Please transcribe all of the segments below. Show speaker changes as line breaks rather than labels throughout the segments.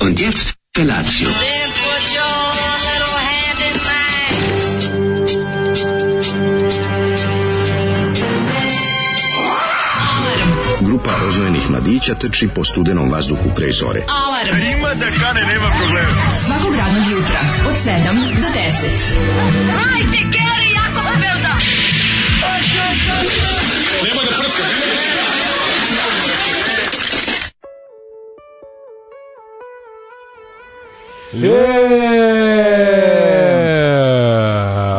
Und jetzt Felatio.
Then put your little hand in mine.
Grupa roznojenih mladića trči po studenom vazduhu pre zore.
Alarm. Ima da kane, nema problema. Svakog radnog jutra, od 7 do 10.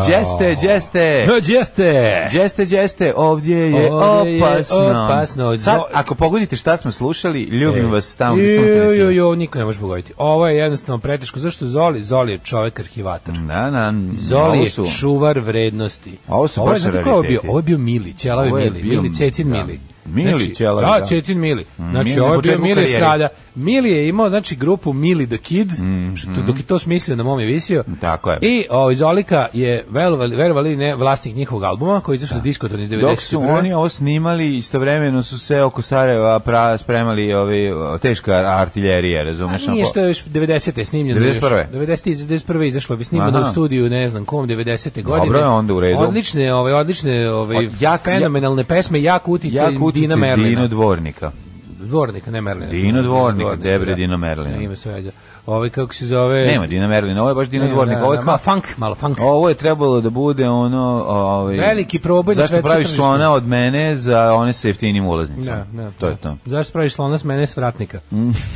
Đeste, đeste.
No, jeste.
Đeste, đeste, ovdje je
Ovdje je
opasno.
opasno. E.
Sad,
Do-
ako pogodite šta smo slušali, ljubim vas tamo gdje sunce ne
Jo, jo,
sija.
jo, niko ne može pogoditi. Ovo je jednostavno preteško. Zašto Zoli? Zoli je čovek arhivator.
Na, na,
Zoli
ovo
je
su-
čuvar vrednosti.
Ovo su
ovo je,
baš
znate ko je ovo bio?
rariteti.
Ovo je bio Mili, Ćelavi
Ovo je
Mili,
bio-
Mili, Cecin
da.
Mili. Znači,
Mili Ćelavi,
da.
da. Mm,
Cecin Mili. Znači,
Mili na
ovo je bio
početku
Mili
karijere.
Estrada. Mili je imao, znači, grupu Mili the Kid,
Mm,
što, dok je to smislio na mom je visio.
Tako je.
I o, Zolika je, verovali, verovali ili ne, vlasnik njihovog albuma, koji je izašao sa diskoton iz 90.
Dok su oni ovo snimali, istovremeno su se oko Sarajeva pra, spremali ovi, o, teška artiljerija, razumeš?
Nije
onako-
što je još 90. je snimljeno.
91..
90. iz- 91. izašlo bi snimljeno
Aha.
u studiju, ne znam kom, 90. godine.
Dobro je, onda u redu.
Odlične, ovaj, odlične, ovaj,
Od- jak-
fenomenalne pesme, jak utice,
Jak utice
Dina Merlina.
Dino Dvornika.
Dvornika, ne Merlina.
Dino Dvornika, Debre Dino Merlina.
Ne, Ima sve, ajde. Ovaj, kako se zove...
Nema Dina Merlina, ovo je baš Dino
Nema,
Dvornik.
da,
Ovo je
da,
kao
malo funk, malo funk.
Ovo je trebalo da bude ono... Ovaj,
Veliki proboj na
Zašto
svetsko
praviš
tržište?
slona od mene za one sa jeftinim ulaznicama?
Da, da,
to je
da.
to. Mm.
Zašto praviš slona s mene s vratnika?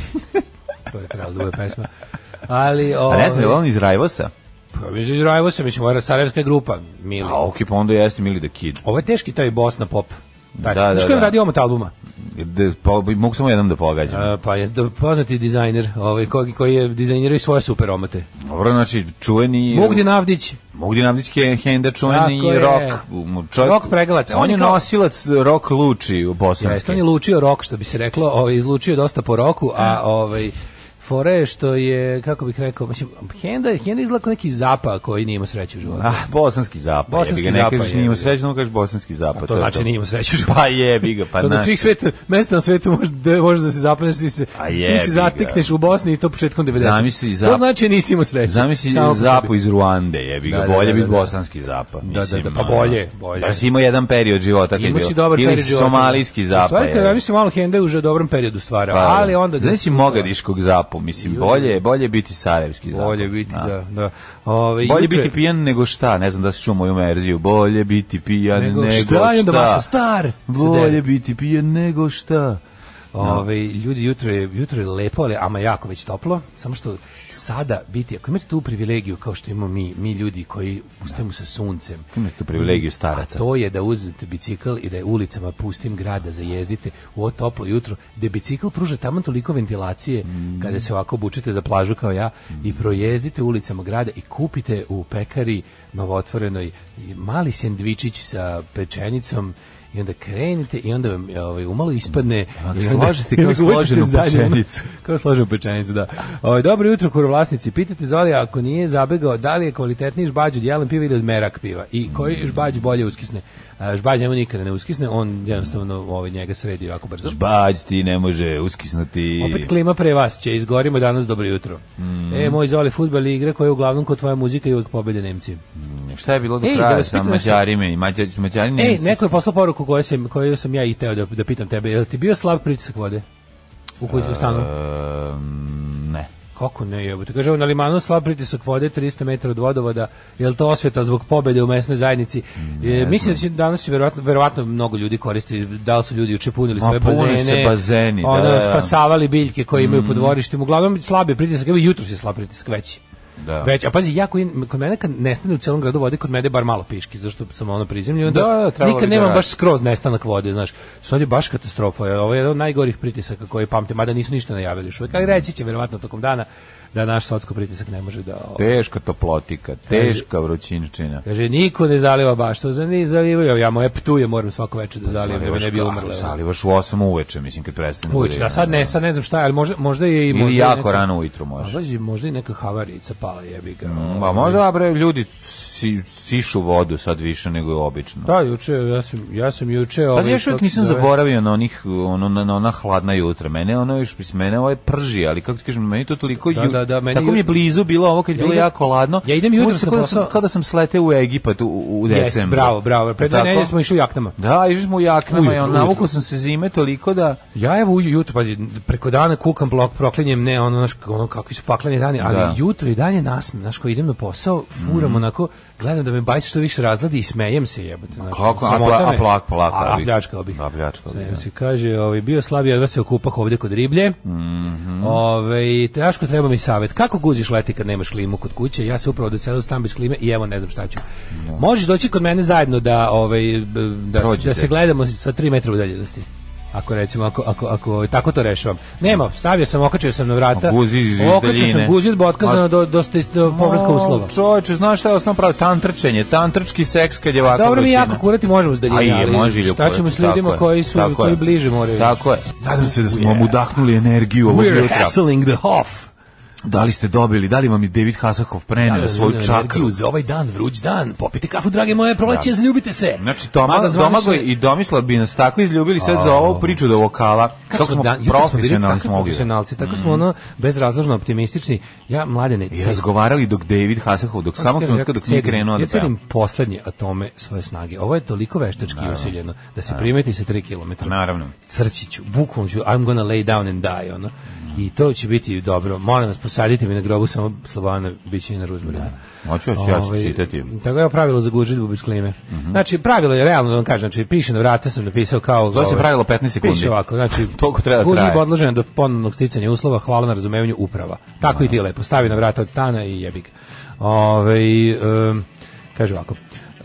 to je pravo duva pesma. Ali,
A
ovaj,
ne znam, je li on iz Rajvosa?
pa, mislim, Izrajevo se, mislim, ovo je Sarajevska grupa, Mili.
A ok, pa onda jeste Mili the Kid.
Ovo je teški taj Bosna pop. Taj.
Da, da,
Znaš ko je
da.
radi omot albuma?
Da, pa, mogu samo jednom da pogađam.
E, pa je do- poznati dizajner, ovaj, koji, koji je dizajnirao i svoje super omote.
Dobro, znači, čuveni...
Mugdin Avdić.
Mugdin Avdić je Henda čuveni
Tako je.
rock. mu- Čovjek,
Rock pregalac.
On,
On
je
je kao-
nosilac rock luči u
Jeste,
bosanski.
on je lučio rok, što bi se reklo, ovaj, izlučio dosta po roku,
E.
a ovaj, fore je što je, kako bih rekao, mislim, Henda, Henda izgleda kao neki zapa koji nije imao sreće u životu.
Ah, bosanski zapad.
Bosanski
Bosanski ga, ne
zapad,
kažeš
jebi
nije mu
ga.
srećno, nego kažeš bosanski zapad.
A to znači nije imao sreće u životu.
Pa jebi ga, pa
Pa na
znaš.
svih sveta, mesta na svetu može da, može da se zapadneš, ti se,
A
ti
jebi
se
ga.
zatekneš u Bosni i to početkom 90.
Zamisli zap-
To znači nisi imao sreće.
Zamisli
Samo po sebi.
zapu iz Ruande, jebi ga,
Da, da,
bolje
da,
bi
da, da.
bosanski zapad.
Da, da,
mislim,
da, pa
ono.
bolje, bolje.
Pa si imao jedan period života kad je
Imao
bilo.
si dobar
Ili
period života.
somalijski
U
zapad.
stvari, kad
jebi ga.
mislim, malo Henda je už u dobrom periodu stvara,
Pa,
ali onda... ga-
Znaš si mogadiškog zapu, mislim, bolje je bolje je biti sarajevski zapad.
Bolje biti,
Da.
da. da. Ove,
Bolje
jutro je-
biti pijan nego šta, ne znam da si čuo moju verziju. Bolje biti pijan nego,
nego, šta. je onda masa star?
Bolje biti pijan nego šta.
Ove, ljudi, jutro je, jutro je lepo, ali ama jako već toplo, samo što sada biti, ako imate tu privilegiju kao što imamo mi, mi ljudi koji ustajemo sa suncem,
Imate tu privilegiju staraca.
A to je da uzmete bicikl i da je ulicama pustim grada zajezdite u ovo toplo jutro, da bicikl pruža tamo toliko ventilacije kada se ovako obučete za plažu kao ja i projezdite ulicama grada i kupite u pekari novotvorenoj mali sendvičić sa pečenicom i onda krenite i onda vam ovaj, umalo ispadne
A,
i onda-
slažete kao
i onda ga uvatite
složenu
zadnje, ono,
pečenicu.
kao složenu pečenicu, da. Ovaj, dobro jutro, kurovlasnici. Pitate Zoli ako nije zabegao, da li je kvalitetniji žbađ od jelen piva ili od merak piva? I koji žbađ bolje uskisne? A, žbađ njemu nikada ne uskisne, on jednostavno ovaj, njega sredi ovako brzo.
Bać ti ne može uskisnuti.
Opet klima pre vas će, izgorimo danas dobro jutro. E, moj Zoli, futbal je igra koja je uglavnom kod tvoja muzika i uvek pobede Nemci.
Šta je bilo do
Ej, da
kraja
vas
sa
pitam nešto.
Mađarima i Mađar, Mađari
Ej,
Nemci?
E, neko je poslao poruku koju sam, koju sam ja i teo da, da pitam tebe. Je li ti bio slab pritisak vode? U koju u stanu?
Ehm, ne.
Kako ne jebote? Kaže, na limanu slab pritisak vode 300 metara od vodovoda, je li to osveta zbog pobede u mesnoj zajednici? E, mislim da će danas će verovatno, verovatno mnogo ljudi koristi, da li su ljudi juče punili
Ma,
svoje
pune se
bazene,
bazeni, da,
ono,
da, Mm. da.
spasavali biljke koje imaju po dvorištima, uglavnom slab je pritisak, evo jutro je slab pritisak veći.
Da.
Već, a pazi, ja koji, kod mene kad nestane u celom gradu vode, kod mene je bar malo piški, zašto sam ono prizemljen, i onda
Da, da, trebalo
nikad
bi da
nemam
radi.
baš skroz nestanak vode, znaš. Sad je baš katastrofa, je. ovo je jedan od najgorih pritisaka koje pamtim, mada nisu ništa najavili još uvek, ali reći će verovatno tokom dana da naš sotsko pritisak ne može da... o-
Teška toplotika, teška vrućinčina.
Kaže, niko ne zaliva baš, to za ni zalivaju, ja moje ptuje moram svako večer da zalivam, da bi ne bi umrle.
Salivaš u 8 uveče, mislim, kad prestane.
Uveć,
bude,
da sad ne, sad ne znam šta, je, ali možda, možda je i...
Ili
možda je
jako
neka-
rano ujutru
A
može.
pazi, možda i neka havarica, pa pala jebiga.
Mm, Ma možda bre ljudi si, sišu vodu sad više nego je obično.
Da, juče, ja sam, ja sam juče...
Pa
ovaj,
ja još uvijek
kako se
nisam
zove,
zaboravio na onih ono na, na ona hladna jutra. Mene ono još mislim mene ovaj prži, ali kako ti kažem, meni to toliko
Da,
ju-
da, da, meni
tako mi je
jut-
blizu bilo ovo kad je
Ja
bilo
idem-
jako hladno.
ja idem jutros
Možda
na
kao da
posao-
sam kao da sam slete u Egipat u, u u decembru.
Jeste, bravo, bravo. Pre dve
Tako?
nedelje smo išli u jaknama.
Da, išli smo u jaknama,
Ujutru,
ja,
ujutru.
navukao sam se zime toliko da...
Ja evo uju- jutro, pazi, preko dana kukam blok, proklinjem, ne, ono, znaš, ono, kakvi su pakleni dani, ali
Da.
jutro i dalje nasmem, znaš, ko idem na posao, furam onako, gledam da me bajs što više razladi i smejem se jebote. Znaš,
kako? A
sramota
pla- a
me.
plak- plakao
A, a
bih.
pljačkao bih.
A pljačkao bih,
Smejem
da.
se, kaže, ovaj, bio slabi, jedva se okupah ovde kod riblje.
Mhm.
Ove, Daško, treba mi savjet. Kako guziš leti kad nemaš klimu kod kuće? Ja se upravo doselio stan bez klime i evo ne znam šta ću. Možeš doći kod mene zajedno da, ovaj, b- da,
Prođete.
da se gledamo sa 3 metra udaljenosti. Ako recimo, ako, ako, ako ovaj, tako to rešavam. Nema, stavio sam, okačio sam na vrata.
A guzi iz
Okačio sam
daljine.
guzi od otkazano
A-
do, do, do, do povratka
O,
uslova.
Čoveče, znaš šta je osnovno pravo? Tantrčenje, tantrčki seks kad je ovako
Dobro mi
vrućina.
jako kurati možemo s daljine,
A i je,
ali
može i
šta
ljubavno,
ćemo s
tako
ljudima
je,
koji su
tako
koji
je.
bliže moraju.
Tako je. Nadam se da smo vam udahnuli energiju ovog
We're
jutra.
hassling the Hof.
Da li ste dobili, da li vam je David Hasakov preneo svoju čakru?
Za ovaj dan, vruć dan, popite kafu, drage moje, proleće, zaljubite se.
Znači, Toma,
Mada zvanično-
Domagoj i Domislav bi nas tako izljubili sad za ovu priču do vokala. Kako smo
dan- jutro bili
profesionalni
takvi
smo Mhm. ovdje.
profesionalci, tako smo ono bezrazložno optimistični. Ja, mladene,
I razgovarali dok David Hasakov, dok samo trenutka dok nije krenuo
da
da
Pa Ja cenim
peva.
poslednje atome svoje snage. Ovo je toliko veštački usiljeno da se primeti sa 3 km.
Naravno.
Crčiću, bukvom ću, I'm gonna lay down and die, ono. I to će biti dobro. Molim vas, posadite mi na grobu samo Slovana, bit će i na Ruzmarinu.
Hoću, hoću, ja ću
Ovaj,
čitati.
Tako je pravilo za gužitbu bez klime. Znači, pravilo je, realno da vam kažem, znači, piše na vrata sam napisao kao...
To se
ovaj,
pravilo 15 sekundi.
Piše ovako, znači,
Toliko treba da
gužva
traje.
odložena do ponovnog sticanja uslova, hvala na razumevanju uprava. Tako i ti lepo, stavi na vrata od stana i jebi ga. Ove, um, kaže ovako,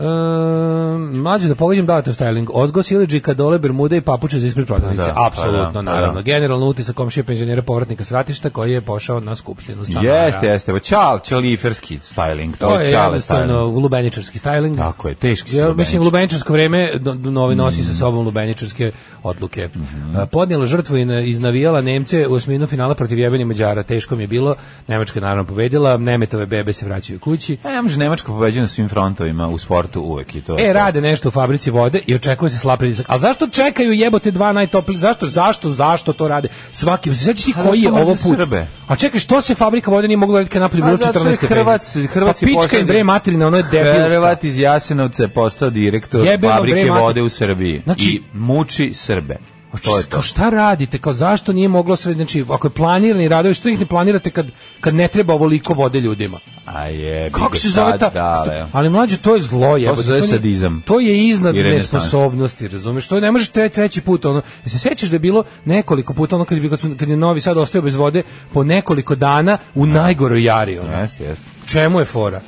Um, mlađe da pogađam dalatom styling Ozgo, Silidžika, Dole, Bermude i papuče za ispred prodavnice
Da, pa
apsolutno,
da, pa
naravno
da.
generalno utisak komšije penzionera povratnika s ratišta koji je pošao na skupštinu stanara
Jeste, jeste. Evo, Čal, čaliferski styling.
to je
čale styling.
jednostavno lubeničarski styling
Tako je, teški su
Ja,
lubenički.
mislim, lubeničarsko vreme do- do- novi nosi sa sobom lubeničarske odluke.
Mhm.
A, Podnijela žrtvu i na- iz navijala Nemce u osminu finala protiv jebeni Mađara. Teško mi je bilo. Nemačka je naravno pobedila. Nemetove bebe se vraćaju kući.
E, ne može Nemačka pobeđuje na svim frontovima u sportu uvek i to. je
E,
to.
rade nešto u fabrici vode i očekuje se slab pritisak. Ali zašto čekaju jebote dva najtopli? Zašto, zašto, zašto to rade? Svaki, se sećaš ti
Pa
koji je
zašto
ovo
mrze
put?
Srbe?
A čekaj, što se fabrika vode nije mogla raditi kad je napolje
Pa
bilo
zato što je
14 stepeni?
Hrvac- Hrvac
pa pička
je
im
posljednji-
bre materina, ono je debilska.
Hrvat iz Jasenovca je postao direktor
Jebeno, bre,
fabrike
mater-
vode u Srbiji.
Znači-
I muči Srbe.
Pa
To je
kao šta radite? Kao zašto nije moglo sve, znači ako je planirani radovi, što ih ne planirate kad, kad ne treba ovoliko vode ljudima?
A je,
Kako se zove ta?
Dale.
Ali mlađe, to je zlo, jebote.
zove
nije-
sadizam.
To je iznad
I renesans.
nesposobnosti, razumeš? To ne možeš tre, treći put, ono, jel se sećaš da je bilo nekoliko puta, ono, kad, je bi- kad, su- kad je Novi Sad ostao bez vode po nekoliko dana u najgoroj jari, ono.
Jeste, jeste.
Čemu je fora?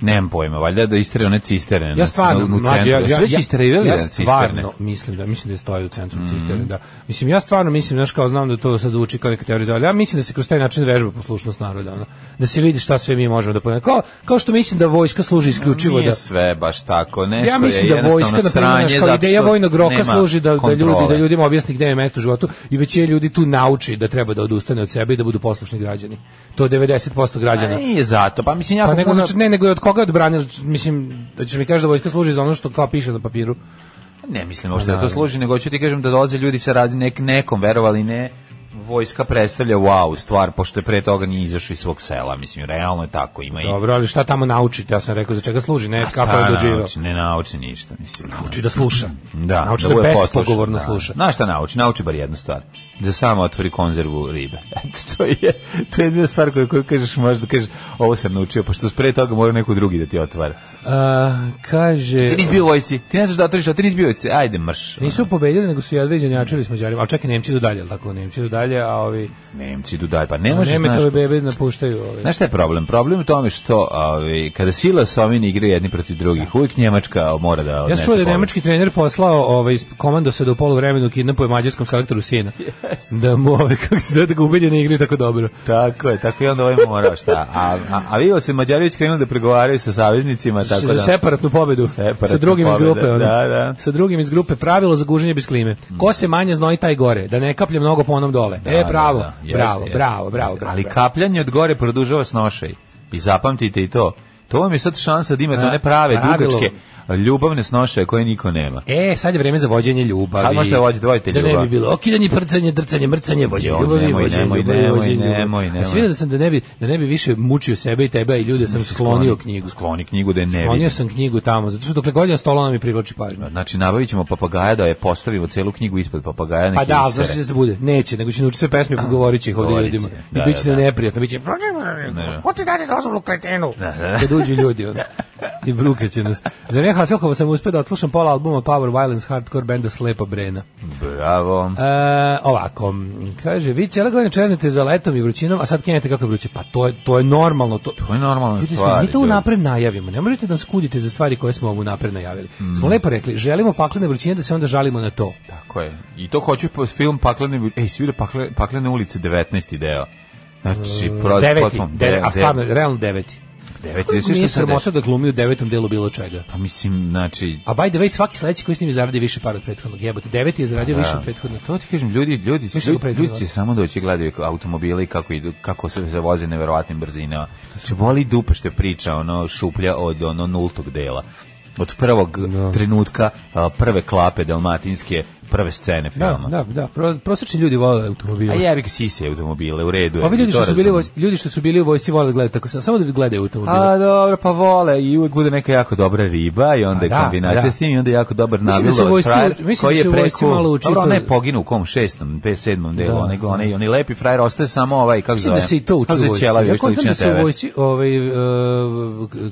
Nemam pojma, valjda da istere one cisterne.
Ja stvarno, mlađe, ja, ja,
Sve će isterivali
ja
na cisterne. Mm.
stvarno mislim da, mislim da stoji u centru cisterne, da. Mislim, ja stvarno mislim, znaš, kao znam da to sad zvuči kao neka teorija, ali ja mislim da se kroz taj način vežba poslušnost naroda, ono, da se vidi šta sve mi možemo da ponemo. Kao, kao što mislim da vojska služi isključivo
Nije
da...
sve baš tako, nešto
Ja mislim
je
da vojska, na
jednostavno
primjer,
sranje,
znaš, kao
zato
ideja
što
vojnog roka
nema
služi da, da, ljudi, da
kontrole.
ljudima objasni gde je mesto u životu i većina ljudi tu nauči da treba da odustane od sebe i da budu poslušni građani. To je 90% građana.
A Nije zato, pa mislim, jako
Pa nego
puno-
znači ne nego je od koga odbranili mislim da ćeš mi kaži da vojska služi za ono što kao piše na papiru.
Ne mislim uopšte da to
Pa naravno.
služi, nego ću ti kažem da dolaze ljudi sa razni nek, nekom, verovali ne, vojska predstavlja wow stvar, pošto je pre toga nije izašao iz svog sela, mislim, realno je tako, ima i...
Dobro, ali šta tamo naučiti? Ja sam rekao za čega služi, ne kako je
Ta
doživio.
nauči, ne nauči ništa, mislim.
Nauči da sluša.
Da,
nauči da,
da bude poslušan,
bespogovorno
da.
sluša.
Znaš šta nauči? Nauči bar jednu stvar. Da sama otvori konzervu ribe. Eto, to je, to je jedna stvar koju, koju kažeš, možeš da kažeš, ovo sam naučio, pošto pre toga mora neko drugi da ti otvara.
A, kaže...
Ti nisi bio u vojci, ti ne znaš da otvoriš, a ti nisi bio u vojci, ajde mrš. ono,
Nisu pobedili, nego su jedva izjednačili s Mađarima. Ali čekaj, Nemci idu dalje, jel tako? Nemci idu dalje, a ovi...
Nemci idu dalje, pa ne možeš, znaš,
Nemetove bebe napuštaju. Ovi.
Znaš šta je problem? Problem je u tome što ovaj, kada sila Sovini igre jedni protiv drugih, uvijek Njemačka mora da
Ja
odnese
sam čuo da je
pobedu.
nemački trener poslao ovaj komando se da u poluvremenu kidnapuje mađarskom selektoru sina. Da mu ovaj kako se zove, da ga ubedi da ne igraju tako dobro.
Tako je, tako i onda ovaj mora šta. A, a, a vidio se Mađarović krenuo da pregovaraju sa saveznicima, tako
za
da...
separatnu pobedu
Separatnu
sa drugim
pobedu,
iz grupe ono.
da, da. Mm.
sa drugim iz grupe pravilo za guženje bez klime ko se manje znoji taj gore da ne kaplje mnogo po onom dole e
Da,
bravo
da, da. Jeste,
bravo
jeste,
bravo bravo
jeste.
bravo,
Ali
bravo.
kapljanje od gore produžava snošaj. I zapamtite i to. To vam je sad šansa da imate
A,
one prave,
pravilo.
dugačke, ljubavne snoše koje niko nema.
E, sad je vreme za vođenje ljubavi.
Sad možete da vođete, vodite
Da ne
ljubav.
bi bilo okidanje, prcanje, drcanje, mrcanje, vođenje
Jo,
ljubavi,
nemoj,
vođenje
nemoj,
ljubavi,
nemoj,
vođenje ljubavi.
nemoj, nemoj.
A svi da sam da ne bi, da ne bi više mučio sebe i tebe i ljude, sam sklonio knjigu.
Skloni knjigu da je ne
Sklonio
vidi.
sam knjigu tamo, zato što dokle god je stolo ona mi privlači pažnju.
Znači, nabavit ćemo papagaja da je postavimo celu knjigu ispod papagaja. neke
Pa da, ali
bisere.
znaš šta će se bude? Neće, nego će naučiti sve pesme i govorit će ih ovdje
Govorit će,
ljudima. I
da,
bit će
da,
da,
da.
neprijatno, bit će...
da.
Ko ti dađe dozvolu kretenu? Kad uđu ljudi, ono. I bruke će nas. Za vreme Hasselhoffa sam uspio da odslušam pola albuma Power Violence Hardcore benda Slepa Brena.
Bravo.
E, ovako, m, kaže, vi cijela godina čeznete za letom i vrućinom, a sad kenete kako je vruće. Pa to je, to je normalno. To,
To je normalna
Ljudi, smo,
stvar.
mi to
to je-
unapred najavimo. Ne možete da nas kudite za stvari koje smo vam unapred najavili. Smo
Mm.
lepo rekli, želimo paklene vrućine da se onda žalimo na to.
Tako je. I to hoću po film Paklene, ej, svi vide pakle, Paklene ulice 19. deo. Znači, prođe
E, deveti,
potpuno-
de,
de-
a stvarno, realno deveti.
deveti,
Kako
sve što
nije
se
sramota da
dešava.
glumi u devetom delu bilo čega?
Pa mislim, znači,
A by the way, svaki sledeći koji s njim zaradi više para od prethodnog. Jebote, deveti je zaradio više od prethodnog.
to ti kažem, ljudi, ljudi,
Više
ljudi,
ga
ljudi,
prethodno
će
vas.
samo doći i gledaju automobile i kako, idu, kako se, se voze neverovatnim brzinama. Znači, voli dupe što je priča, ono, šuplja od ono nultog dela. Od prvog trenutka a, prve klape dalmatinske, prve scene filma.
Da, da, da. Pro, prosečni ljudi vole
A
automobile.
jebik sise automobile, u redu je.
Ovi ljudi
to
Pa što su bili u
razumem.
vojsci, ljudi što su bili u vojsci vole da gledaju tako samo da gledaju automobile.
A dobro, pa vole i uvek bude neka jako dobra riba i onda
A
je
da,
kombinacija
da.
s tim i onda je jako dobar
Mislim da
nabilo
se
od
vojsci-
frajer
mislim da
koji je
se vojsci
preko...
malo uči
Dobro,
to-
ona je poginu u kom šestom, pe sedmom delu,
Da,
onaj,
da.
onaj, onaj lepi frajer ostaje samo ovaj, kako
Mislim
zove?
da se i to uči
Kako
u
zove
vojsci.
ćelavi,
Ja
još koji
kontam
liči na
da se
tebe?
u vojsci, ovaj, uh,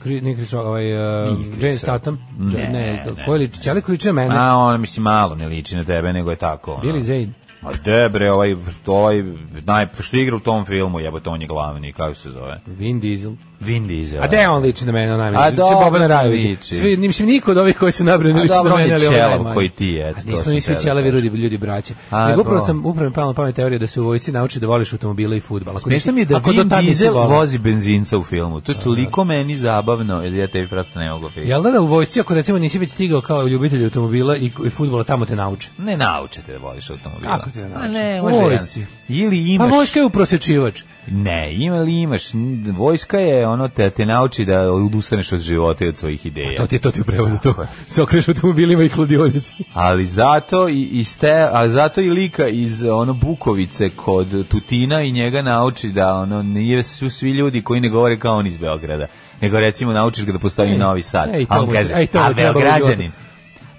kri- nije Chris Rock, ovaj, uh, James Tatum,
Ne,
ne,
ne.
koji liči, Čelik liči na mene,
A, on, mislim, malo ne liči na tebe, nego je tako. ono.
Billy Zane.
Ma debre, ovaj, ovaj, naj, što igra u tom filmu, jebote, on je glavni, kako se zove?
Vin Diesel.
Vin Diesel.
A gde on liči na mene najmanje?
A
A
dobro,
Boban Rajović.
liči.
Svi, mislim, niko od ovih koji su nabrani
A
liči
dobro,
na
on je
mene, ali on
ćelav
najmanje.
koji ti, eto,
A
to
nismo
sam
mi svi
tebe
ćelavi
da-
ljudi, ljudi braće.
A,
Nego upravo
dobro.
sam, upravo mi pala na pamet teorija da se u vojsci nauči da voliš automobile i fudbal. Ako
Smešno
nisi-
mi je da
ako do
Vin
tad nisi
Diesel
volao.
vozi benzinca u filmu. To je toliko meni zabavno, jer ja tebi prosto ne mogu filmu.
Jel da da u vojsci, ako recimo nisi već stigao kao ljubitelj automobila i, i futbola, tamo te nauče?
Ne naučite da voliš automobila.
Kako ti ne nauče?
A ne,
U
možda
vojsci.
jedan. Ili
Pa
imaš...
vojska je uprosečivač.
Ne, ima li imaš... n- Vojska je ono, te, te nauči da odustaneš od života i od svojih ideja.
To ti je to ti u prevodu, to se okreš automobilima i kladionici.
Ali zato i, i ste, a zato i lika iz ono Bukovice kod Tutina i njega nauči da ono nije su svi ljudi koji ne govore kao on iz Beograda. Nego recimo naučiš ga da postoji Novi Sad.
ej, to
a on
mu-
kaže,
ej, to mu
a
trebalo u životu."
Beograđanin,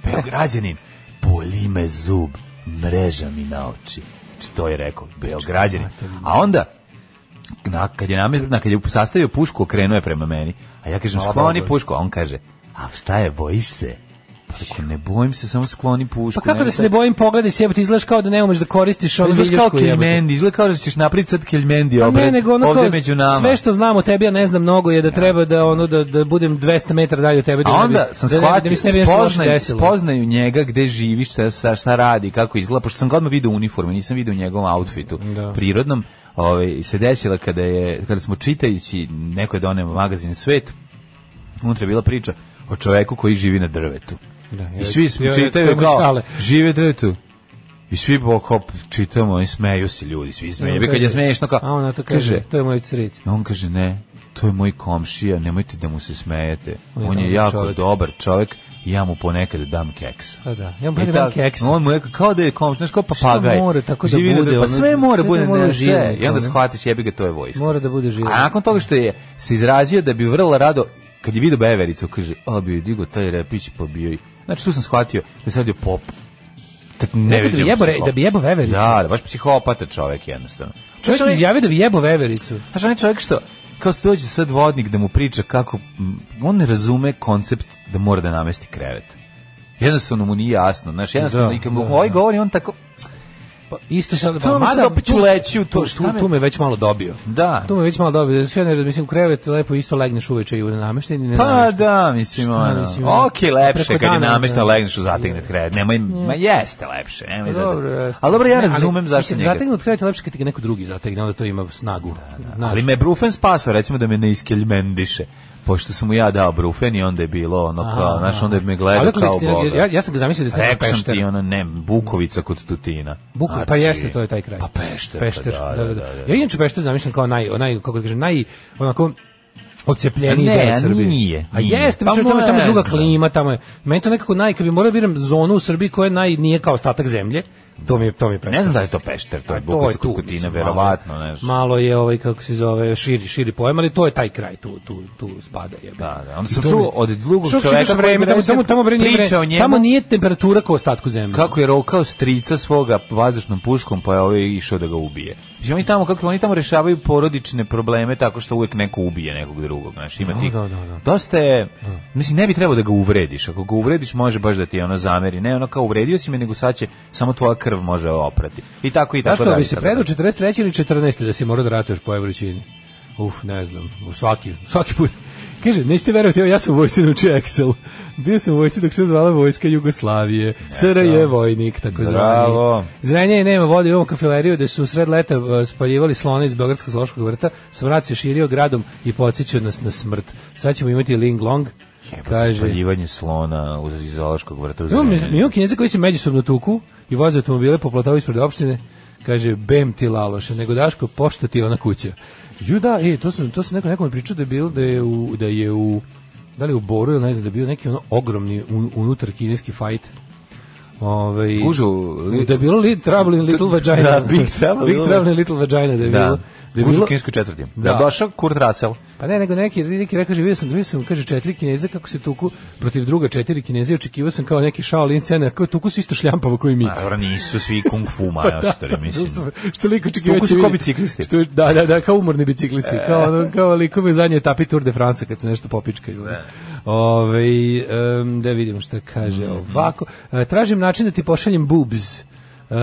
Beograđanin, boli me zub, mreža mi na oči. Znači, To je rekao, Beograđanin.
Znači,
A onda, na, kad je namet, na, kad je sastavio pušku, okrenuo je prema meni. A ja kažem, skloni pušku. A on kaže, a šta je, bojiš se? Pa tako, ne bojim se, samo skloni pušku.
Pa kako da se ne
bojim?
bojim pogleda se jebote, izgledaš kao da ne umeš da koristiš onu
Izgleda kao
viljušku jebote.
Keljmendi, izgleda kao da ćeš napraviti sad Keljmendi
Pa
obred,
ne, nego ono
ovde
kao,
među nama.
sve što znam o tebi, ja ne znam mnogo, je da treba da, ono, da, da budem 200 metara dalje od tebe. Da ne
A
bi-
onda sam
da ne bi- da mi
shvatio,
se ne bi nešto loše
spoznaju,
desilo.
spoznaju njega gde živiš, šta, šta, šta radi, kako izgleda, pošto sam ga odmah vidio u uniformi, nisam vidio u njegovom outfitu
Da.
prirodnom. Ove, se desila kada, je, kada smo čitajući, neko je donio magazin Svet, unutra je bila priča o čoveku koji živi na drvetu.
Da,
I svi smo
ja- ja- to
čitaju
je
kao,
šale.
žive drvetu. I svi bokop čitamo i smeju se ljudi, svi smeju. Ja bi kad je smešno kao,
A ona to kaže, to je moj cric.
i on kaže, ne, to je moj komšija, nemojte da mu se smejete.
On je
On je
dobar
jako
čovek."
dobar čovjek, i ja mu ponekad dam keksa.
Pa da, ja mu
I
ponekad
tak-
dam keksa.
On mu je kao da je komš, znaš, kao papagaj.
mora tako da
Živi na-
bude,
Pa
ono,
sve mora
sve
bude,
da mora
ne,
živjeti,
sve. I onda
ono.
shvatiš, jebi ga, to je vojska.
Mora da bude živ.
A nakon toga što je se izrazio da bi vrlo rado, kad je vidio Bevericu, kaže, a bio je digo taj repić, pa bio i... Znači, tu sam shvatio da sad je pop. Kad ne
Rekao da bi
viđemo
jebo re-
psihopat.
da bi jebo Vevericu.
Da, da, baš psihopata čovek jednostavno.
Čovjek
Znaš, onaj-
izjavi da bi jebo vevericu.
Znaš, onaj čovjek što, kao se dođe sad vodnik da mu priča kako, m, on ne razume koncept da mora da namesti krevet. Jednostavno mu nije jasno, znaš, jednostavno,
Da,
i kad mu
da,
ovaj
da.
govori, on tako,
Pa isto sad,
To
pa,
mi sad opet uleći u to,
tu,
šta
tu,
me-
tu me već malo dobio.
da,
Tu me već malo dobio, sve ne mislim u krevet lepo isto legneš uveče i u nenamešten i
pa
nenamešten.
da, mislim,
Šta,
ono,
mislim,
okej, lepše
preko
kad je
dana,
namešta
da.
legneš u zategnet krevet, nemoj, ma jeste lepše, nemoj
Dobro,
zategnet.
jeste.
Ali dobro, ja
Ne, ali,
razumem zašto
mislim,
njega.
Zategnut krevet je lepše kad ti ga neko drugi zategne, onda to ima snagu. Znaš.
Ali me Brufen spasao, recimo da me ne iskeljmendiše. Pošto sam mu ja dao Brufen i onda je bilo ono kao, znaš, onda je me gledao
Ali kako
kao
liči- ja-
boga.
Ja, ja sam ga zamislio da se neko
Rekao sam
pešter.
ti ona ne Bukovica kod Tutina.
Bukva, pa
Znači,
jeste, to je taj kraj.
Pa Pešter,
Pešter,
pa
da, da, da. Ja inače Pešter zamišljam kao naj, onaj, kako da kažem, naj, onako, ocepljeniji
Ne,
deo Srbije.
nije,
A
nije.
jeste,
Pa
pričam, tamo, je- tamo je
ne
druga
znam.
klima, tamo je. Meni to nekako naj, kad bi morao da biram zonu u Srbiji koja naj nije kao ostatak zemlje, to mi je, to mi je Pešter.
Pa Ne znam da li je to Pešter, to je
A
Bukovac
tu,
Kutina,
mislim,
verovatno,
malo, je-
znaš.
Malo je ovaj kako se zove, širi širi pojam, ali to je taj kraj tu tu tu spada je.
Da, da, onda sam čuo od drugog čoveka koji
vreme,
mi
tamo
reče,
tamo tamo bre nije
priča o
vreme,
njemu.
tamo nije temperatura kao u ostatku zemlje.
Mm-hmm. kako je rokao strica svoga vazdušnom puškom, pa je ovaj išao da ga ubije. Mislim, oni tamo, kako, oni tamo rešavaju porodične probleme tako što uvek neko ubije nekog drugog, znaš, ima
Da,
tih.
da, da, da.
Dosta je, mislim, ne bi trebao da ga uvrediš. Ako ga uvrediš, može baš da ti ono zameri. Ne, ono kao uvredio si me, nego sad će, samo tvoja krv može oprati. I tako i
Znaš
tako
kako
dalje.
bi se
tako dalje.
predao 43. ili 14. da si morao da ratuješ po evrićini? Uf, ne znam, u svaki, svaki put. Kaže, nećete verovati, evo ja sam u vojsci naučio Excel. Bio sam u vojsci dok se zvala Vojska Jugoslavije. SRJ je vojnik, tako
Bravo.
zvani. Zrenje je nema vode, imamo kafileriju gde su u sred leta e, spaljivali slone iz Beogradskog zološkog vrta, smrad se širio gradom i podsjećao nas na smrt. Sad ćemo imati Ling Long,
Jebote,
kaže...
spaljivanje slona uz iz zoološkog vrta. uz
Imamo,
Zrenjanin.
imamo kineze koji se međusobno tuku i voze automobile po platavu ispred opštine. Kaže, bem ti laloše, nego Daško, pošto ti ona kuća. Ju da, e, to sam, to sam neko, neko mi pričao da je bilo, da je u, da je u, da li u Boru ili ne znam, da je bio neki ono ogromni un, unutar kineski fajt. Ove,
Gužu, li-
da je bilo li, Trouble in Little Vagina.
Da, Big Trouble in
Big
Little-
Trouble in Little Vagina da je
Da.
bilo. Da je
Gužu
bilo,
u kineskoj četvrti.
Da.
Da. došao Kurt Russell.
pa ne, nego neki, neki rekao, kaže, vidio sam, vidio sam, kaže, četiri kineze kako se tuku protiv druga četiri kineze, očekivao sam kao neki Shaolin scena, kao tuku su isto šljampavo koji mi.
A, dobro, nisu svi kung fu
Pa
majstori, mislim.
što liko očekivao
Tuku
će
su E. kao
vidjeti.
biciklisti.
Što, da, da, da, kao umorni biciklisti. Kao, ono, kao likovi u zadnjoj etapi Tour de France kad se nešto popičkaju. Ne. Ove, um, da vidimo šta kaže
Mhm.
ovako. E, tražim način da ti pošaljem boobs.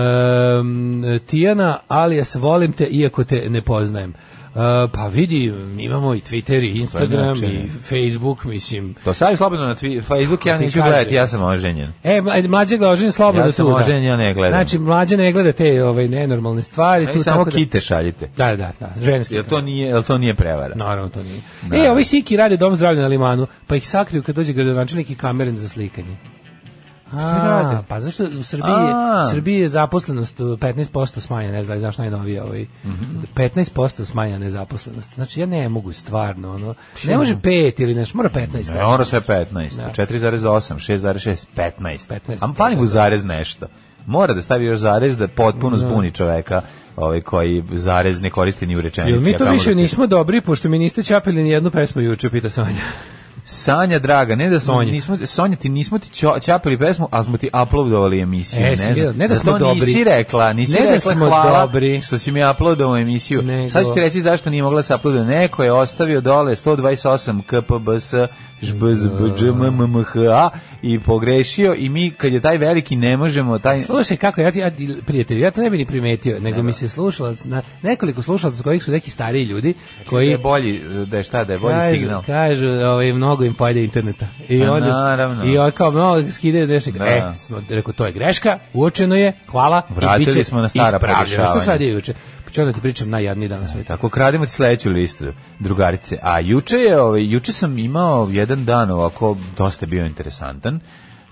Um, Tijana, alias volim te iako te ne poznajem. E, pa vidi, imamo i Twitter, i Instagram,
način?
i Facebook, mislim.
To stavi slobodno na Twi- Facebook, ja
Ti
neću
kaže.
gledati, ja sam oženjen.
E, mla- mlađe ga oženje slobodno
Ja sam
tu, da.
oženjen, ja ne gledam.
Znači, mlađe ne gleda te ovaj, nenormalne stvari.
Aj,
tu,
samo
tako da-
kite šaljite.
Da, da, da, ženski.
Jel to nije, jel to nije prevara?
Naravno to nije. E, ovi siki rade dom zdravlja na limanu, pa ih sakriju kad dođe gradonačelnik i kameren za slikanje. A,
rade?
pa zašto u Srbiji,
A.
u Srbiji je zaposlenost uh, 15% smanjena, ne znam da li znaš najnovije ovaj,
Mhm.
15% smanjena nezaposlenost. Znači ja ne mogu stvarno, ono,
Pa
ne može 5 ili nešto, mora 15.
Ne, ono sve 15,
Da.
4,8, 6,6, 15.
15,
Am fali
da,
mu zarez nešto. Mora da stavi još zarez da potpuno zbuni čoveka ovaj, koji zarez ne koristi ni u rečenici.
Jel mi
a
to
kamoli
više
da se-
nismo dobri, pošto mi niste čapili ni jednu pesmu juče, pita Sanja.
Sanja, draga, ne da smo,
Sonja.
Sonja. nismo, Sonja, ti nismo ti ćo- ćapili pesmu, ali smo ti uploadovali emisiju.
E, si
ne,
vidio,
znam.
ne da
Zato
smo dobri.
nisi rekla, nisi
Ne da
rekla
smo
hvala
dobri.
što si mi uploadovao emisiju.
Nego-
Sad ću ti reći zašto nije mogla se uploadovati. Neko je ostavio dole 128 kpbs žbzbđmmha i pogrešio i mi kad je taj veliki ne možemo, taj...
Slušaj kako ja ti ja, prijatelju, ja to ne bih ni primetio, nego mi se slušalac na nekoliko slušalaca kojih su neki stariji ljudi
Znači, Da je
koji
bolji, da je šta, da je bolji
kažu,
signal.
kažu ovaj, mnogo im pojede interneta. I
A,
onda,
naravno.
I onda kao mnogo skidaju nešto.
Da.
E, smo, rekao, to je greška, uočeno je, hvala. i
Vratili
bit će
smo na stara
ispravljeno.
podešavanja.
Što sad je juče? Pa ću onda ti pričam najjadniji dan na svetu.
Ovaj, Tako krademo ti sledeću listu, drugarice. A juče je, ovaj, juče sam imao jedan dan ovako dosta bio interesantan.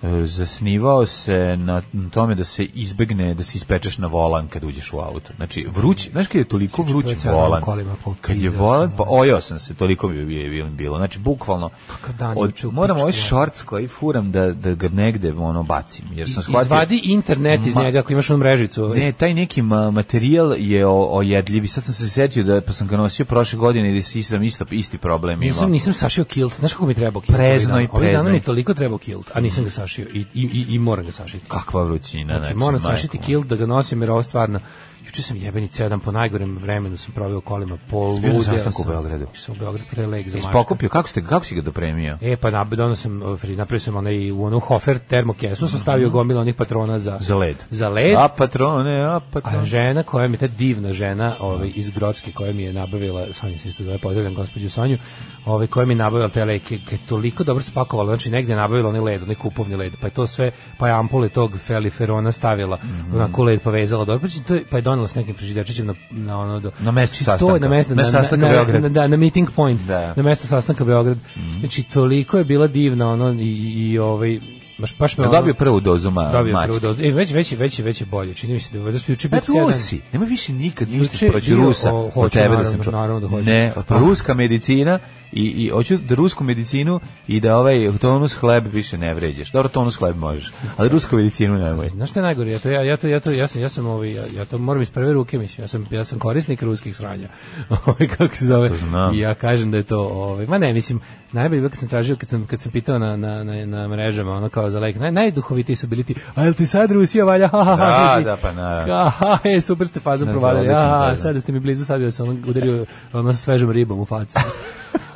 E, Zasnivao se na tome da se izbegne, da se ispečeš na volan kad uđeš u auto. Znači, vruć, znaš kad je toliko vruć
čovječe, ja na
volan,
kolima popizao
kad je
sam,
volan, pa
ono.
ojao sam se, toliko mi je bilo- bilo. Znači, bukvalno,
Kakav dan
od-
juče u pičku
moram
ono.
ovaj
materinu.
šorc koji furam da, da ga negde ono, bacim, jer sam shvatio...
Izvadi internet iz
Ma-
njega ako imaš onu mrežicu. ovaj.
Ne, taj neki ma- materijal je o, ojedljiv i sad sam se setio da pa sam ga nosio prošle godine i da si sam isto, isti problem imao.
Nisam, nisam sašio kilt, znaš kako mi trebao kilt?
Prezno
ovih
i
dana? Ovih dana
prezno.
mi je toliko trebao kilt, a nisam ga sašio i, i, i, i moram ga sašiti.
Kakva vrućina.
Znači, moram
majko
sašiti
moja.
kilt da ga nosim jer ovo stvarno juče sam jebeni jedan po najgorem vremenu sam proveo kolima
bio na
poludeo sam.
sastanku u Beogradu?
Sam u Beogradu pre lek za
Jesi
mačka.
pokupio, kako, ste, kako si ga dopremio?
E pa nab- donao sam o, fri- napravio sam onaj u onu Hofer termokesu sam stavio gomilu onih patrona za
Mhm. Za led.
Za led.
A patrone, a
A
patrone.
žena koja mi je ta divna žena, ovaj iz Grodske koja mi je nabavila, Sonja se isto zove, pozdravljam gospođu Sonju, ovaj koja mi je nabavila te leke, kad je toliko dobro spakovala, znači negde je nabavila onaj led, onaj kupovni led, pa je to sve, pa je ampule tog feliferona stavila,
Mhm.
onako led pa vezala dobro, pa, će to, pa je donela s nekim frižiderčićem na, na ono do,
Na mesto
Znači, To je
sastanka.
na mesto, na,
Mesto sastanka
na, na,
Beograd.
na, da, na meeting point,
Da. Mhm.
na mesto sastanka Beograd. Znači toliko je bila divna ono i, i, i ovaj baš baš me
Ja
ono-
dobio prvu dozu ma,
Dobio
mačke.
prvu dozu. E, već, već, već, već je bolje. Čini mi se da je bolje. Zato što je juče bio
E,
cijel dan-
Rusi, nema više nikad ništa
Juče je
protiv
bio-
Rusa.
o,
od
hoću,
tebe da
naravno,
sam čuo.
naravno da hoću.
Ne,
Ah.
ruska medicina i, i hoću da rusku medicinu i da ovaj tonus hleb više ne vređaš. Dobro, tonus hleb možeš, ali rusku medicinu nemoj.
Znaš šta je najgore? Ja to ja ja to ja to ja sam ja sam ovaj ja, ja to moram iz prve ruke mislim. Ja sam ja sam korisnik ruskih sranja. Ovaj kako se zove?
znam.
I ja kažem da je to ovaj ma ne mislim najbolje je bilo kad sam tražio kad sam kad sam pitao na na na na mrežama ono kao za lek naj najduhovitiji su bili ti. A jel ti sad Rusija valja? Ha, ha, ha,
Da,
vidi.
da, pa naravno.
Ka- ha, e, super ste fazom
Ne,
provalili.
odlično, da,
Ja,
da.
sad ste mi blizu, sad ja sam ono udario ono sa svežom ribom u facu.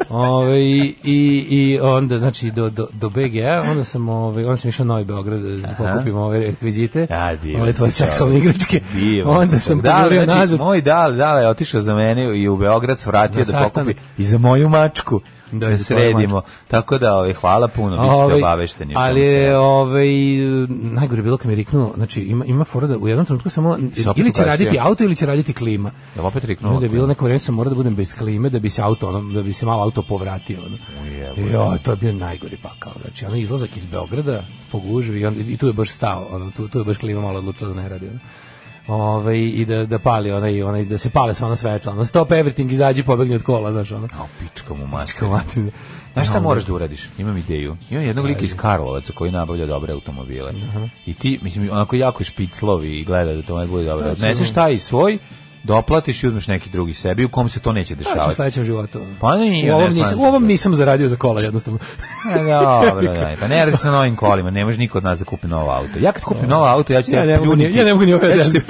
Ove, i, i, i onda, znači, do, do, do BG-a, onda sam, ove, onda sam išao u Novi Beograd da pokupim ove rekvizite,
A, divan
ove tvoje
si čovek.
seksualne igračke.
Divan
onda
si
sam
čovek. Dale,
podurio
znači,
nazad.
Moj dale, dale je otišao za mene i u Beograd svratio
Na
da pokupi
sastanak.
i za moju mačku
Da,
da,
i za tvoju
sredimo. Tako da, ovaj, hvala puno, vi
Ovaj,
ćete obavešteni. o čemu
Ali
se
je,
radi.
ovaj, najgore je bilo kad mi je riknuo, znači ima, ima fora da u jednom trenutku samo, ili će
pokazuje.
raditi auto ili će raditi klima.
Jel opet
No,
riknuo?
da je bilo neko vreme sam morao da budem bez klime da bi se auto ono, da bi se malo auto povratio ono.
Ujebote.
Jo, to je bio najgori pakao. Znači, ono izlazak iz Beograda po gužvi i, onda, i tu je baš stao, ono, tu, tu je baš klima malo odlučila da ne radi. Ono. Ove, i da, da pali onaj, onaj, da se pale sva ona svetla, ono, stop everything, izađi, pobegni od kola, znaš, ono.
Au, pička mu mačka.
Kao mater.
Znaš šta
Ono,
moraš da uradiš? Imam ideju. Imam jednog lika iz Karlovaca koji nabavlja dobre automobile. I ti, mislim, onako jako špiclovi i gleda da to ne bude dobro. Odneseš taj svoj, doplatiš i uzmeš neki drugi sebi u kom se to neće
šta ću u
dešavati.
sledećem životu. ono?
Pa ne,
u
ja ne
ovom,
slažem
nisam, u
se.
ovom nisam zaradio za kola, jednostavno.
E, dobro, da, pa ne radi se o novim kolima, ne može niko od nas da kupi novo auto. Ja kad kupim novo auto, ja ću
Ja
te
ne mogu ni-
pljuniti.
ja ne mogu ni ove
ja ću te
desne.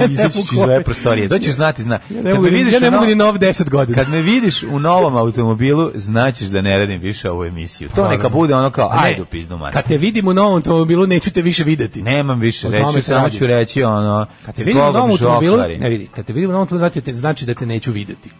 Ja
i
ne
izaći ću iz
mogu ove.
ove prostorije. To ćeš znati, zna.
Ja ne
Kad
mogu,
me
ni,
vidiš ono-
ja ne
u
mogu
no-
ni nov 10 godina.
Kad me vidiš u novom automobilu, znaćeš da ne radim više ovu emisiju. To
Naravno.
neka bude ono kao,
Ne,
ajde u pizdu mater.
Kad te vidim u novom automobilu, neću te više videti.
Nemam više
O tome
reći,
se
samo
radi.
ću reći ono,
Kad te vidim u
zbogom
novom automobilu,
žoklari.
ne vidi, kad te vidim u novom automobilu, znači, te, znači da te neću videti.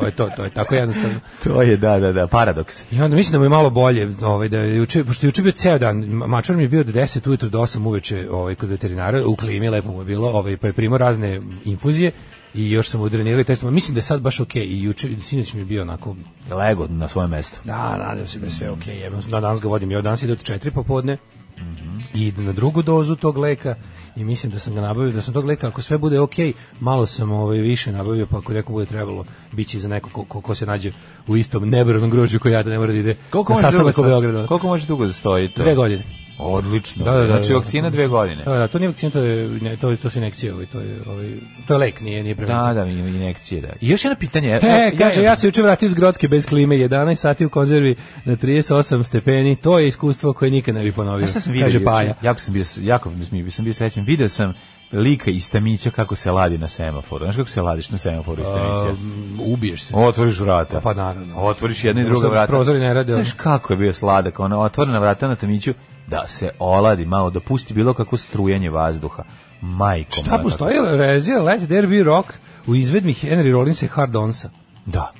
To je to, to je tako jednostavno.
To je, da, da, da, paradoks.
I onda mislim da mu je malo bolje, ovaj, da je juče, pošto je juče bio ceo dan, ma- mačor mi je bio od 10 ujutro do 8 uveče ovaj, kod veterinara, u klimi, lepo mu je bilo, ovaj, pa je primao razne infuzije i još sam udrenirali testom. Mislim da je sad baš okej i juče, i sinoć mi je bio onako
Lego na svoje mesto.
Da, nadam se da je sve okej. Okay. Na danas ga vodim, ja danas ide od četiri popodne
Mhm.
i ide na drugu dozu tog leka i mislim da sam ga nabavio, da sam tog leka, ako sve bude okej, malo sam ovaj, više nabavio, pa ako neko bude trebalo, bit će za neko ko, ko, ko se nađe u istom nebranom grožđu koji ja da ne mora da ide na
može
sastanak u
dugo-
Beogradu.
Koliko može dugo da stoji to?
Dve godine.
Odlično.
Da, da, da,
znači,
da.
vakcina dve godine.
Da, da, to nije vakcina, to, je, ne, to, to su inekcije, ovaj, to, je, ovaj, to je lek, nije, nije prevencija.
Da, da, i- injekcije, da. I još jedno pitanje.
E, kaže,
imam-
ja se juče vratio iz Grodske bez klime, 11 sati u konzervi na 38 stepeni, to je iskustvo koje nikad ne bi ponovio,
Znaš šta sam vidio?
kaže
juče?
Paja.
Jako sam bio, jako mi- sam bio srećen. Video sam lika iz Tamića kako se ladi na semaforu. Znaš kako se ladiš na semaforu iz Tamića?
Um, ubiješ se.
Otvoriš vrata.
Pa naravno.
Otvoriš jedna i druga
Možda
vrata.
prozori ne rade, ali-
Znaš kako je bio sladak, ono, otvorena vrata na Tamiću, da se oladi malo, da pusti bilo kako strujanje vazduha. Majko.
Šta
moja,
postoji? Rezija, Let There Be Rock u izvedbi Henry Rollinsa i Hard Onsa.
kako- Da.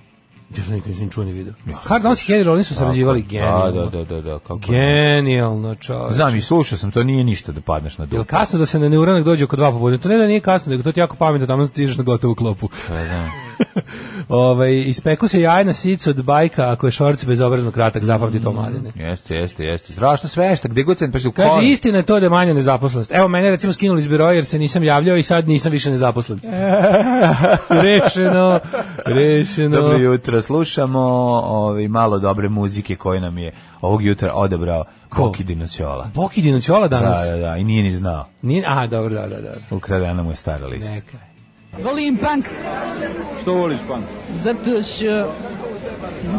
Ja sam nikad nisam čuo ni video.
Ja sam
Hard Ons i Henry Rollins su sarađivali
Da,
genijalno.
da, da, da, da, kako ne.
Genijalno, čovječ.
Znam i slušao sam, to nije ništa da padneš na
Jel
dupe.
kasno da se na neuranak dođe oko dva popodne? To ne da nije kasno, nego to ti jako pametno, tamo stižeš na gotovu klopu. Ovaj ispeku se jaje na sicu od bajka ako je šorc bezobrazno kratak, zapamti to mladine.
Jeste, jeste, jeste. Strašno svešta, gde god sam pa se u
Kaže,
kolo.
istina je to da je manja nezaposlenost. Evo, mene recimo skinuli iz biroja jer se nisam javljao i sad nisam više nezaposlen. rešeno, rešeno.
Dobro jutro, slušamo ovaj, malo dobre muzike koje nam je ovog jutra odebrao
Ko?
Koki Dinoćola.
Boki Dinoćola danas.
Da, da, da, i nije ni znao.
Nije, a, dobro, da, da, da.
Ukradena mu je stara lista.
Neka je.
Volim punk,
Što voliš punk?
zato što...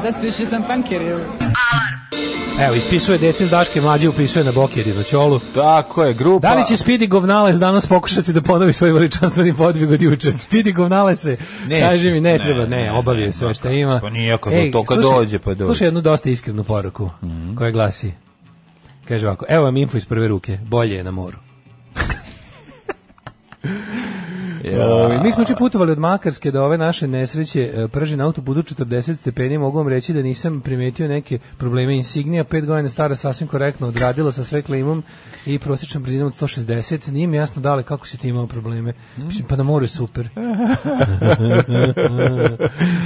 Zato što sam punker, evo.
Evo, ispisuje dete s Daške mlađe, upisuje na Boki Dinoćolu.
Tako je, grupa...
Da li će Speedy Govnales danas pokušati da ponovi svoj veličanstveni podvig od juče? Speedy Govnalese,
Neće.
kaži mi, ne,
Ne,
treba, ne,
ne,
obavio
ne,
sve
ne,
što ima.
pa nije, ako
Ej,
to kad
slušaj-
dođe, pa dođe. Mhm.
Slušaj jednu dosta iskrenu poruku, koja glasi, kaže ovako, evo vam info iz prve ruke, bolje je na moru. Ovi, Ovaj, mi smo juče putovali od Makarske do ove naše nesreće. e, Prži na auto budu 40 stepeni. Mogu vam reći da nisam primetio neke probleme. Insignija, 5 godina stara, sasvim korektno odradila sa sve klimom i prosječnom brzinom od 160. Nije mi jasno dale kako si ti imao probleme.
Mm.
Mislim, pa na moru je
E,
super.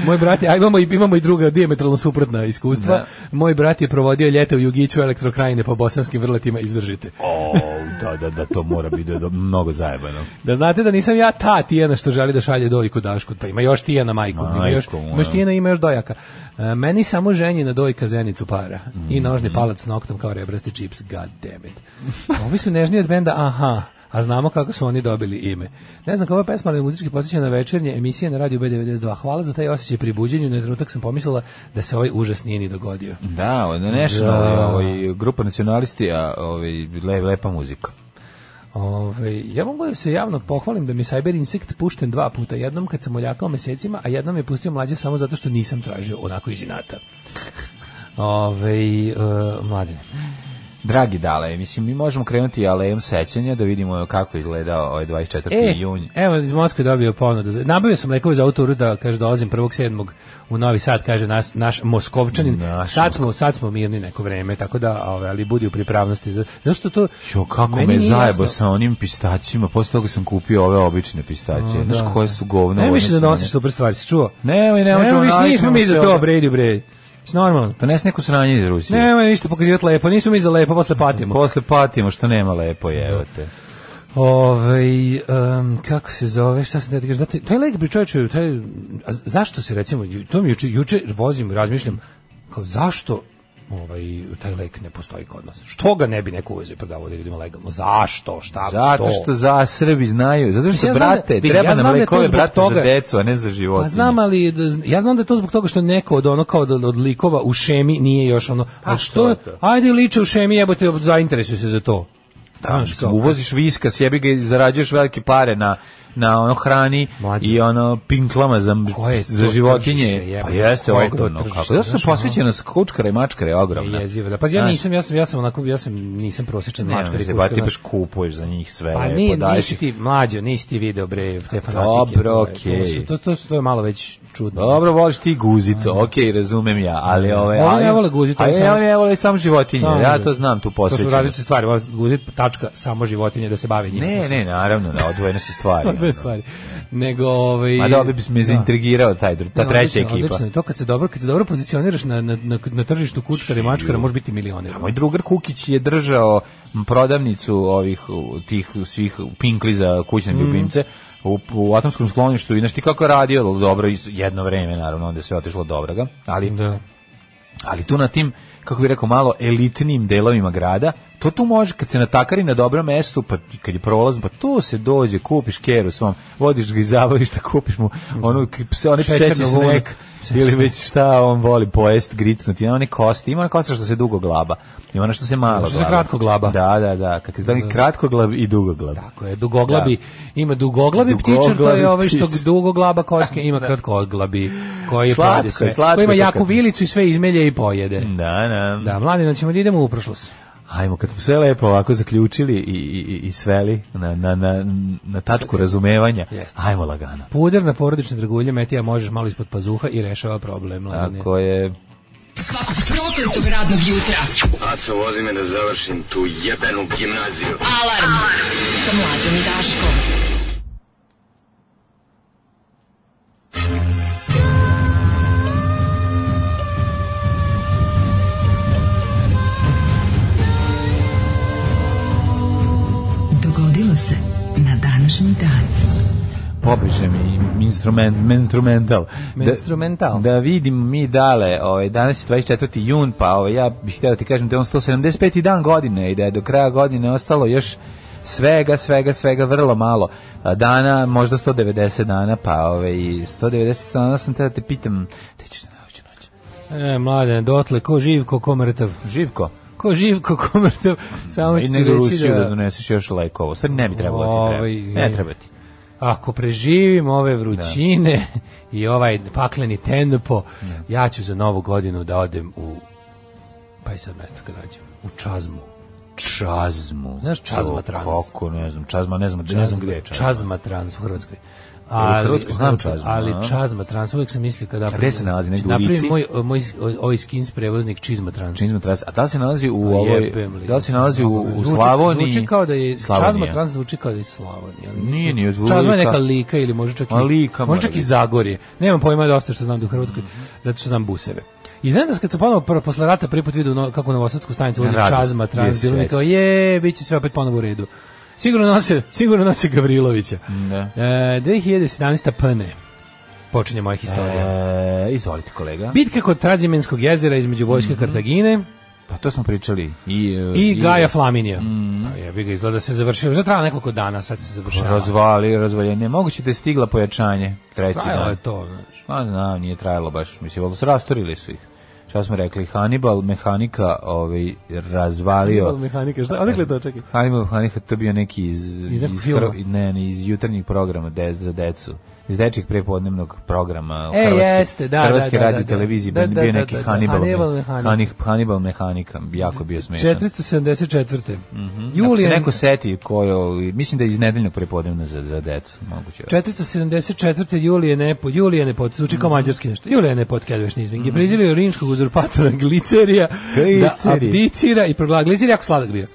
Moj brat, je- a imamo, i- imamo i druga diametralno suprotna iskustva.
Da.
Moj brat je provodio ljeto u Jugiću elektrokrajine po bosanskim vrletima. Izdržite.
O, da, da, da, to mora biti da, da, mnogo zajebano.
Da znate da nisam ja ta Tijana što želi da šalje dojku Dašku, pa ima još Tijana majku, ima još,
Majku moja.
ima još Tijana, ima još dojaka. E, meni samo ženjina dojka zenicu para i nožni palac s noktom kao rebrasti čips, god damn it. Ovi su nežniji od benda, aha, a znamo kako su oni dobili ime. Ne znam kako je pesma, ali muzički posjeća na večernje emisije na radiju B92. Hvala za taj osjećaj pri buđenju, na trenutak sam pomislila da se ovaj užas nije ni dogodio.
Da, ovo je National, ovaj, grupa nacionalisti, a ovaj, le, lepa muzika.
Ove, ja mogu da se javno pohvalim da mi je Cyber Insect pušten dva puta. Jednom kad sam oljakao mesecima, a jednom je pustio mlađe samo zato što nisam tražio onako iz inata. Ove, uh, mladine.
Dragi dale, mislim, mi možemo krenuti alejom sećanja da vidimo kako je izgledao ovaj 24.
E,
jun.
evo iz Moskve dobio ponudu. za- Nabavio sam lekove za autoru da kaže dolazim 1.7. u Novi Sad, kaže nas, naš Moskovčanin.
Naš
sad, smo, sad smo mirni neko vreme, tako da, ove, ali budi u pripravnosti. za- Zašto to...
Jo, kako
Meni
me
nije
zajebo
jasno.
sa onim pistaćima, posle toga sam kupio ove obične pistaće. Znaš koje su govno.
Ne
u
više da
odnosu na
nosiš
nje.
super stvari, si čuo?
Nemoj, nemoj, ćemo
više,
naviknemo
nismo mi
se
za
ovde.
to, Brady, bre. Što normalno?
Donesi neko sranje iz Rusije.
Nemoj ništa pokazivati lepo, nismo mi za lepo, posle patimo.
Posle patimo što nema lepo, evo te.
Ove, Ovaj, kako se zove, šta sam da ti kažem, da ti- taj lik bi čovječe, taj, a z- zašto se recimo, ju- to mi juče, juče vozim, razmišljam, kao zašto ovaj, taj lek ne postoji kod nas? Što ga ne bi neko uvezio i prodavao da ljudima legalno? Zašto? Šta?
Zato što za Srbi znaju, zato što
Mislim, ja znam da-
brate,
vidi, ja
treba nam
znam da je to
lekove
zbog
brate za
toga.
decu, a ne za životinje.
Pa znam, ali da z- ja znam da je to zbog toga što neko od ono kao od, od likova u šemi nije još ono, a
to
što,
je to.
ajde liče u šemi, jebote, zainteresuju se za to.
Da,
Znaš,
mislim,
kao-
uvoziš viskas, jebi ga i zarađuješ velike pare na na ono hrani
Mlađe.
i ono pinklama za
Koje je to
za životinje.
tržište, jebe?
pa jeste
Koje je to
ogromno
tržište,
kako. Da su
znaš, ono?
posvećenost kučkara i mačkara je ogromna.
Jezivo, da. Pa ja
Znaš,
nisam, ja sam, ja sam onako, ja sam, nisam prosječan
Ne,
mačkar.
mačkari
i
se
kućka,
bati
znaš.
baš kupuješ za njih sve.
Pa
lepo,
nije,
daješ
nisi
ih.
ti mlađo, nisi ti video bre te fanatike.
Dobro,
to je-
okej.
To, su- to, to, su- to je malo već čudno.
Dobro, voliš ti guzit, okej, razumem ja, ali ove...
Oni
ali-
ne vole guzit,
a
oni
je,
samo-
oni ne vole samo životinje,
Samo
ja
životinje.
to znam tu
To su
posvećenost.
različite stvari, ovo je guzit, tačka, samo životinje da se bave njima.
Ne, ne, naravno, da, odvojene su stvari.
Odvojene
ono.
stvari. Nego, ovaj...
Ma dobro, bi me zaintrigirao taj, dru- ta
Ne,
treća
odlično,
ekipa.
Odlično, je to kad se dobro, kad se dobro pozicioniraš na, na, na, na tržištu kučkara i mačkara, može biti milioner.
Moj drugar Kukić je držao prodavnicu ovih u, tih svih pinkli za kućne ljubimce u, u atomskom skloništu i znaš ti kako je radio dobro iz- jedno vreme naravno onda je sve otišlo do obraga ali,
Da.
ali tu na tim kako bih rekao malo elitnim delovima grada to tu može kad se natakari na dobrom mestu pa kad je prolazno pa tu se dođe kupiš keru svom vodiš ga iz zabavišta kupiš mu onu k- pse, one
Šećernu
pseći
vunu.
snack ili već šta on voli pojest, gricnuti, ima one kosti, ima ona kosta što se dugo glaba, ima ona što se malo glaba.
Što se kratko glaba.
Da, da, da, kad se da kratko glab i dugo glab.
Tako je, dugoglabi, ima dugoglabi,
Dugoglavi
ptičar, to je ovaj što
ptičar.
dugoglaba kocka, ima kratkoglabi, koji je
Slatko
pojede
je,
sve,
slatko
koji ima
je Mm. to
jaku
kad-
vilicu i sve izmelje i pojede.
Da, da.
Da, mladino, ćemo da idemo u prošlost.
Ajmo, kad smo sve lepo ovako zaključili i, i, i- i sveli na, na, na, na tačku razumevanja,
Jeste.
ajmo lagano.
Puder na porodične dragulje, metija možeš malo ispod pazuha i rešava problem, mladine.
Tako je,
Svakog protestog radnog jutra.
Aco, vozi me da završim tu jebenu gimnaziju.
Alarm. Sa mlađom i Daškom. Dogodilo se na današnji dan.
popišem i instrument, instrumental.
Menstrumental.
Da, da vidim mi dale, ovaj, danas je 24. jun, pa ovaj, ja bih htio da ti kažem da je on 175. dan godine i da je do kraja godine ostalo još svega, svega, svega vrlo malo a, dana, možda 190 dana, pa ovaj, 190 dana sam te da te pitam, te ćeš na noću noć.
E, mladine, dotle, ko živ, ko ko mrtav.
Živko,
Ko živ, ko ko mrtav, samo ću
i
ti
Ovaj, nego
reći
Rusiju da...
da...
doneseš još lekovo, sad ne bi trebalo da ti treba,
Ovaj,
ne treba ti.
Ako preživim ove vrućine i ovaj pakleni tempo, ja ću za novu godinu da odem u pa i sad mesto kad nađem, u Čazmu.
Čazmu.
Znaš Čazma Trans?
Kako, ne znam, čazma, ne znam, ne znam gde je čazma.
Čazma Trans u Hrvatskoj.
Hrvatskoj znam Čazmu,
ali
a?
čazma trans, uvijek sam mislio kada...
gde se nalazi, negde u Lici?
moj, moj, ovaj skins prevoznik čizma trans.
Čizma Trans. A da li se nalazi u ovoj
Jebem li.
da li se nalazi u, u
Zvuči-
Slavoniji?
Zvuči kao da je
Slavonija.
Čazma Trans zvuči kao da je Slavonija. ali
Nije,
mislim-
nije, zvuči
Čazma je neka
kao-
Lika ili možda čak i
A Lika Mhm. mora
možda čak i
biti.
Zagorje. Nemam pojma dosta što znam da u Hrvatskoj, zato što znam buseve. I znam da sam kad sam ponovo prvo posle rata prvi put vidio no, kako u Novosadsku stanicu vozi
Radost.
Čazma Trans,
Jesi,
bilo mi
jesi.
kao je, bit će sve opet ponovo u redu. Sigurno nose, sigurno nose Gavrilovića.
Da.
E, 2017. Pane. E. Počinje moja historija.
E, izvolite kolega.
Bitka kod Trazimenskog jezera između vojske
Mhm.
Kartagine
Pa to smo pričali. I, e,
i Gaja Flaminija. Mm. Jebi ga izgleda se završio. Za trajalo nekoliko dana, sad se završava.
Razvali, razvaljenje. Moguće da je stigla pojačanje. Treći
Trajalo je
dan.
to, znaš.
Pa znam, nije trajalo baš. Mislim, valjda su rastorili su ih. Šta smo rekli? Hannibal mehanika ovaj, razvalio.
Mehanika, šta? Odakle to, čekaj.
Hannibal mehanika, to bio neki iz...
Iz nekog filma?
Hrv- ne, ne, iz jutarnjeg programa de, za decu. Iz dečijeg prepodnevnog programa
E,
Hrvatske,
jeste, da,
Hrvatske
da, da,
radio
da.
televizije.
Da, da,
bio
da,
neki
da, da.
Hannibal,
Hannibal
me-
mehanika.
Hannih- Hannibal mehanika. Jako bio smešan.
474.
Mhm. Ako se
Julijan,
neko seti kojo, mislim da je iz nedeljnog prepodnevna za, za decu, moguće.
474. Julije Nepo, Julije Nepot, zvuči
Mhm.
kao mađarski nešto. Julije Nepot, kedveš nizving, je prizivio rimskog uzurpatora Glicerija da
Glicerij.
abdicira i proglasio, Glicerij je jako sladak bio.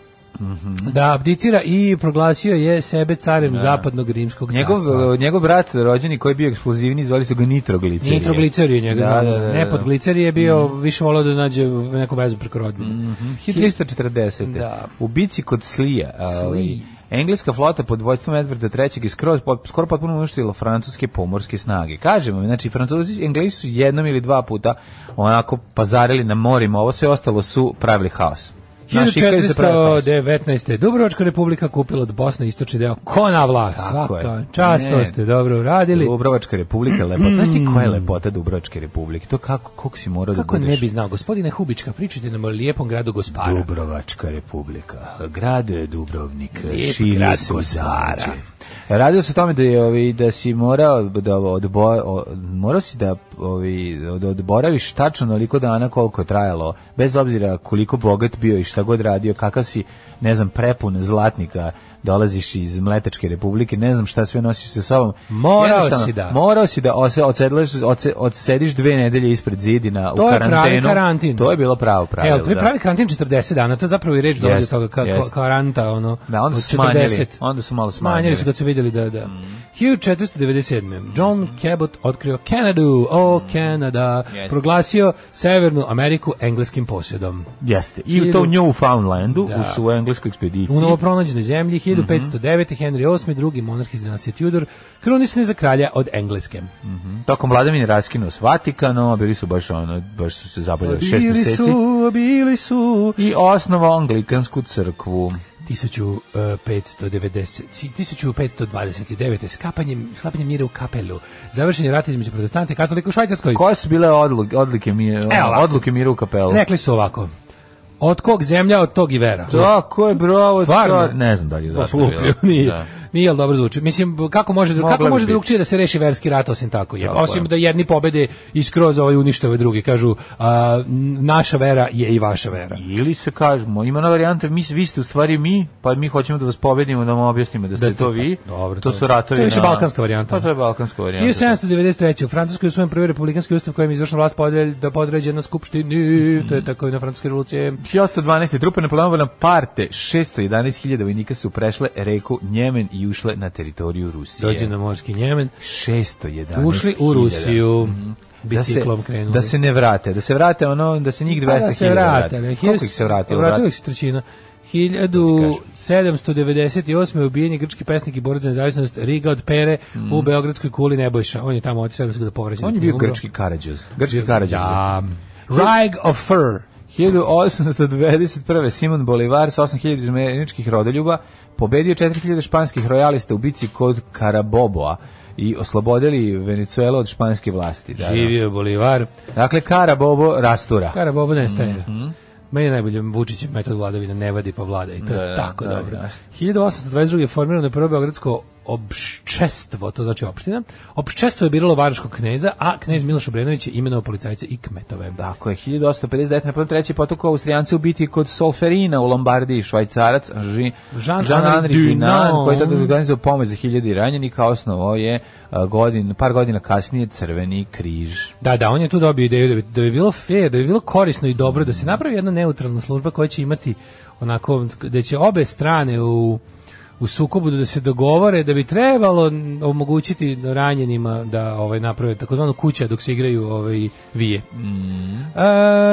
Mhm.
Da abdicira i proglasio je sebe carem zapadnog rimskog
Njegov,
carstva.
njegov brat rođeni koji je bio eksplozivni, zvali su ga nitroglicerije.
Nitroglicerij je njega,
Da,
znam,
da, da, Mhm. da.
Nepot Glicerij je bio više volao da nađe neku vezu preko rodbine.
Mhm. 1340.
Da.
U bici kod Slija.
Sli.
ovaj, Engleska flota pod vojstvom Edvarda III. je skroz, pot- skoro potpuno uništila francuske pomorske snage. Kažemo, znači, francuzi i englesi su jednom ili dva puta onako pazarili na morima, ovo sve ostalo su pravili haos. Naši Englezi su pravili haos.
1419. Dubrovačka republika kupila od Bosne istočni deo Konavla.
Tako je.
Svaka čast, to
Ne.
ste dobro uradili.
Dubrovačka republika je lepota. Znaš ti koja je lepota Dubrovačke republike? To kako, koliko si morao
Kako
da budeš?
ne bi znao, gospodine Hubička, pričajte nam o lijepom gradu Gospara.
Dubrovačka republika. Grad je Dubrovnik.
Lijep
Šilje
grad
se
gospodara.
uzdara. Radilo se o tome da je ovi da si morao da odbo, o- morao si da ovi od odboraviš tačno onoliko dana koliko je trajalo bez obzira koliko bogat bio i šta god radio kakav si ne znam prepun zlatnika dolaziš iz Mletačke republike ne znam šta sve nosiš sa sobom
Morao
Jednostavno,
si da.
morao si da ose, odsedlaš, odse, odsediš dve nedelje ispred zidina
To
u
je pravi
karantenu
karantin.
to je bilo pravo pravilo
Evo, to je
da.
pravi karantin 40 dana, to je zapravo i reč dolazi
Jest,
od toga, ka,
jest.
karanta, ono,
Da, onda
od
su smanjili,
40.
onda su malo
Smanjili su
smanjili. Mm.
kad su vidjeli da, da. 1497. John Cabot otkrio Kanadu, o
Mm.
Kanada,
Jest.
proglasio Severnu Ameriku engleskim posjedom.
Jeste. I u to u Newfoundlandu, u, u engleskoj ekspediciji.
U novopronađenoj zemlji
Mhm.
1509. Henry VIII, drugi monarh iz dinastije Tudor, krunisan je za kralja od Engleske.
Mm. Tokom vladavine raskinuo s Vatikanom, a bili su baš ono, baš su se zabavljali šest meseci.
bili su.
I osnovao anglikansku crkvu.
1590, 1529. Skapanjem, sklapanjem mira u kapelu. Završen je rat između protestante i katolika u Švajcarskoj.
Koje su bile odluke, odlike, mi,
E, ovako.
odluke mira u kapelu?
Rekli su ovako. Od kog zemlja, od tog i vera.
Tako je, bravo.
Stvarno?
stvar- Ne znam da li je
Pa
zato
flupio,
bilo.
nije.
Da.
Nije, ali dobro zvuči. Mislim, b- kako može,
Moglo
kako
bi
može
biti.
drugčije da se reši verski rat osim tako je.
Tako je.
Osim da jedni pobede i skroz ovaj unište ove druge. Kažu, a, n- naša vera je i vaša vera.
Ili se kažemo, ima na varijanta, mi, vi ste u stvari mi, pa mi hoćemo da vas pobedimo, da vam objasnimo da ste,
ste-
to vi.
Dobro,
to,
to-
su ratovi.
to je više
na-
balkanska varijanta.
Pa to je balkanska varijanta.
1793. u Francuskoj je usvojen prvi republikanski ustav kojem je izvršna vlast podelj, da podređe na
Mhm.
skupštini, to je tako i na francuske revolucije.
1812. trupe Napoleona Bonaparte 611.000 vojnika su prešle reku Njemen i ušle na teritoriju Rusije.
Dođe na morski Njemen,
611.000.
ušli u Rusiju, biciklom
Mhm. da se,
krenuli.
Da se ne vrate, da se vrate ono, da se njih 200.000
Pa da se vrate. ne,
vrati. Koliko ih se vrati?
Vratilo ih se trećina. 1798. je ubijen je grčki pesnik i borac za nezavisnost Riga od Pere u Beogradskoj kuli Nebojša. On je tamo otišao da se da povraća.
Mm. On
da
je bio
umro.
grčki Karadžoz. Grčki Karadžoz.
Da. Rag of Fur.
1821. Simon Bolivar sa 8000 izmeničkih rodoljuba pobedio 4000 španskih royalista u bici kod Karaboboa i oslobodili Venecuelu od španske vlasti. Da, da.
Živio je Bolivar.
Dakle, Karabobo rastura.
Kara Bobo nestaje.
Mhm.
Meni je najbolje Vučićev metod vladavine ne vadi pa vlada i to je
Da,
tako
da,
dobro.
da.
1822. je formirano prvo Beogradsko opščestvo, to znači opština. Opščestvo je biralo varaškog kneza, a knez Miloš Obrenović je imenovao policajce i kmetove.
Tako je, 1859. na prvom treći potoku Austrijanci u biti kod Solferina u Lombardiji, švajcarac Jean,
Jean-Henri
Jean-Henri
Dunant.
Dunant, koji je tada organizao pomoć za hiljadi ranjenika, a osnovao je a, godin, par godina kasnije Crveni križ.
Da, da, on je tu dobio ideju da bi, da bi bilo fair, da bi bilo korisno i dobro da se napravi jedna neutralna služba koja će imati onako, da će obe strane u u sukobu da se dogovore da bi trebalo n- omogućiti ranjenima da ovaj naprave takozvanu kuća dok se igraju ovaj vije.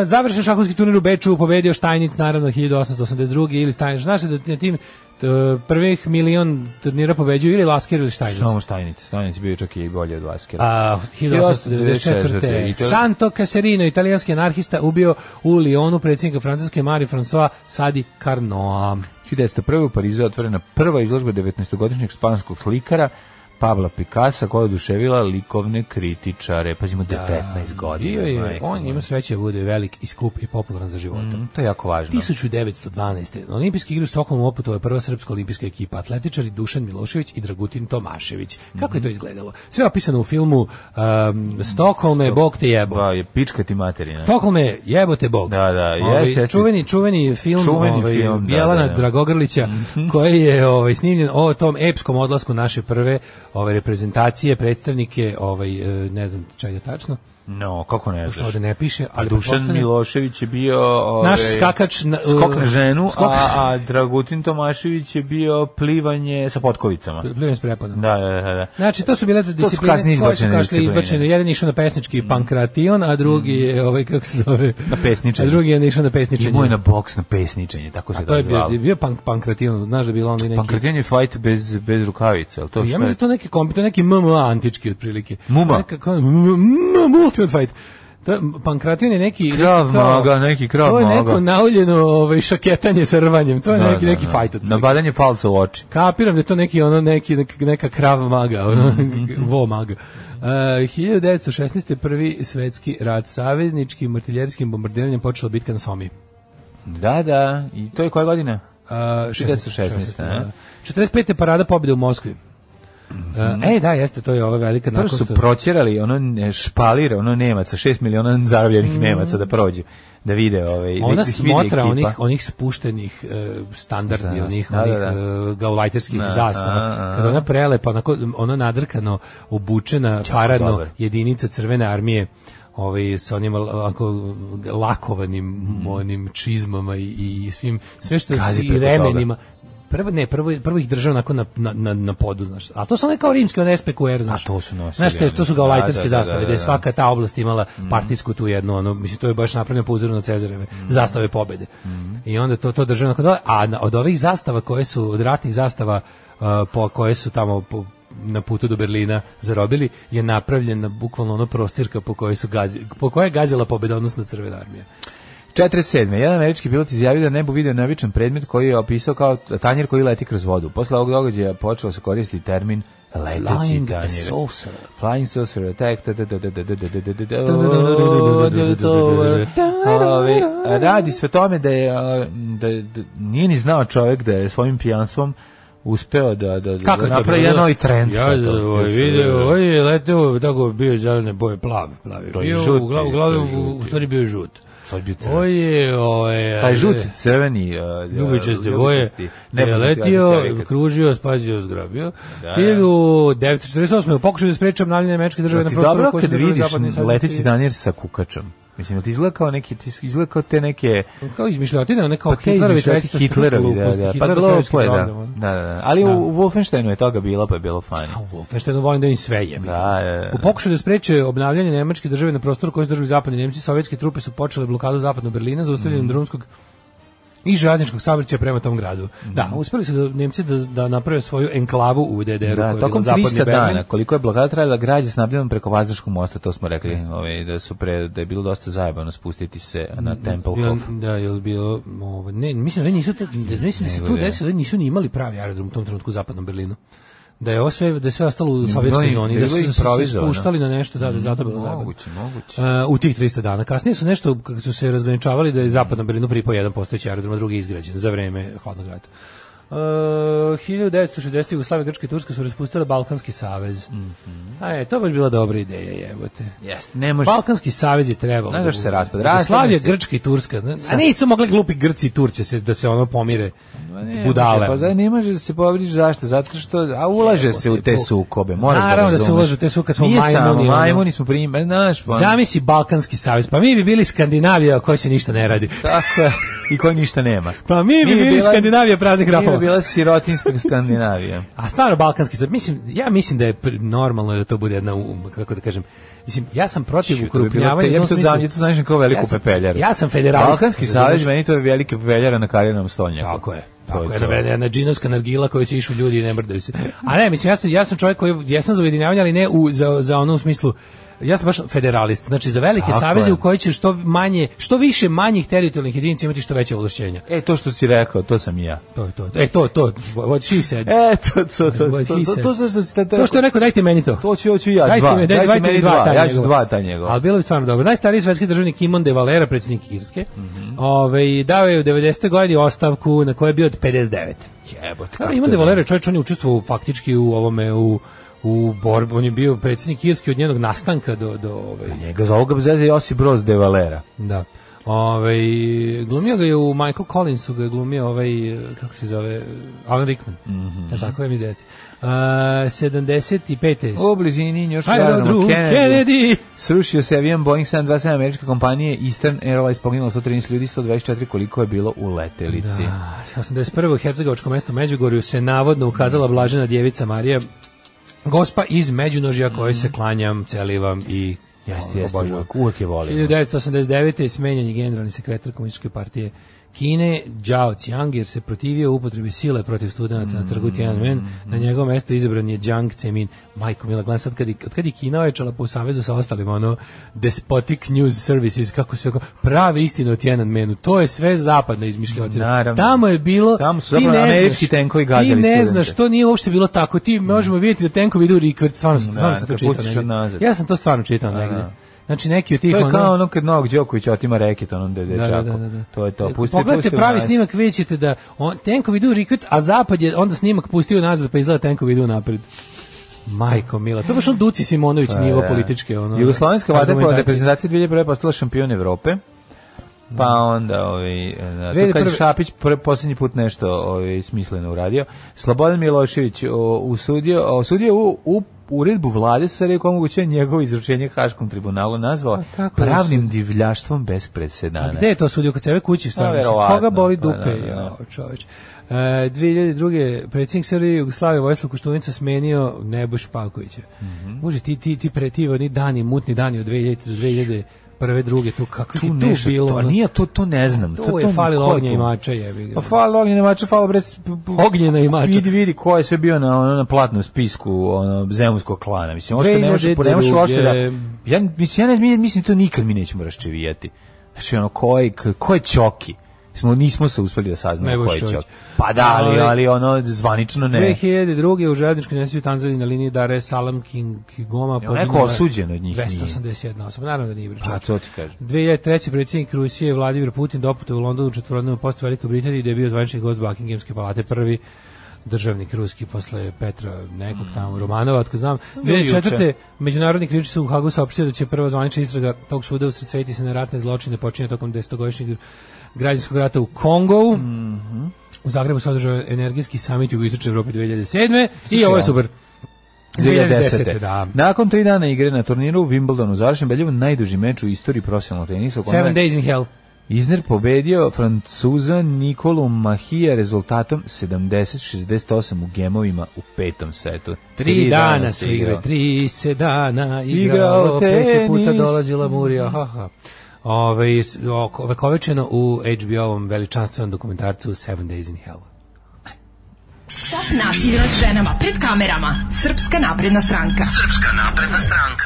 E, završen šahovski turnir u Beču, pobedio Štajnic naravno 1882. ili Štajnic. Znaš da na tim t- prvih milion turnira pobeđuju ili Lasker ili Štajnic?
Samo Štajnic. Štajnic je bio čak i bolje od Vaskera.
A, 1894.
I to-
Santo Caserino, italijanski anarhista, ubio u Lyonu predsjednika Francuske Mari François Sadi Carnoa.
1901. u Parizu je otvorena prva izložba 19-godišnjeg spanskog slikara Pabla Picasa koja je oduševila likovne kritičare. Pazimo, da, 19 godina.
Bio je,
majko
on
moja.
ima sreće da bude velik i skup i popularan za života.
Mm, To je jako važno.
1912. Na olimpijski igri u Stokholmu oputova je prva srpska olimpijska ekipa atletičari Dušan Milošević i Dragutin Tomašević. Kako
Mhm.
je to izgledalo? Sve je opisano u filmu um, Stokholme, Bog te jebo.
Pa je pička ti materina.
Stockholme, jebote bog.
Da, da,
Ovaj,
jeste, jeste.
Čuveni, čuveni film,
Čuveni
ovaj,
film, da,
Jelana
da, Mhm. da.
Dragogrlića, koji je ovaj, snimljen o tom epskom odlasku naše prve ovaj, reprezentacije, predstavnike, ovaj, eh, ne znam čega tačno,
No, kako ne
što
znaš.
ovde ne piše, ali
Dušan
pretpostavljam-
Milošević je bio... Ove,
Naš skakač na- e,
skok na ženu,
skok-
a, a Dragutin Tomašević je bio plivanje sa potkovicama.
Bljujem s prepadom.
Da, da, da. da.
Znači, to su bile discipline
kasnije
koje su
izbačene
kasnije
discipline. Mhm.
izbačene. Jedan je išao na pesnički pankration, a drugi je, ovaj, kako se zove?
Na pesničenje.
A drugi je išao na pesničenje.
I moj na boks, na pesničenje, tako se
To je
tad zvalo.
bio, bio pank, pankration, znaš da je bilo ono i neki...
Pankratijanje je fajt bez, bez rukavica, ali to
Ja
što
mislim
je...
da to neki kombi, to je neki MMA antički otprilike.
Muma.
Nekako, mm, Ultimate Fight. To je, Pankratin je neki...
Krav
neki kao-
maga, neki krav
To je neko
maga.
nauljeno ovaj, šaketanje sa rvanjem. To je
Da,
neki,
da,
neki
da.
fight otprilike.
Nabadanje falca u oči.
Kapiram da je to neki ono neki nek- neka krav maga, ono
Mhm,
vo maga. Uh, 1916. prvi svetski rat savezničkim artiljerijskim bombardiranjem počela bitka na Somi. E,
Da, da, i to je koja godina?
Uh, 16,
1916, a?
45. parada pobjede u Moskvi. Uh, e, da, jeste, to je ova velika
Mhm. Prvo
nakon
su
što-
proćerali, ono ne, špalira, ono Nemaca, 6 miliona zarobljenih Nemaca da prođu, da vide ovaj... da
Mm. Ona
ih vidi
smotra
ekipa.
onih onih spuštenih e, standardi
Zastava,
onih
da,
onih
da,
e, gaulajterskih zastava.
a, a.
Kada ona prelepa onako ona nadrkano obučena paradno
dobar.
jedinica crvene armije ovaj sa onim lako, lakovanim onim čizmama i, i svim sve što
Gazi
i
Mm. preko
remenima Prvo ne, prvo, prvo ih držao onako na, na, na, na podu, znaš. A to su one kao rimski, one SPQR, znaš.
to su nosili
Znaš, te, to su
oni.
gaulajterske
Da, da, da,
zastave,
da,
gde je
da. Mhm.
svaka svaka ta oblast imala partijsku tu jednu ono mislim to je baš napravljeno po uzoru na Cezareve
Mhm.
zastave pobede. I onda to to državno kod a na- od ovih zastava koje su od ratnih zastava uh, po koje su tamo po- na putu do Berlina zarobili je napravljena bukvalno ono prostirka po kojoj su gazi, po kojoj je gazila pobeda odnosno crvena armija.
47. Jedan američki pilot izjavio da nebo video neobičan predmet koji je opisao kao tanjer koji leti kroz vodu. Posle ovog događaja počeo se koristiti termin leteći
Flying
tanjer.
saucer.
Flying saucer attack. da, da, da, da, da, da, da, da, da, da. Ove, Radi sve tome da je a, da, da, nije ni znao čovjek da je svojim pijanstvom uspeo da da, da
Kako je to
napravi
bilo?
jedan novi trend.
Ja
na to.
ovaj video, ovaj je leteo, tako bio je zelene boje, plavi, plavi.
To je
bio,
žuti,
ugla-
to je
uglavnom,
žuti.
u stvari bio je žut.
Sad bi crven.
Ovo je, ovaj,
taj žuti crveni a,
ljubičaste
a,
boje,
ljubičasti,
ne je
nepoznati
letio,
Amerikanac.
kružio, spazio, zgrabio.
Da.
1948. u pokušaju da spreče obnavljanje američke države na
Ti
prostoru
Znači, dobro
koje su
kad
držali
vidiš
zapadni saveznici.
leteći tanjer sa kukačom. Mislim, jel ti izgleda kao neki, ti izgleda kao te neke...
Kao izmišljotina, ne kao
Pa te
Hitlerovi
izmišljati
treći
Hitlerovi, da, da. Pa glupo je, da. Da, da, da. Ali
ono. Da.
u Wolfensteinu je toga bilo, pa je bilo fajno.
Wolfensteinu volim da im sve jebi.
Da, da, da.
U pokušaju da spreče obnavljanje nemačke države na prostoru koji su držali zapadni Nemci, sovjetske trupe su počele blokadu zapadnog Berlina zaustavljanjem
Mhm.
drumskog i željezničkog saobraćaja prema tom gradu.
Mhm.
Da, uspeli su da Nemci da, da naprave svoju enklavu u DDR-u koja je
Da,
bila
tokom
zapadni
300
Berlin.
dana, koliko je blokada trajala grad je snabdjevan preko Vazarskog mosta, to smo rekli, ovaj, da, su pre, da je bilo dosta zajebano spustiti se na
Bilo,
Tempelhof.
da, je li bilo, ovo, ne, mislim da nisu, te- da, mislim da se tu
Nego je.
desilo da nisu ni imali pravi aerodrom u tom trenutku u zapadnom Berlinu. Da je ovo sve, da je sve ostalo u sovjetskoj
im-
zoni, da
bilo
su
im
se- se
improvizovano. Mhm.
spuštali na nešto, da, da je zato bilo zabavno.
Moguće, moguće.
E, u tih 300 dana. Kasnije su nešto, kako su se razgraničavali, da je zapadnom Berlinu pripao jedan postojeći aerodrom, a drugi je izgrađen za vreme hladnog rata. E, 1960. Jugoslavia, Grčka i Turska su raspustile Balkanski savez.
Mhm.
A je, to je baš bila dobra ideja, jebote.
Jeste, ne može...
Balkanski savez je trebalo.
Znaš
da
da se
bude.
raspad-
Jugoslavija,
raspad se.
Grčka i Turska. ne? A nisu mogli glupi Grci i Turci se, da se ono pomire.
Ma ne može,
budale.
Pa zna- ne može da se pobriš zašto, zato što a ulaže se u te
Jebote,
sukobe. Moraš
Naravno da se
razumeš.
ulažu u te sukobe, kad smo
Nije samo
majmuni, ono.
majmuni smo primjer, znaš, pa.
Zamisli Balkanski savez. Pa mi bi bili Skandinavija koja se ništa ne radi.
Tako je. i koji ništa nema.
Pa mi bi
Nije
bili
bila-
Skandinavija praznih
Nije
rapova.
bila sirotinska Skandinavija.
A stvarno balkanski sad mislim ja mislim da je pr- normalno da to bude jedna u- kako da kažem mislim ja sam protiv
Čiju, to bi bilo
ukrupnjavanja.
te-
u
Ja
tom
bi to
smislu-
zam, ja to zamišljam kao veliku
Ja sam-
pepeljaru.
Ja sam federalist.
Balkanski savez,
razumeš?
meni to je velike pepeljara na karijernom stolnjaku.
Tako je.
To
Tako
je
je,
to.
jedna, jedna džinovska nargila koju se išu ljudi i ne mrdaju se. A ne, mislim, ja sam, ja sam čovjek koji jesam za ujedinjavanje, ali ne u, za, za ono u smislu ja sam baš federalist, znači za velike
Tako
saveze
je.
u koji će što manje, što više manjih teritorijalnih jedinica imati što veće ovlašćenja.
E, to što si rekao, to sam i ja.
To je to. E, to, to, what she said.
E, to, to, to, to,
What he
to,
said.
to, što si- to,
To što je rekao, dajte meni to.
To ću, hoću ja,
dajte
dva.
mi, daj,
Dajte
dajte
meni
mi dva,
dva,
ta
ja ću
njegova.
dva ta njegova.
Ali bilo bi stvarno dobro. Najstariji svetski državnik Kimon de Valera, predsjednik Irske, ovaj, dao je u 90. godini ostavku na kojoj je bio od 59.
Jebote,
Dobro, Imam de Valera, čovječ, on je učestvovao faktički u ovome, u, u borbi, on je bio predsjednik Irske od njenog nastanka do, do ovaj,
Njega za ovoga bezveze Josip Broz de Valera.
da. Ovaj glumio ga je u Michael Collinsu ga je glumio ovaj eh, kako se zove Alan Rickman.
Mhm.
Mm -hmm. Tako je mi izvesti. Uh, 75.
U blizini njoš
Aerodrom
Kennedy. Kennedy.
Kennedy.
Srušio se avion Boeing 727 američke kompanije Eastern Airlines, poginulo 113 ljudi, 124 koliko je bilo u letelici.
Da, 81. u Hercegovačkom mestu Međugorju se navodno ukazala blažena djevica Marija, gospa iz Međunožja kojoj se klanjam, celivam i
Jeste, jeste,
obožavam.
uvek, uvek je volimo.
1989. je smenjen je generalni sekretar komunističke partije Kine, Zhao Qiang, jer se protivio upotrebi sile protiv studenta na
Mm.
trgu Tiananmen. Na njegovo mesto izabran je Jiang Zemin. Majko Mila, gledam sad, kad, je- od kad je Kina ojačala po savezu sa ostalima, ono, despotic news services, kako se oko, prave istine o Tiananmenu, to je sve zapadna izmišljotina.
Naravno.
Tamo je bilo,
Tamo su
ti
zapravo
ne znaš-
američki tenkovi gađali
Ti ne
studente.
znaš, to nije uopšte bilo tako. Ti možemo vidjeti da tenkovi idu u rikvrc, stvarno, stvarno sam to
kad
čitao.
pustiš
negdje.
odnazad.
Ja sam to stvarno čitao negdje. Znači neki od tih
To je
ono-
kao ono kad Novak Đoković otima reket onom da je
Da,
dečaku.
da, da, da, da.
To je to. Pusti,
Pogledajte
pusti u
pravi
nas.
snimak, vidjet ćete da on, tenkovi idu u rikvrc, a zapad je onda snimak pustio nazad, pa izgleda tenkovi idu napred. Majko mila, to je baš on Duci Simonović nivo
Da.
političke. Ono,
Pa Jugoslovenska vaterpolo
argumentacije.
reprezentacija 2001. postala šampion Evrope. Pa onda ovaj da, to kad je
2001..
Šapić pr posljednji put nešto ovaj smisleno uradio. Slobodan Milošević o, usudio osudio u, u uredbu vlade sa rekom omogućuje njegovo izručenje Haškom tribunalu nazvao
kako
pravnim divljaštvom bez presedana.
A gde je to sudio kod sebe kući?
Pa,
Stvarno, mislim,
verovatno.
koga boli
Pa,
dupe?
da, da, da.
Jao, čoveč. E, 2002. predsjednik Srbije Jugoslavije Vojislav Koštunica smenio Nebojš Pavkovića. Mm
Mhm.
Može ti ti ti pre ti oni dani mutni dani od 2000 do 2000 prve druge tu kako tu, tu
nešto,
bilo.
to, a
ono?
nije to to ne znam.
to,
to
je falilo
ko je
ognja
tu?
i mača jebi ga.
Pa falo ognjena mača, falo bre. s- p- p-
Ognjena i mača.
Vidi, vidi ko je sve bio na ono, na platnom spisku ono zemunskog klana. Mislim, ono što ne može, ne može
2002.
uopšte da ja mislim ja ne mislim, mislim to nikad mi nećemo raščevijati. Znači ono ko je k- ko je Ćoki? Smo nismo se uspeli da saznamo
Nebojša
ko je
Ćoki.
Ćoki. Pa da, ali,
Ali-
ali ono zvanično ne.
2002. u železničkoj nesreći u Tanzaniji na liniji Dar es Salaam King Kigoma
neko
poginulo je
osuđen od njih nije?
281 osoba, naravno da nije bre,
Pa
čoveče.
to ti kažem.
2003. predsjednik Rusije Vladimir Putin doputao u Londonu u četvorodnevnu postu Velikoj Britaniji gde je bio zvanični gost Buckinghamske palate prvi državnik ruski posle Petra nekog tamo Romanova, otko znam.
Hmm. Bio je juče.
2004. Međunarodni krivični sud u Hagu saopštio da će prva zvanična istraga tog suda usredsrediti se na ratne zločine počinjene tokom desetogodišnjeg građanskog rata u Kongovu.
Mhm.
U Zagrebu se održao energijski samit u Istočnoj Evropi 2007. I ovo je super.
2010.
da.
Nakon tri dana igre na turniru u Wimbledonu u završen Beljevu najduži meč u istoriji profesionalnog tenisa. u kome je
Seven Days in Hell.
Izner pobedio Francuza Nikolu Mahija rezultatom 70-68 u gemovima u petom setu.
Tri dana su
se
igre,
igrao.
tri se dana
Igrao
igrao, peti puta
tenis.
dolazila Murija, haha. Ove, ovekovečeno u HBO-ovom veličanstvenom dokumentarcu Seven Days in Hell.
Stop nasilju nad ženama pred kamerama. Srpska napredna stranka.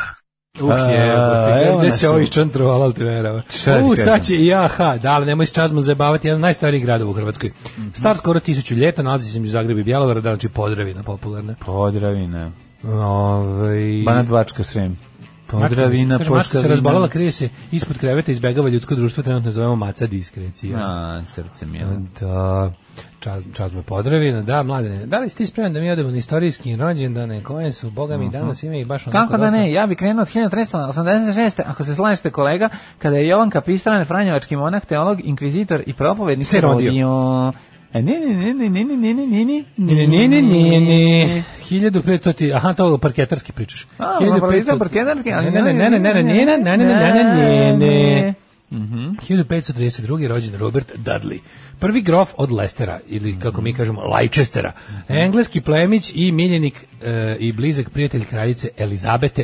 Uh,
A, evo
je, gde
nas
se
u-
ovi čantrovala alternerava.
Šta ti
U,
kažem?
sad će i aha, da, ali nemoj s čazmom zabavati, jedan od najstarijih gradova u Hrvatskoj.
Mhm.
Star skoro tisuću ljeta, nalazi se među Zagreb i Bjelovara, da, znači Podravina popularna.
Podravina.
Ove,
Banat Bačka Srem.
Mačka,
Ovaj, Podravina,
kaže, mačka se
Poštavina.
razbolala, krije se ispod kreveta, izbegava ljudsko društvo, trenutno je zovemo maca diskrecija.
A, srce mi je.
Da, čas, čas me podravina, da, mladene. Da li ste spreman da mi odemo na istorijski rođendane koje su, boga mi, danas ima ih baš onako
Mhm. Kako da
dosta.
ne, ja bi krenuo od 1386. Ako se slažete kolega, kada je Jovan Kapistran, Franjevački monah, teolog, inkvizitor i propovednik
Se rodio.
E, ne, ne, ne, ne, ne, ne, ne, ne, ne,
Ne, ne, ne, ne, ne. 1500 to ti, aha, to parketarski pričaš.
A, ono, pričam parketarski, ali
Ne, ne, ne, ne, ne, ne, ne, ne, ne, ne, ne, ne, ne, ne, ne.
Mhm.
1532. rođen Robert Dudley, prvi grof od Lestera, ili kako
Mhm.
mi kažemo, Leicestera, engleski plemić i miljenik e, i blizak prijatelj kraljice Elizabete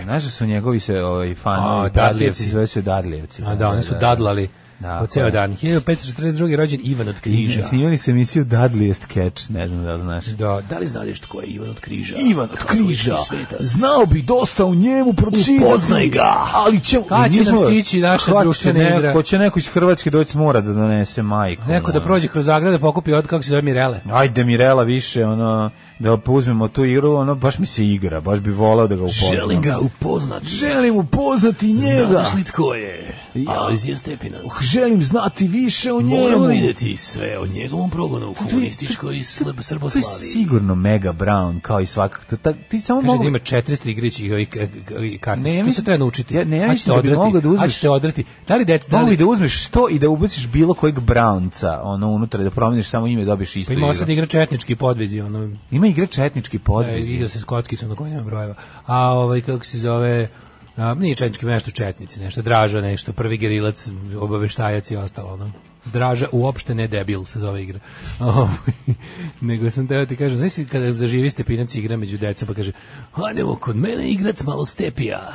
I.
Znaš da su njegovi se ovaj,
A,
fanovi,
Dadlijevci.
Dadlijevci, sve su Dadlijevci.
A Pa da, oni su dadlali
Da,
po ceo
da.
dan. 1542. rođen Ivan od Križa.
Snimali su emisiju Dadlijest Catch, ne znam da li znaš.
Da, da li znaš tko je Ivan od Križa?
Ivan od
Katolički
Križa.
svetac.
Znao bi dosta u njemu pročitati.
Upoznaj ga.
Ali će,
Kad će
nismo-
nam stići naša
Kad će
društvena
neko-
igra?
Ko će neko iz Hrvatske doći mora da donese majku.
Neko da
ono.
prođe kroz Zagrada pokupi od kako se zove Mirele.
Ajde Mirela više, ono, da uzmemo tu igru, ono, baš mi se igra, baš bi volao da ga upoznam.
upoznati.
Želim upoznati njega. Uh,
tko je? Alojzije Stepinac.
Želim znati više o
sve o njegovom progonu u komunističkoj
To je sigurno Mega Brown, kao i svakako. to ta- ti samo
Kaže
mogu...
da ima 400 igrića i ovih k- k- i
Ne,
kartica. Ne, to se
mislim-
treba naučiti.
Ja- ne,
A
ja
ćete
mislim da bi
odrati,
mogao da uzmeš-
A ćete odrati. Da li dete, da
Mogu i
li...
da uzmeš što i da ubaciš bilo kojeg Brownca, ono, unutra, da promeniš samo ime, dobiš istu
Pa ima
igru.
sad igra četnički podvezi, ono,
Ima igre Četnički
E,
podviz.
igra se s kockicom na kojima brojeva. A ovaj, kako se zove, a, nije četnički, nešto četnici, nešto draža, nešto prvi gerilac, obaveštajac i ostalo. Ono. Draža uopšte ne debil se zove igra. Ovaj, Nego sam teo ti kažem, znaš si kada zaživi stepinac igra među decom pa kaže, hajdemo kod mene igrat malo stepija.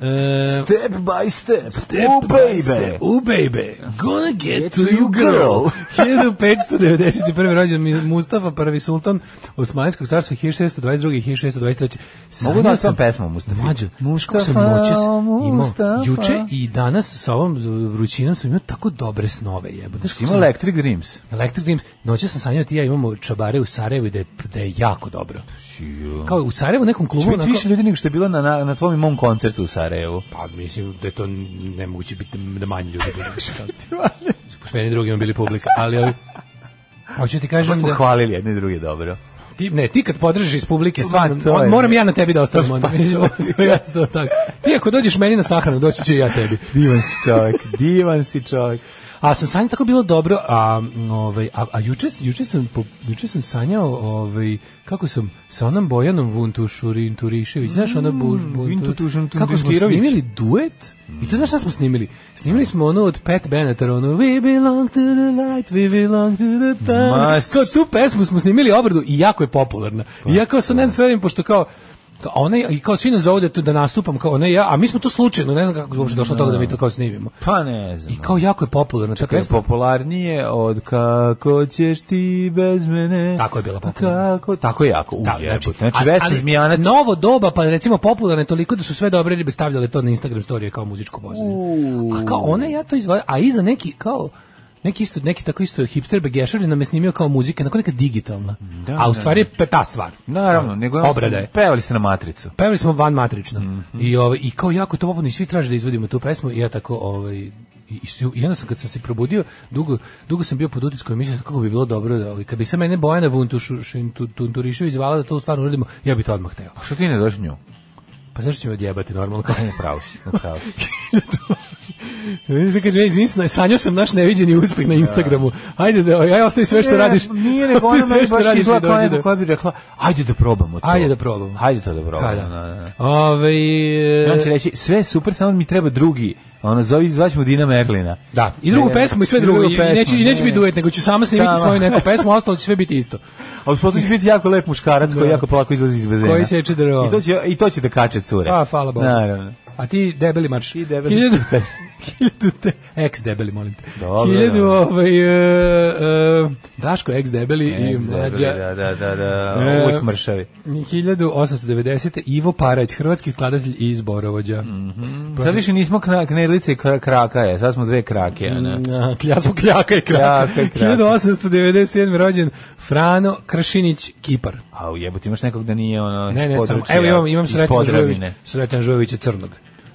E,
Step by step,
Step
u
by
baby.
step, u baby, gonna get, to you girl. 1591. rođen Mi- Mustafa, prvi sultan Osmanskog carstva, 1622. i 1623. Sanjao
da sam pesmu, Mustafi?
Mlađo, Mustafa, sam
Mustafa,
noćas imao,
Mustafa.
juče i danas sa ovom e, vrućinom sam imao tako dobre snove, jebote.
Znači, Ima Electric Dreams.
Electric Dreams, noćas sam sanjao ti i ja imamo čabare u Sarajevu i da je, da je jako dobro. Kao u Sarajevu u nekom klubu.
Će biti
onako-
više ljudi nego što je bilo na, na, na tvom i mom koncertu u Sarajevu.
Pa mislim da je to nemoguće biti da manje ljudi bude. S meni drugima bili publika, ali ovi... Hoću ti
Možda
kažem
smo
da...
hvalili jedne i druge dobro.
Ti, ne, ti kad podržiš iz publike, stvarno,
to je-
moram ja na tebi da ostavim onda. Mislim, ja sam tako. Ti ako dođeš meni na sahranu, doći ću i ja tebi.
Divan si čovjek, divan si čovjek.
A sam sanjao tako bilo dobro, a m, ovaj a, a juče juče sam po- juče sam sanjao ovaj kako sam sa onom Bojanom Vuntušurin Turišević, znaš ona Buž Buntu-
Vintutušin
Kako smo
Turišević.
snimili duet? I to znaš šta smo snimili? Snimili smo ono od Pat Benatar, ono We belong to the light, we belong to the time.
Ma,
Kao tu pesmu smo snimili obradu i jako je popularna. I ja kao sam ne znam sve ovim, pošto kao kao ona i kao svi nas zovu da, tu- da nastupam kao ona i ja, a mi smo to slučajno, ne znam kako je uopšte došlo do toga da mi to kao snimimo.
Pa ne znam.
I kao jako je popularna ta
Kad je
pesma.
popularnije od kako ćeš ti bez mene.
Tako je bila popularna.
Kako, tako je jako. U,
Da,
znači,
a-
znači Vesna
ali
Zmijanac.
Novo doba, pa recimo popularne toliko da su sve dobre ribe stavljale to na Instagram storije kao muzičko pozadinu. A kao one ja to izvadim, a iza neki kao neki isto neki tako isto hipster begešari nam je snimio kao muzika, onako neka digitalna. a u stvari je pe- ta stvar.
Naravno, nego
obrada je.
Pevali ste na matricu.
Pevali smo van matrično.
Mhm.
I ovaj i kao jako je to popularno i svi traže da izvodimo tu pesmu i ja tako ovaj i, i, svi- i onda sam kad sam se probudio, dugo, dugo sam bio pod utiskom i mislio sam kako bi bilo dobro da ovaj, kad bi se mene Bojana Vuntušu, Šintu- Tunturišević zvala da to stvarno uradimo, ja bi to odmah hteo.
A što ti ne znaš nju?
Pa zašto ćemo odjebati normalno? Kao,
Ne pravo si, ne pravo si.
Znači, kaže, ja izmislim, sanjao sam naš neviđeni uspeh na Instagramu. Ajde, da, ja ostavi sve što radiš.
Ne, E, Nije nego
Ostavi
ona
sve
meni
što
baš
radiš i
izgleda kao
dođi
neko
da-
koja bi rekla, ajde da probamo to.
Ajde da probamo.
Ajde to da probamo.
Pa
da, da, da. Znači,
da. Ovaj, Ove,
I on će reći, sve je super, samo mi treba drugi. Ono, zove, zvaćemo Dina Merlina.
Da, i drugu
Ne,
pesmu i sve drugo.
drugu
I
pesmu,
neću, i neću
ne.
biti duet, nego ću sama snimiti
Sama.
svoju neku pesmu, a ostalo će sve biti isto.
A uz potom će biti jako lep muškarac koji
Da.
jako polako izlazi iz bazena.
Koji seče drvo.
I to će, i to će da kače cure.
A, Pa, hvala Bogu.
Naravno.
A ti debeli marš.
Ti debeli.
Hiljadu, hiljadu te, ex debeli, molim te.
Dobro.
Hiljadu, ovaj, e, e, Daško, ex debeli i
Ex,
mlađa.
debeli, E, Da, da, da, da.
E,
Uvijek mršavi.
1890. Ivo Parać, hrvatski skladatelj i zborovođa.
Mhm.
Pa
Sad više nismo kna, knedlice i kra- kraka je, sad smo dve krake. ono. a ne.
A, Klja smo kljaka i kraka.
Kljaka i kraka.
1897. rođen Frano Kršinić, Kipar.
A u jebote, imaš nekog da nije ono...
Ne,
iz
ne, sam,
područja,
evo imam, imam
iz
Sretan Žujović,
Podravine. Pa
Sretan Žujovića Crnog.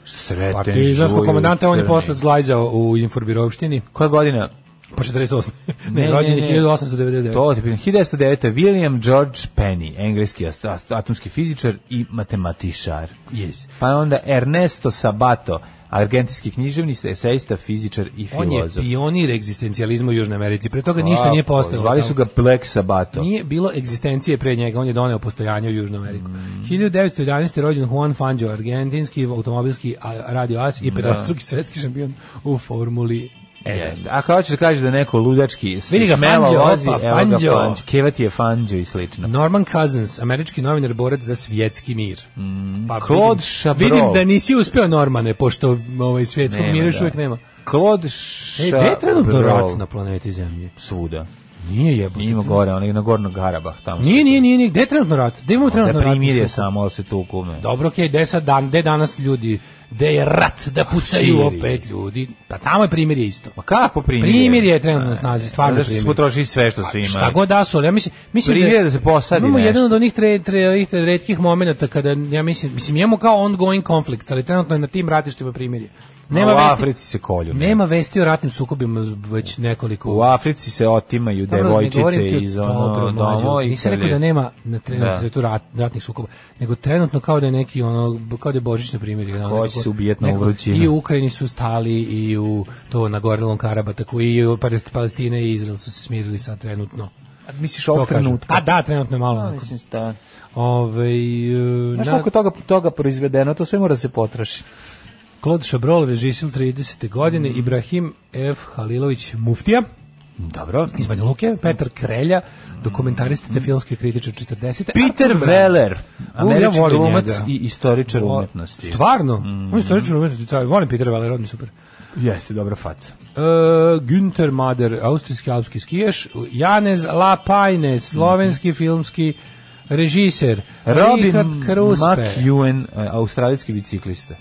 Sreten
Partizanskog
Žujović,
komandanta, on je
crni.
posle zglajzao u Inforbirovštini,
Koja godina?
po 48. Ne,
Ne, ne,
rođen je
ne.
1899.
To te pitam. 1909. William George Penny, engleski ast- ast- atomski fizičar i matematičar.
Yes.
Pa onda Ernesto Sabato, argentinski književnik, eseista, fizičar i
On je
filozof.
pionir egzistencijalizma u Južnoj Americi. Pre toga ništa nije postalo.
Zvali su ga Black Sabato.
Nije bilo egzistencije pre njega, on je doneo postojanje u Južnu Ameriku.
Mm.
1911. je rođen Juan Fangio, argentinski automobilski a- radio as i 52. svetski šampion u formuli E.
Jeste. A kao hoćeš da kažeš da neko ludački s-
Vidi ga,
smelo
Fanđo,
vozi,
opa,
evo ga
Fanđo.
Fanđo. Kevati je Fanđo i slično.
Norman Cousins, američki novinar borac za svjetski mir. Pa
Mm. Claude
vidim-
Chabrol.
Vidim da nisi uspeo Normane, pošto ovaj svjetskog
Nema,
mira još
da.
uvijek nema.
Claude
E, gde je trenutno
Chabrol.
rat na planeti Zemlji?
Svuda.
Nije jebote.
Ima gore, onaj na Gornog Garabah tamo.
Nije, nije, nije, nije. Gde je trenutno rat? Gde imamo trenutno
Da
rat?
primirje
Mislim,
samo, ali se tu kume.
Dobro, okej, gde sad dan, gde danas ljudi, gde je rat da pucaju
Siriji.
opet ljudi? Pa tamo je primirje isto.
Ma kako primirje?
Primirje je trenutno na snazi, stvarno
Da su
primirje.
potrošili sve što su imali.
Pa Šta god da su, ali ja mislim, mislim
Primirje da se posadi
imamo jedan
nešto.
od onih tre, tre, ovih retkih momenata kada, ja mislim, mislim, imamo kao ongoing konflikt, ali trenutno je na tim ratištima primirje. Nema
A u
vesti,
Africi se kolju. ne.
nema vesti o ratnim sukobima već nekoliko
U Africi se otimaju
Dobro, ne govorim
devojčice
ti o-
iz
dobro,
ono
mlađo,
domo. i
Nisam
kad
rekao da
je-
nema na trenutku
Da.
da. tu rat, ratnih sukoba, nego trenutno kao da je neki ono kao da je božićno primjer. Ono,
Hoće
nekako-
se ubijat na
nekako-
vrućinu.
I u Ukrajini su stali i u to na Gorilom Karabataku i u Palest- Palestina i Izrael su se smirili sad trenutno.
A Misliš
To
ovog
kažem.
trenutka?
A da, trenutno je malo.
A,
onako.
Mislim, da.
Ovaj, e,
Znaš
na-
koliko toga, toga proizvedeno, to sve mora se potrošiti.
Claude Chabrol, režisil 30.
Mm.
godine, Ibrahim F. Halilović, muftija.
Dobro.
iz Banja Luke, Petar Krelja, dokumentarista te filmske kritičar 40.
Mm. Peter
Arthur
Weller,
ja
američki
volim
glumac
njega.
i istoričar
Vo-
umetnosti. Mm.
Stvarno? On je istoričar umetnosti, car. volim Peter Weller, on je super.
Jeste, dobra faca.
E, Günther Mader, austrijski alpski skijaš, Janez Lapajne, slovenski filmski režiser,
Mm. Robin
Richard Kruspe,
McEwen, e, australijski biciklista.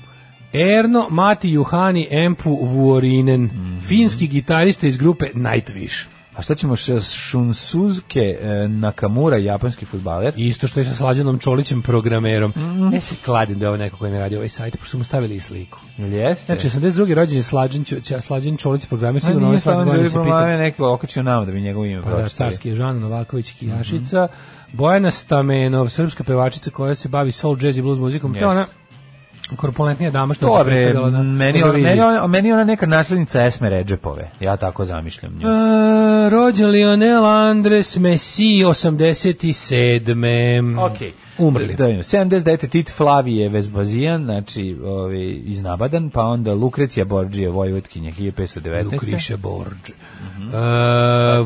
Erno Mati Juhani Empu Vuorinen,
Mhm.
finski gitarista iz grupe Nightwish.
A šta ćemo še s Shunsuke e, Nakamura, japanski futbaler?
I Isto što je sa Slađanom Čolićem programerom.
Mhm.
Ne se kladim da je ovo neko koji mi radi ovaj sajt, pošto su mu stavili i sliku.
Jel jeste?
Znači, 82. rođen je Slađan, Ćo- Ća- Slađan Čolić programer,
A
sigurno
nije e.
ovaj
stavljeno
slađan
da
godine
bi
se pita.
promavio neko okačio nama da bi njegovo ime
Pa da,
pročitali.
carski je Žana Novaković
Mhm.
Kijašica, Bojana Stamenov, srpska pevačica koja se bavi soul, jazz i blues muzikom, to je ona korpulentnija dama što se
Dobre,
predstavljala na
meni, ona,
Euroviziji.
meni, ona, meni ona neka naslednica Esme Redžepove. Ja tako zamišljam nju.
E, rođen Lionel Andres Messi 87.
Ok.
Umrli.
Da, vidimo. 79. Tit Flavije Vezbazijan, znači ovaj, iz Nabadan, pa onda Lukrecija Borđija, Vojvodkinja, 1519.
Lukriše Borđ. Uh,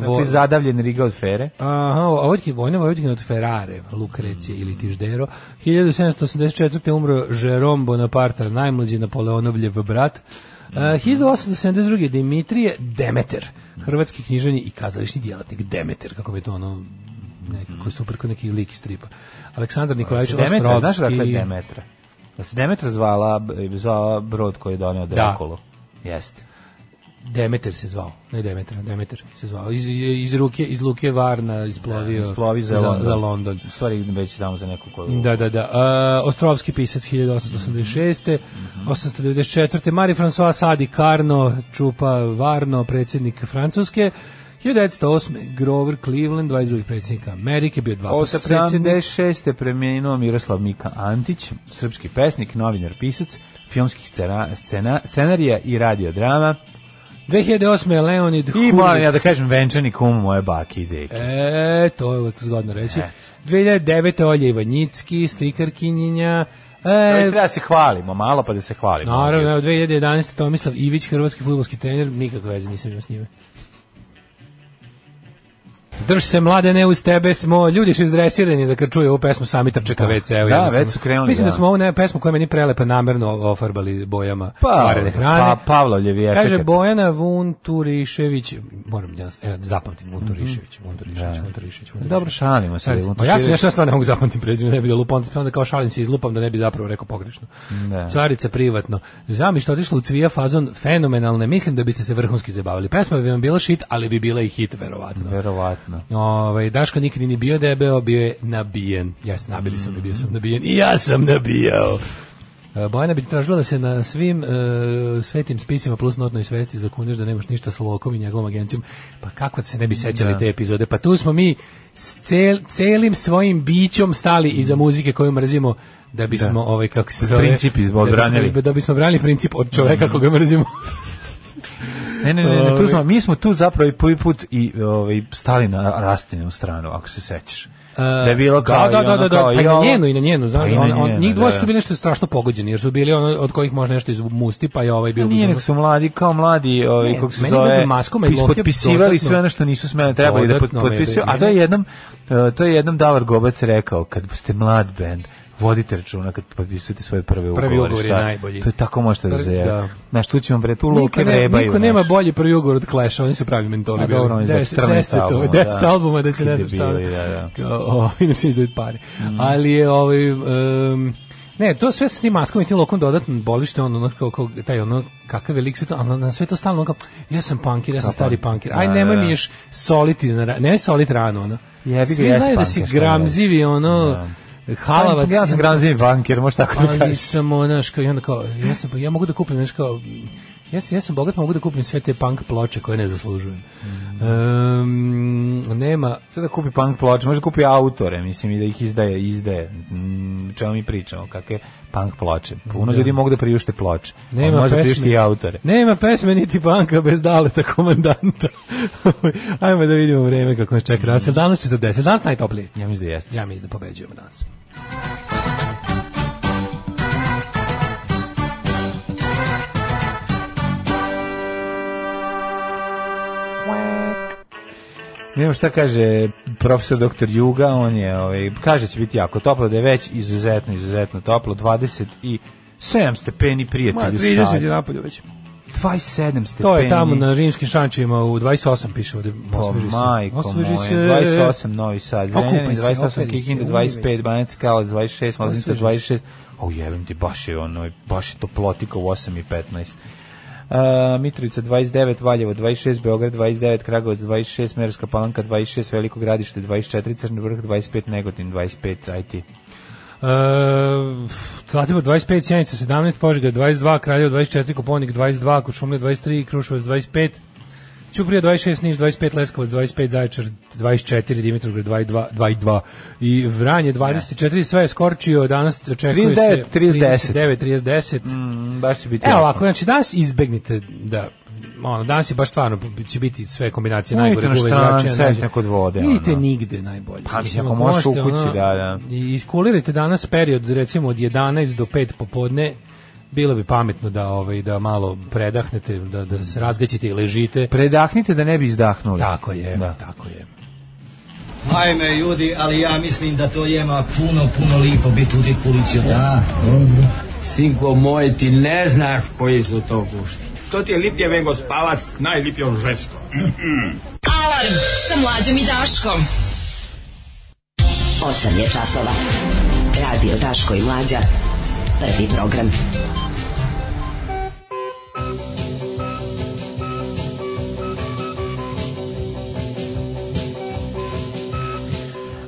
Znači, zadavljen Riga od Fere.
Aha, Vojvodki, vojna Vojvodkina od Ferrare, Lukrecije ili Tiždero. 1784. umro Jerome Bonaparte, najmlađi Napoleonovljev brat. Uh, 1872. Dimitrije Demeter, hrvatski književni i kazališni djelatnik Demeter, kako mi je to ono nekako super kod neki lik iz stripa. Aleksandar Nikolajević
Demetra,
Ostrovski.
znaš dakle Demetra? Da se Demetra zvala, b- zvala brod koji je doneo Drakulu. Jeste.
Demeter se zvao, ne Demeter, Demeter se zvao. Iz, iz, ruke, iz Luke Varna isplovio,
Splovi za, London.
Za London.
U stvari već tamo za neku koju...
Da, da, da. E, Ostrovski pisac 1886. 894. Marie-François Sadi Carno, čupa Varno, predsjednik Francuske. 1908. Grover Cleveland, 22. predsjednik Amerike, bio dva puta predsjednik.
86. premijenuo Miroslav Mika Antić, srpski pesnik, novinar, pisac, filmskih scena, scena, scenarija i radiodrama.
2008. Leonid
I
Hurwitz.
moram ja da kažem venčani kum moje baki i deke.
E, to je uvek zgodno reći.
E.
2009. Olja Ivanjicki, slikarkinjenja.
E,
E,
treba da se hvalimo malo, pa da se hvalimo.
naravno, evo, 2011. Tomislav Ivić, hrvatski futbolski trener, nikakve veze nisam imao s njime. Drž se mlade ne uz tebe smo, ljudi su izdresirani da kad čuju ovu pesmu sami trče ka WC. evo,
Da,
jednostavno.
već su krenuli,
Mislim da,
da.
smo ovu ne, pesmu koja je meni prelepa namerno ofarbali bojama
Pa,
stvarene hrane.
Pa, Pavlovljev je
Kaže
efekat.
Bojana Vunturišević, moram da e, zapamtim Vunturišević, Vunturišević, Vunturišević. Vunturišević.
Mhm. Dobro, šalimo se.
Sad, Pa ja se nešto stvarno ne mogu zapamtiti prezime, ne bi da lupam, onda kao šalim se izlupam da ne bi zapravo rekao pogrešno.
Da.
Carica privatno. Znam što otišla u cvija fazon fenomenalne, mislim da biste se vrhunski zabavili. Pesma bi vam bila shit, ali bi bila i hit verovatno.
Verovatno.
Ovaj Daško nikad nije bio debeo, bio je nabijen. Ja sam nabili sam i bio sam nabijen. I ja sam nabijao. E, Bojana bi ti tražila da se na svim e, svetim spisima plus notnoj svesti zakuneš da nemaš ništa s Lokom i njegovom agencijom. Pa kako se ne bi sećali te epizode? Pa tu smo mi s cel, celim svojim bićom stali iza muzike koju mrzimo da bismo ovaj kako se zove
Princip iz-
da
odbranili. Mhm.
bismo, da bismo branili princip od čoveka koga mrzimo.
Ne, ne, ne, ne,
Ovaj.
tu smo, mi smo tu zapravo i prvi put i ovaj stali na rastinu stranu, ako se sećaš. da je bilo kao
E, da,
i
da,
ono
da, da,
kao
pa i na
ovo.
njenu i na njenu, znaš,
Pa i na
on, on,
njenu,
njih dvoje
da,
su
da.
bili nešto strašno pogođeni, jer su bili ono od kojih može nešto izmusti, pa je ovaj bio. u
Nije
fazonu-
nek su mladi, kao mladi, ovi,
Ne,
kako se
meni je
zove,
za maskama i
pis-
Lohe
potpisivali
dodatno-
sve ono što nisu smeli, trebali da pot-
Dodatno me je
potpisuju.
bilo.
A to je jednom, e, to je jednom Davor Gobac rekao, kad ste mlad band, vodite računa kad potpisujete svoje prve ugovore.
Prvi ugovor je
šta?
najbolji.
To je tako možete da
Prvi- da.
zajavi. Znaš, tu ćemo bre, tu
Niko, ne,
luke vrebaju.
niko nema
znaš.
bolji prvi ugovor od Clash, oni su pravi mentori.
A dobro, oni su
Deset-
14
deset- ovaj,
albuma,
deset
da.
albuma da će ne znam
Ti
šta.
debili, da, da. Mhm.
Kao, o, Inače idu pare. Ali je ovaj... em, ne, to sve sa tim maskom i tim lokom dodatno boli što je on ono kao, kao taj ono kakav je lik sve to, ali na sve to stalno ono kao ja sam punkir, ja sam stari punkir. Aj
Da,
nemoj
da,
mi
da.
još soliti, na ra- nemoj soliti rano ono.
Jebi ga,
Svi
jesi
znaju da si
punkir, šta da radiš.
gramzivi ono, halavac.
Pa, Ja sam granzim banker, možeš tako da
Ali
kažeš.
sam Pa ono, kao, i onda kao, ja, sam, ja mogu da kupim, znaš kao, ja sam, ja sam bogat, pa mogu da kupim sve te punk ploče koje ne zaslužujem. Em, nema,
Šta da kupi punk ploče, može da kupi autore, mislim, i da ih izdaje, izdaje. Mm, čemu mi pričamo, kakve punk ploče. Puno ljudi mogu da priušte ploče.
Nema
Nema može da
pesme.
priušti i autore.
nema pesme niti banka bez daleta komandanta. Ajmo da vidimo vreme kako nas čeka danas. Jel Danas 40, danas najtoplije.
Ja mislim da jeste.
Ja mislim da pobeđujemo danas.
Nemam šta kaže profesor doktor Juga, on je, ovaj, kaže će biti jako toplo, da je već izuzetno, izuzetno toplo, 20 i 7 stepeni prijatelju sad.
napolju već.
27 stepeni.
To je tamo na rimskim šančima u 28 piše ovde.
Po
Osveži se.
Pa, majko moje,
Osveži se.
28 Novi Sad,
Okupaj
Zrenjanin,
se,
28
okupaj
Kikinda,
se,
25
umivaj.
Banjac Kalac, 26 Loznica,
Osveži se.
26. O jebem ti, baš je ono, baš je toplotika u 8 i 15. Uh, Mitrovica 29, Valjevo 26, Beograd 29, Kragovac 26, Merska Palanka 26, Veliko Gradište 24, Crni vrh 25, Negotin 25, IT.
Uh, E, Zlatibor 25, Sjenica 17, Požega 22, Kraljevo 24, Koponik 22, Kočumlje 23, Kruševac 25, Ćuprija 26, Niš 25, Leskovac 25, Zaječar 24, Dimitrovgrad 22, 22 i Vranje 24, sve je skorčio, danas očekuje
39,
se
30.
39, 30.
Mm, baš će biti...
Evo
jako.
ovako, znači danas izbegnite da ono, danas je baš stvarno će biti sve kombinacije
Nemojte
najgore
na
guve
štran,
zračenja,
sedite
nađe-
kod vode,
Idite
ono.
nigde najbolje.
Pa, mislim,
Mislim,
ako možeš
možete,
u kući,
ono,
da,
I iskulirajte danas period recimo od 11 do 5 popodne, bilo bi pametno da ovaj da malo predahnete, da da se razgaćite i ležite.
Predahnite da ne bi izdahnuli.
Tako je,
Da.
tako je.
Ajme ljudi, ali ja mislim da to jema puno, puno lipo biti u kuliću. Da,
Sinko moj, ti ne znaš koji su to gušti. To ti je lipje vengo spavac, najlipje on žensko.
Alarm sa mlađom i Daškom.
8 je časova. Radio Daško i Mlađa. Prvi program.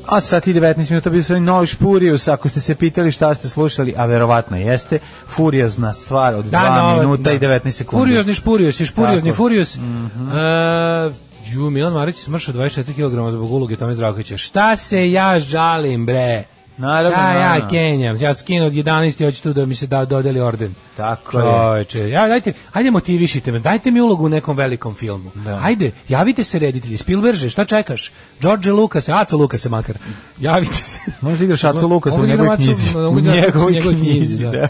A sat i 19 minuta bili su oni Novi Špurijus, ako ste se pitali šta ste slušali, a verovatno jeste, furiozna stvar od 2
nova-
minuta i 19 sekundi.
Furiozni špurios, i špuriozni
Tako. Mhm.
furios. Mm ju, Milan Marić je smršao 24 kg zbog uloge Tome Zdravkovića. Šta se ja žalim, bre?
Naravno,
Šta ja
naravno.
kenjam? Ja skinu od 11 i hoću tu da mi se da dodeli orden.
Tako je.
Čoveče, ja, dajte, ajde motivišite me, dajte mi ulogu u nekom velikom filmu. Ajde, javite se reditelji, Spielberge, šta čekaš? George Lucas, Aco Lucas makar. Javite se.
Možda igraš Acu Lukas u
Mogu da
njegovoj
igram Acu-
knjizi.
mogu da igram Acu u njegovoj knjizi,
da. E,
da.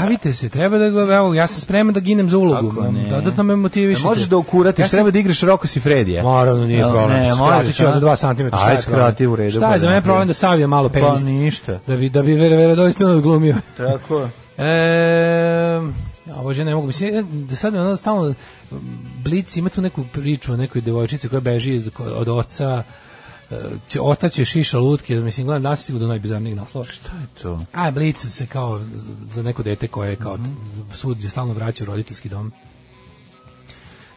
Javite se, treba da ga- evo, ja sam spreman da ginem za ulogu.
Kako ne?
Dodatno me
Da
motivišite.
možeš da ukuratiš,
Ja sam-
treba da igraš Roko si Fredija.
Naravno, nije
Jel
problem.
Ne,
Skratit
možeš.
ću ja
a?
za 2 cm.
Aj, skrati u redu.
Šta
pa
je za mene
napravi.
problem da sav je malo
Pa
penist?
ništa.
Da bi, da bi vere, vere doista odglumio.
Tako.
E, a bože, ne mogu. Mislim, ja- da sad ono stalno, Blic ima tu neku priču o nekoj devojčici koja beži iz- od oca, e, će, otac će šiša lutke, mislim, gledam nasigu do najbizarnijih naslova. Šta
To.
A Blic se kao za neko dete koje je kao sud je stalno vraćao u roditeljski dom.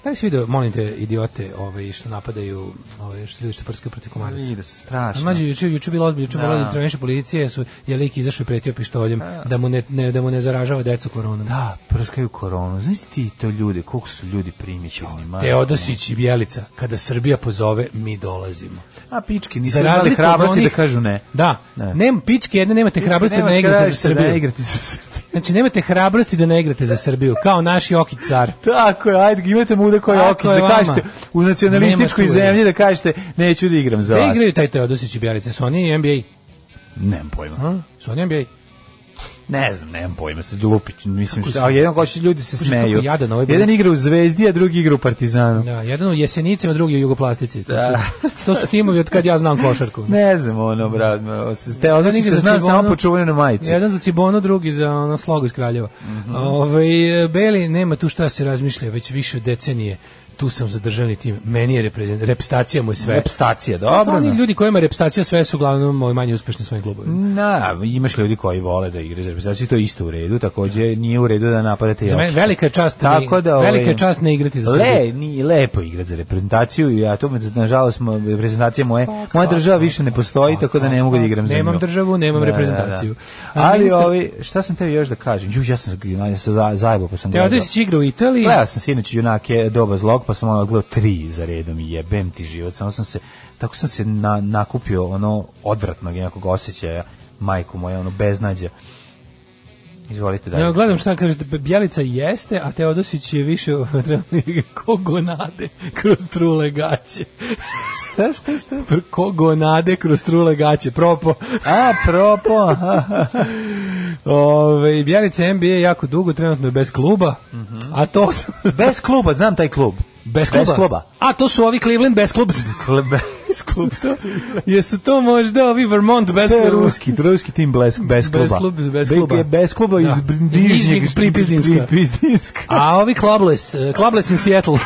Da li si video, molim te, idiote ovaj, što napadaju, ovaj, što ljudi što prskaju protiv komaraca?
Vidi se, strašno.
A Mlađe, juče, juče bilo ozbiljno, juče
Da.
bilo intervention policije, su, je lik izašao i pretio pištoljem da mu ne, ne, da mu ne zaražava decu koronom.
Da, prskaju koronu. Znaš ti to ljude, koliko su ljudi primićeni. majko
Teodosić i Bjelica, kada Srbija pozove, mi dolazimo.
A pički, nisu
Za
imali
razliku od
hrabrosti
onih-
da kažu ne.
Da,
Ne.
nema pičke jedne, nemate hrabrosti da
Nema
ne igrate za
hrabrosti
Srbiju.
Da igrate za Srbiju.
Znači, nemate hrabrosti da ne igrate za Srbiju, kao naš Jokić car.
Tako je, ajde, imate muda koji
Tako
okić
je
da
vama.
kažete u nacionalističkoj
Nema tu,
zemlji da kažete neću da igram za
Da
vas.
igraju taj Teodosić i Bjelica, su oni NBA.
Nemam pojma.
A? Su oni NBA.
Ne znam, nemam pojma, sad lupić, mislim
Kako
što,
su-
a jedan hoće ljudi se
Slušaj, kako
smeju.
jadan ovaj
Jedan
Boris.
igra u Zvezdi, a drugi igra u Partizanu.
Da, jedan u Jesenicima, drugi u Jugoplastici. To su, to su timovi od kad ja znam košarku.
Ne znam, ono, brat, te
Jedan
odnosi
igra
se
za
znam samo
Cibonu,
po čuvenoj majici.
Jedan za Cibono, drugi za ono slogu iz Kraljeva.
Mhm.
Ovaj, e, Beli nema tu šta se razmišlja, već više od decenije tu sam za državni tim. Meni je reprezent- repstacija mu je sve.
Repstacija,
Sa
dobro.
oni
no.
ljudi kojima je repstacija sve su uglavnom ovaj, manje uspešni u svojim klubovima.
Na, imaš ljudi koji vole da igraju za reprezentaciju, to je isto u redu, takođe nije u redu da napadate
Za mene
Jokića.
velika je čast da ne-
Tako da, ovaj,
velika je čast ne igrati za
Le,
Srbiju.
ni lepo igrati za reprezentaciju i ja to me nažalost mo- reprezentacija
Pa,
moje, moja država više ne postoji, tako da ne mogu da igram za nju.
Nemam državu, nemam
Da, da, da.
reprezentaciju. A
Ali
ministar-
ovi, šta sam tebi još da kažem? Ju, ja sam ja sam za- zajebao pa sam gledao.
Teodosić igra u Italiji.
Gledao sam sinoć junake doba zlog, pa sam ono gledao tri za redom i jebem ti život. Samo sam se, tako sam se na, nakupio ono odvratnog jednakog osjećaja, majku moja, ono beznadja. Izvolite dalje.
Evo, gledam šta kaže, Bjelica jeste, a Teodosić je više trenutno kogonade kroz trule gaće.
Šta, šta, šta?
Kogonade kroz trule gaće, propo.
A, propo.
Ove, Bjelica NBA je jako dugo, trenutno je bez kluba, a to su...
Bez kluba, znam taj klub.
Bez kluba?
Mhm. Bez kluba.
A to su ovi Cleveland bez kluba.
Klub- Bez kluba.
Jesu to možda ovi Vermont bez
To je
kluba?
ruski, to je ruski tim bez, bez kluba.
Bez klub- bez kluba.
Be- Bez kluba iz
Da. Iz
Nižnjeg
Nižnjeg Pripizdinska.
Pripizdinska.
A ovi Clubless, eh, Clubless in Seattle.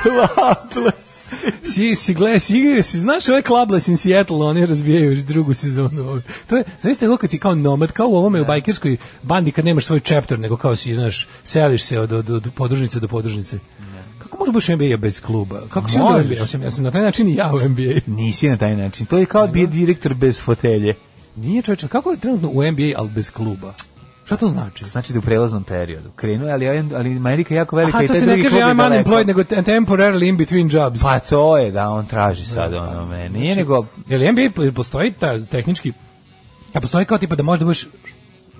Si, si, gle, si, si, znaš ove Clubless in Seattle, oni razbijaju još drugu sezonu. ove. To je, zamislite kako kad si kao nomad, kao u ovome u bajkerskoj bandi kad nemaš svoj chapter, nego kao si, znaš, seliš se od, od, od podružnice do podružnice. Kako možeš biti NBA bez kluba? Kako si onda u
Možeš.
NBA? Ja sam, ja sam na taj način i ja u NBA.
Nisi na taj način. To je kao bio direktor bez fotelje.
Nije čoveče, kako je trenutno u NBA, ali bez kluba? Šta to znači?
Znači da u prelaznom periodu. Krenuo je, ali, ovaj, ali Amerika je jako velika
Aha,
i
to
taj
se
drugi
ne kaže
klub je
I'm
daleko.
unemployed, nego temporarily in between jobs.
Pa to je, da, on traži sad ono me.
Znači-
Nije nego...
Je li NBA po- postoji ta tehnički Ja postoji kao tipa da možda budeš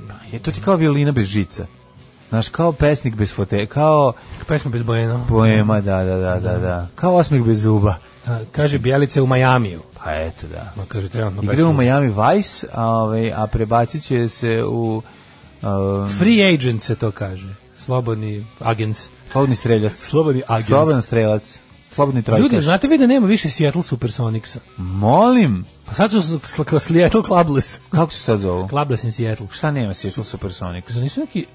pa, Je to ti kao violina bez žica. Znaš, kao pesnik bez fotelje, kao
pesma bez bojena.
poema, da, da, da, da, da. Kao osmeh bez zuba.
A, Kaže Bjelice u Majamiju.
Pa eto, da.
Ma kaže trenutno
Igra u
pesma.
Miami Vice, a, ovaj, a prebacit će se u... Um,
Free agent se to kaže. Slobodni agents.
slobodni streljac.
Slobodni agents.
Slobodan strelac. Slobodni trojkaš.
Ljudi, znate vi da nema više Seattle Supersonicsa.
Molim,
Pa sad su sl- sl- Seattle Clubless.
kako se sad zovu?
Clubless in Seattle.
Šta nema Seattle Supersonics?
Zar nisu neki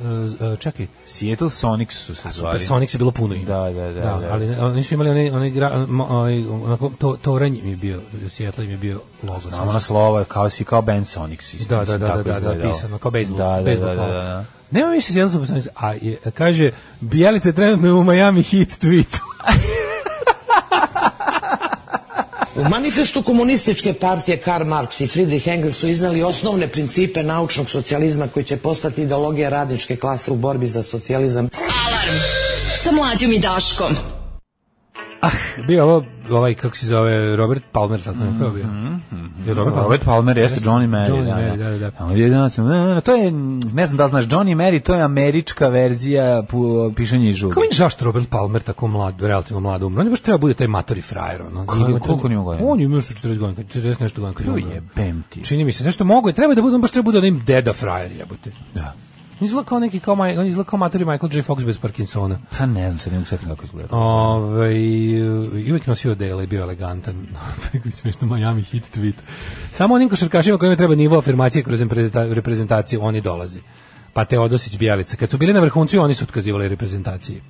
e, e, čekaj,
Seattle Sonics su se zvali.
Supersonics je bilo puno ime.
Da, da, da, da.
ali ne, oni su imali onaj onaj gra, mo- onaj, onako, to, toranj im je bio, Seattle im je bio logo.
Znamo na slova, kao si kao band Sonics. isto,
Da, da,
mislim,
da,
tako
da, da, da,
izgledalo.
pisano, kao bejsbol.
Da, da,
bejsbol
da, da,
slova.
da, da.
Nema više Seattle Supersonics, a je, kaže, Bijelica je trenutno u Miami hit tweet.
U manifestu komunističke partije Karl Marx i Friedrich Engels su iznali osnovne principe naučnog socijalizma koji će postati ideologija radničke klase u borbi za socijalizam.
Sa mlađom i Daškom.
bio ovo, ovaj, kako se zove, Robert Palmer, tako mm bio. Je Robert Palmer?
Mhm, Robert Palmer jeste Johnny Mary.
Johnny
da,
Mary,
da,
da, da.
A ovdje je jedan sam, "E, no, To je, mm, ne znam da li znaš, Johnny Mary, to je američka verzija pu- pišanja i žuga.
Kako mi je zašto Robert Palmer tako mlad, relativno mlad umro? On je baš treba bude taj matori frajer. Ono.
Koji-
Ima-
koliko on ima godina?
On je imao nešto 40 godina, 40 nešto godina. kad je
Jo,
umro.
jebem ti.
Čini mi se, nešto mogo je, treba je da bude, on baš treba bude onim deda frajer, jebote.
Da.
On izgleda kao neki, kao, Maj- on izgleda kao matori Michael J. Fox bez Parkinsona.
Pa ne znam, sad ne mogu sjetiti kako izgleda.
Ove, i Ovaj, uvijek nosio dele i bio elegantan. Tako mi smešno Miami hit tweet. Samo onim košarkašima kojima treba nivo afirmacije kroz reprezenta- reprezentaciju, oni dolaze. Pa Teodosić, Bjelica. Kad su bili na vrhuncu, oni su otkazivali reprezentaciji.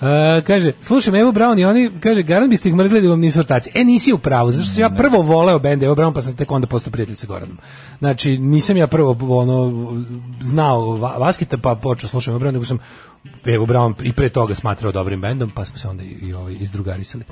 E, kaže, slušam Evo Brown i oni, kaže, garant biste ih mrzili da vam nisu ortaci. E, nisi u pravu, zato što sam ja prvo voleo bende Evo Brown, pa sam tek onda postao prijatelj sa Goranom. Znači, nisam ja prvo ono, znao Va- Vaskita, pa počeo slušam Evo Brown, nego sam Evo Brown i pre toga smatrao dobrim bendom, pa smo se onda i, i ovaj, izdrugarisali.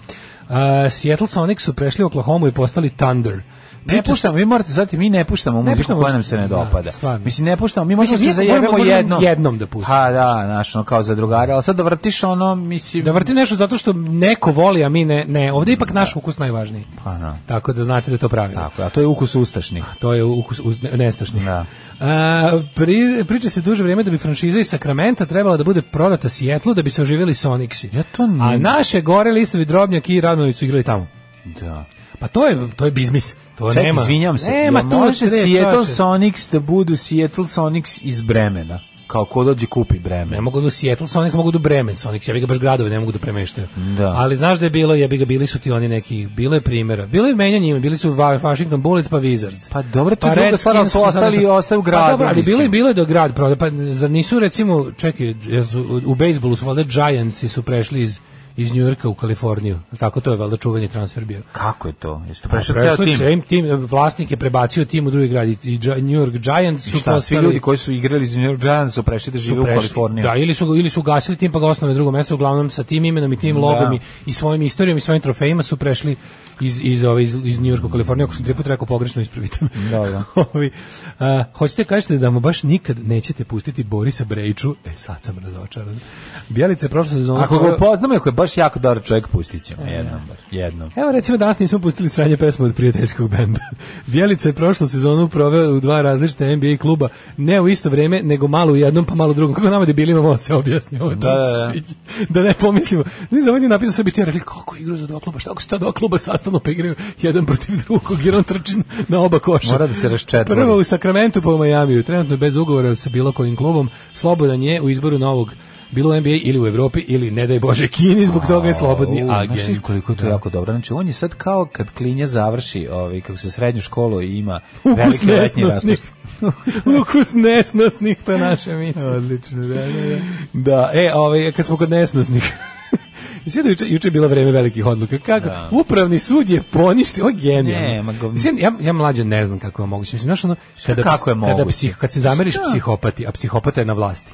E, Seattle Sonic su prešli u Oklahoma i postali Thunder.
Ne puštamo, vi morate znati, mi ne puštamo muziku koja nam se ne dopada.
stvarno.
Mislim, ne puštamo, mi možemo
Mislim,
se
mi moramo-
zajebemo
možemo
jednom.
jednom da pustimo.
Ha, da, znaš, ono, kao za drugare, ali sad da vrtiš ono, mislim...
Da vrti nešto zato što neko voli, a mi ne. ne. Ovdje je ipak naš ukus najvažniji.
Pa, da.
Tako da znate da je to pravimo.
Tako, je, a to je ukus ustašnih.
To je ukus uz, ne- nestašni.
Da.
A, pri- priča se duže vrijeme da bi franšiza iz Sakramenta trebala da bude prodata Sijetlu da bi se oživjeli Sonixi. Ja
to ne-
A naše gore listovi Drobnjak i Radnović su igrali tamo.
Da.
Pa to je, to je biznis. To
Čekaj,
Pa nema.
izvinjam se.
Nema
jel
tu
može
tre,
Seattle
čoveče.
Sonics da budu Seattle Sonics iz Bremena? Kao ko dođe kupi Bremen.
Ne mogu do Seattle Sonics, mogu do Bremen Sonics, ja bi ga baš gradove ne mogu da premeštaju.
Da.
Ali znaš da je bilo, ja bi ga bili su ti oni neki, bilo je primjera. Bilo je menjanje ima, bili su Va- Washington Bullets pa Wizards.
Pa dobro, to je druga stvar, ali su
Redskins,
ostali i
znaš,
ostaju u
Pa
gradu,
dobro, ali
mislim.
bilo je, bilo je do grad proda. Pa zar nisu recimo, čekaj, jel su- u- u bejsbolu su valjda Giants su prešli iz iz Njujorka u Kaliforniju. Tako to je valjda čuveni transfer bio.
Kako Pa je to? Jeste to
Pa
prešao
prešao
ceo tim?
je tim, vlasnik je prebacio tim u drugi grad i i Gi- New York Giants
I
su
Šta, svi
postali-
ljudi koji su igrali za New York Giants su prešli da
su
žive u
prešli.
Kaliforniju.
Da, ili su, ili su gasili tim pa ga osnovali na drugo mesto, uglavnom sa tim imenom i tim logom i, i svojim istorijom i svojim trofejima su prešli iz, iz, ove, iz, iz New Yorka u Kaliforniju. Ako sam tri puta rekao pogrešno, ispravite me.
Dobro.
Ovi, a, hoćete kažete da mu baš nikad nećete pustiti Borisa Brejču? E, sad sam razočaran. Bjelica je prošla sezona...
Ako ga upoznamo, ako je baš jako dobar čovjek, pustit ćemo
E.
jednom. bar, Jednom.
Evo recimo danas nismo pustili sranje pesmu od prijateljskog benda. Bjelica je prošlu sezonu proveo u dva različita NBA kluba, ne u isto vrijeme, nego malo u jednom pa malo u drugom. Kako nama debilima ovo se objasni, ovo je
Da,
da,
da, da.
da, ne pomislimo. Ne znam, on je napisao sebi ti rekli kako igra za dva kluba, šta ako se ta dva kluba sastanu pa igraju jedan protiv drugog, jer on trči na oba koša.
Mora da se raščetvori.
Prvo u Sakramentu pa u Majamiju, trenutno je bez ugovora sa bilo kojim klubom, slobodan je u izboru novog bilo u NBA ili u Evropi ili ne daj Bože Kini, zbog toga je slobodni
U,
agent.
Znaš ti koliko je to
Da.
jako dobro? Znači, on je sad kao kad klinja završi ovaj, kako se srednju školu i ima
Ukus
veliki letnji raspust.
nesnosnih. Ukus nesnosnih, to je naša misla. Odlično, da, da, da. Da, e, ovaj, kad smo kod nesnosnih. Mislim da juče, juče je bilo vreme velikih odluka. Kako? Upravni sud je poništio, o genijalno.
Ne, ma gov-
Mislim, ja, ja mlađe ne znam kako je moguće. Mislim, znaš ono, kada,
kako je
kada,
moguće?
psih, kad se zameriš psihopati, a psihopata je na vlasti.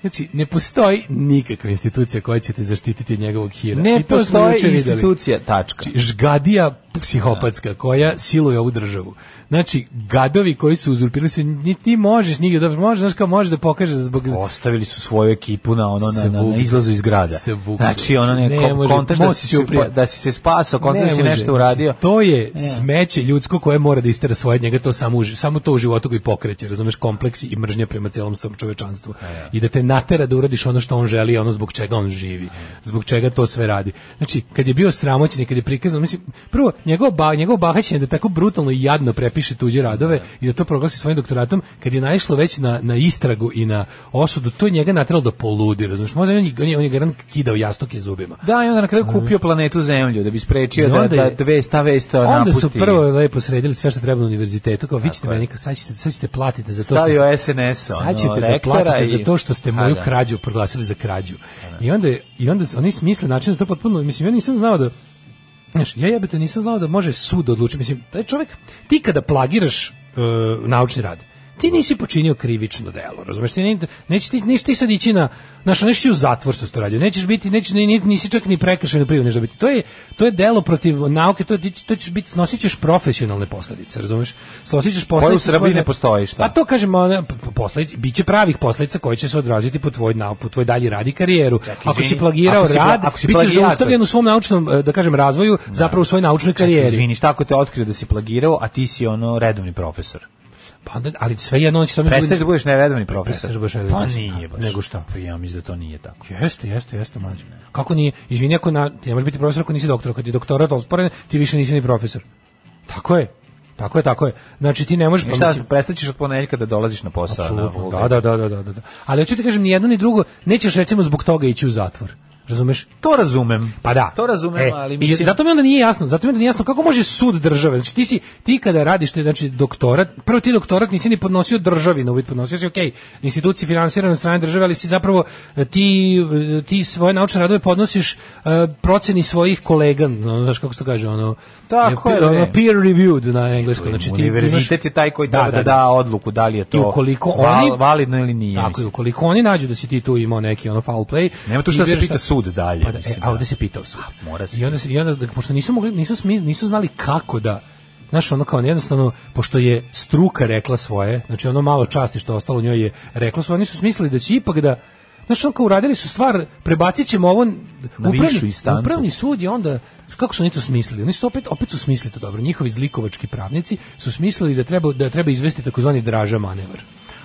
Znači, ne postoji nikakva institucija koja će te zaštititi od njegovog hira.
Ne
I to smo
postoji
juče videli.
institucija, tačka.
Znači, žgadija psihopatska koja siluje ovu državu. Znači, gadovi koji su uzurpili sve, ni ti možeš, nigdje dobro, možeš, znaš kao možeš da pokažeš da zbog...
Ostavili su svoju ekipu na ono na, na, na
Svugde.
izlazu iz grada.
Svugde.
Znači ono neko
Ne može,
kontaš da
moć
si,
će
se,
uprijeti.
pa- da si se spasao, kontaš da si
Ne može.
nešto uradio.
Znači, to je smeće ljudsko koje mora da istera svoje od njega, to samo, uži- samo to u životu koji pokreće, razumeš, kompleksi i mržnja prema celom svom čovečanstvu. I da te natera da uradiš ono što on želi, ono zbog čega on živi, zbog čega to sve radi. Znači, kad je bio sramoćen i kad je prikazan, mislim, prvo, njegovo, ba, njegovo bahaćenje da tako brutalno i jadno prepiše tuđe radove i da to proglasi svojim doktoratom, kad je naišlo već na, na istragu i na osudu, to je njega nateralo da poludi, razumeš, možda je on, on je, on je garant kidao jastuke zubima.
Da, i onda na kraju kupio planetu Zemlju da bi sprečio
Znači. I
da,
onda
da
je-
dve sta vesta
Onda
napusti.
su prvo lepo sredili sve što treba na univerzitetu, kao vi ćete
Tako je.
meni, kao, sad ćete, sad ćete platiti za to što ste,
Stavio SNS, ono,
sad ćete da
rektora
platite
i-
za to što ste
Pa
moju
da.
krađu proglasili za krađu. I onda, je- i onda su- oni smisle način da to potpuno, mislim, ja nisam znao da, znaš, ja jebete nisam znao da može sud odlučiti, mislim, taj čovjek, ti kada plagiraš e, naučni rad, ti nisi počinio krivično delo, razumeš, ti ne, neće ti, neće ti sad ići na, znaš, ono, nećeš ti u zatvor što ste radio, nećeš biti, neće, ni- ni- nisi čak ni prekršajno prijavljen da biti, to je, to je delo protiv nauke, to, je- ti ć- to ćeš biti, snosit ćeš profesionalne posledice, razumeš, snosit ćeš posledice.
Srbiji
svoje-
ne postoji, šta?
Pa to kažemo, ona, p- p- posledice, bit će pravih posledica koje će se odraziti po tvoj, nau- po tvoj dalji rad i karijeru. ako si
izvini,
plagirao
ako si pla-
rad,
ako si
bit ćeš
plagijator.
zaustavljen u svom naučnom, e, da kažem, razvoju, zapravo u svojoj naučnoj karijeri.
Izvini, šta ako te otkrio da si plagirao, a ti si ono redovni profesor?
Pa onda, ali sve jedno on će tome...
Prestaješ da budeš neredovni profesor.
Prestaješ da budeš
Pa
neredovni profesor.
nije baš.
Nego šta?
Pa ja mislim da to nije tako.
Jeste, jeste, jeste, mlađe. Kako nije? Izvini, ako na, ti ne možeš biti profesor ako nisi doktor. Kad je doktorat osporen, ti više nisi ni profesor. Tako je. Tako je, tako je. Znači ti ne možeš...
I
pa
šta,
mislim-
prestaćeš od ponedjeljka da dolaziš na posao. na
Apsolutno,
ovu-
da, da, da, da, da, da. Ali hoću ti kažem, ni jedno ni drugo, nećeš recimo zbog toga ići u zatvor. Razumeš?
To razumem.
Pa da.
To razumem,
E,
ali
i
mislim...
zato mi onda nije jasno, zato mi onda nije jasno kako može sud države. Znači ti si ti kada radiš te znači doktorat, prvo ti doktorat nisi ni podnosio državi, na uvid podnosio si okej, instituciji finansirane od strane države, ali si zapravo e, ti e, ti svoje naučne radove podnosiš e, proceni svojih kolega, ono, znaš kako se to kaže, ono
Tako
e,
je,
pe- ono,
bre.
peer reviewed na engleskom, znači ti
Univerzitet
imaš-
je taj koji treba da da odluku da li je
I
to
ukoliko
val-
oni-
validno ili nije.
Tako je, ukoliko oni nađu da si ti tu imao neki ono foul play.
Nema tu
i
šta se
biraš
pita sud dalje,
Pa da, e,
mislim,
a
da.
ovde se pitao sud.
mora se
I onda, se- i onda, pošto nisu, mogli, nisu, smi- nisu znali kako da Znaš, ono kao jednostavno, pošto je struka rekla svoje, znači ono malo časti što je ostalo u njoj je rekla svoje, oni su smislili da će ipak da, znaš, ono kao uradili su stvar, prebacit ćemo ovo,
višu instancu.
upravni sud je onda, kako su oni to smislili? Oni su opet, opet su smislili to dobro, njihovi zlikovački pravnici su smislili da treba, da treba izvesti takozvani draža manevar.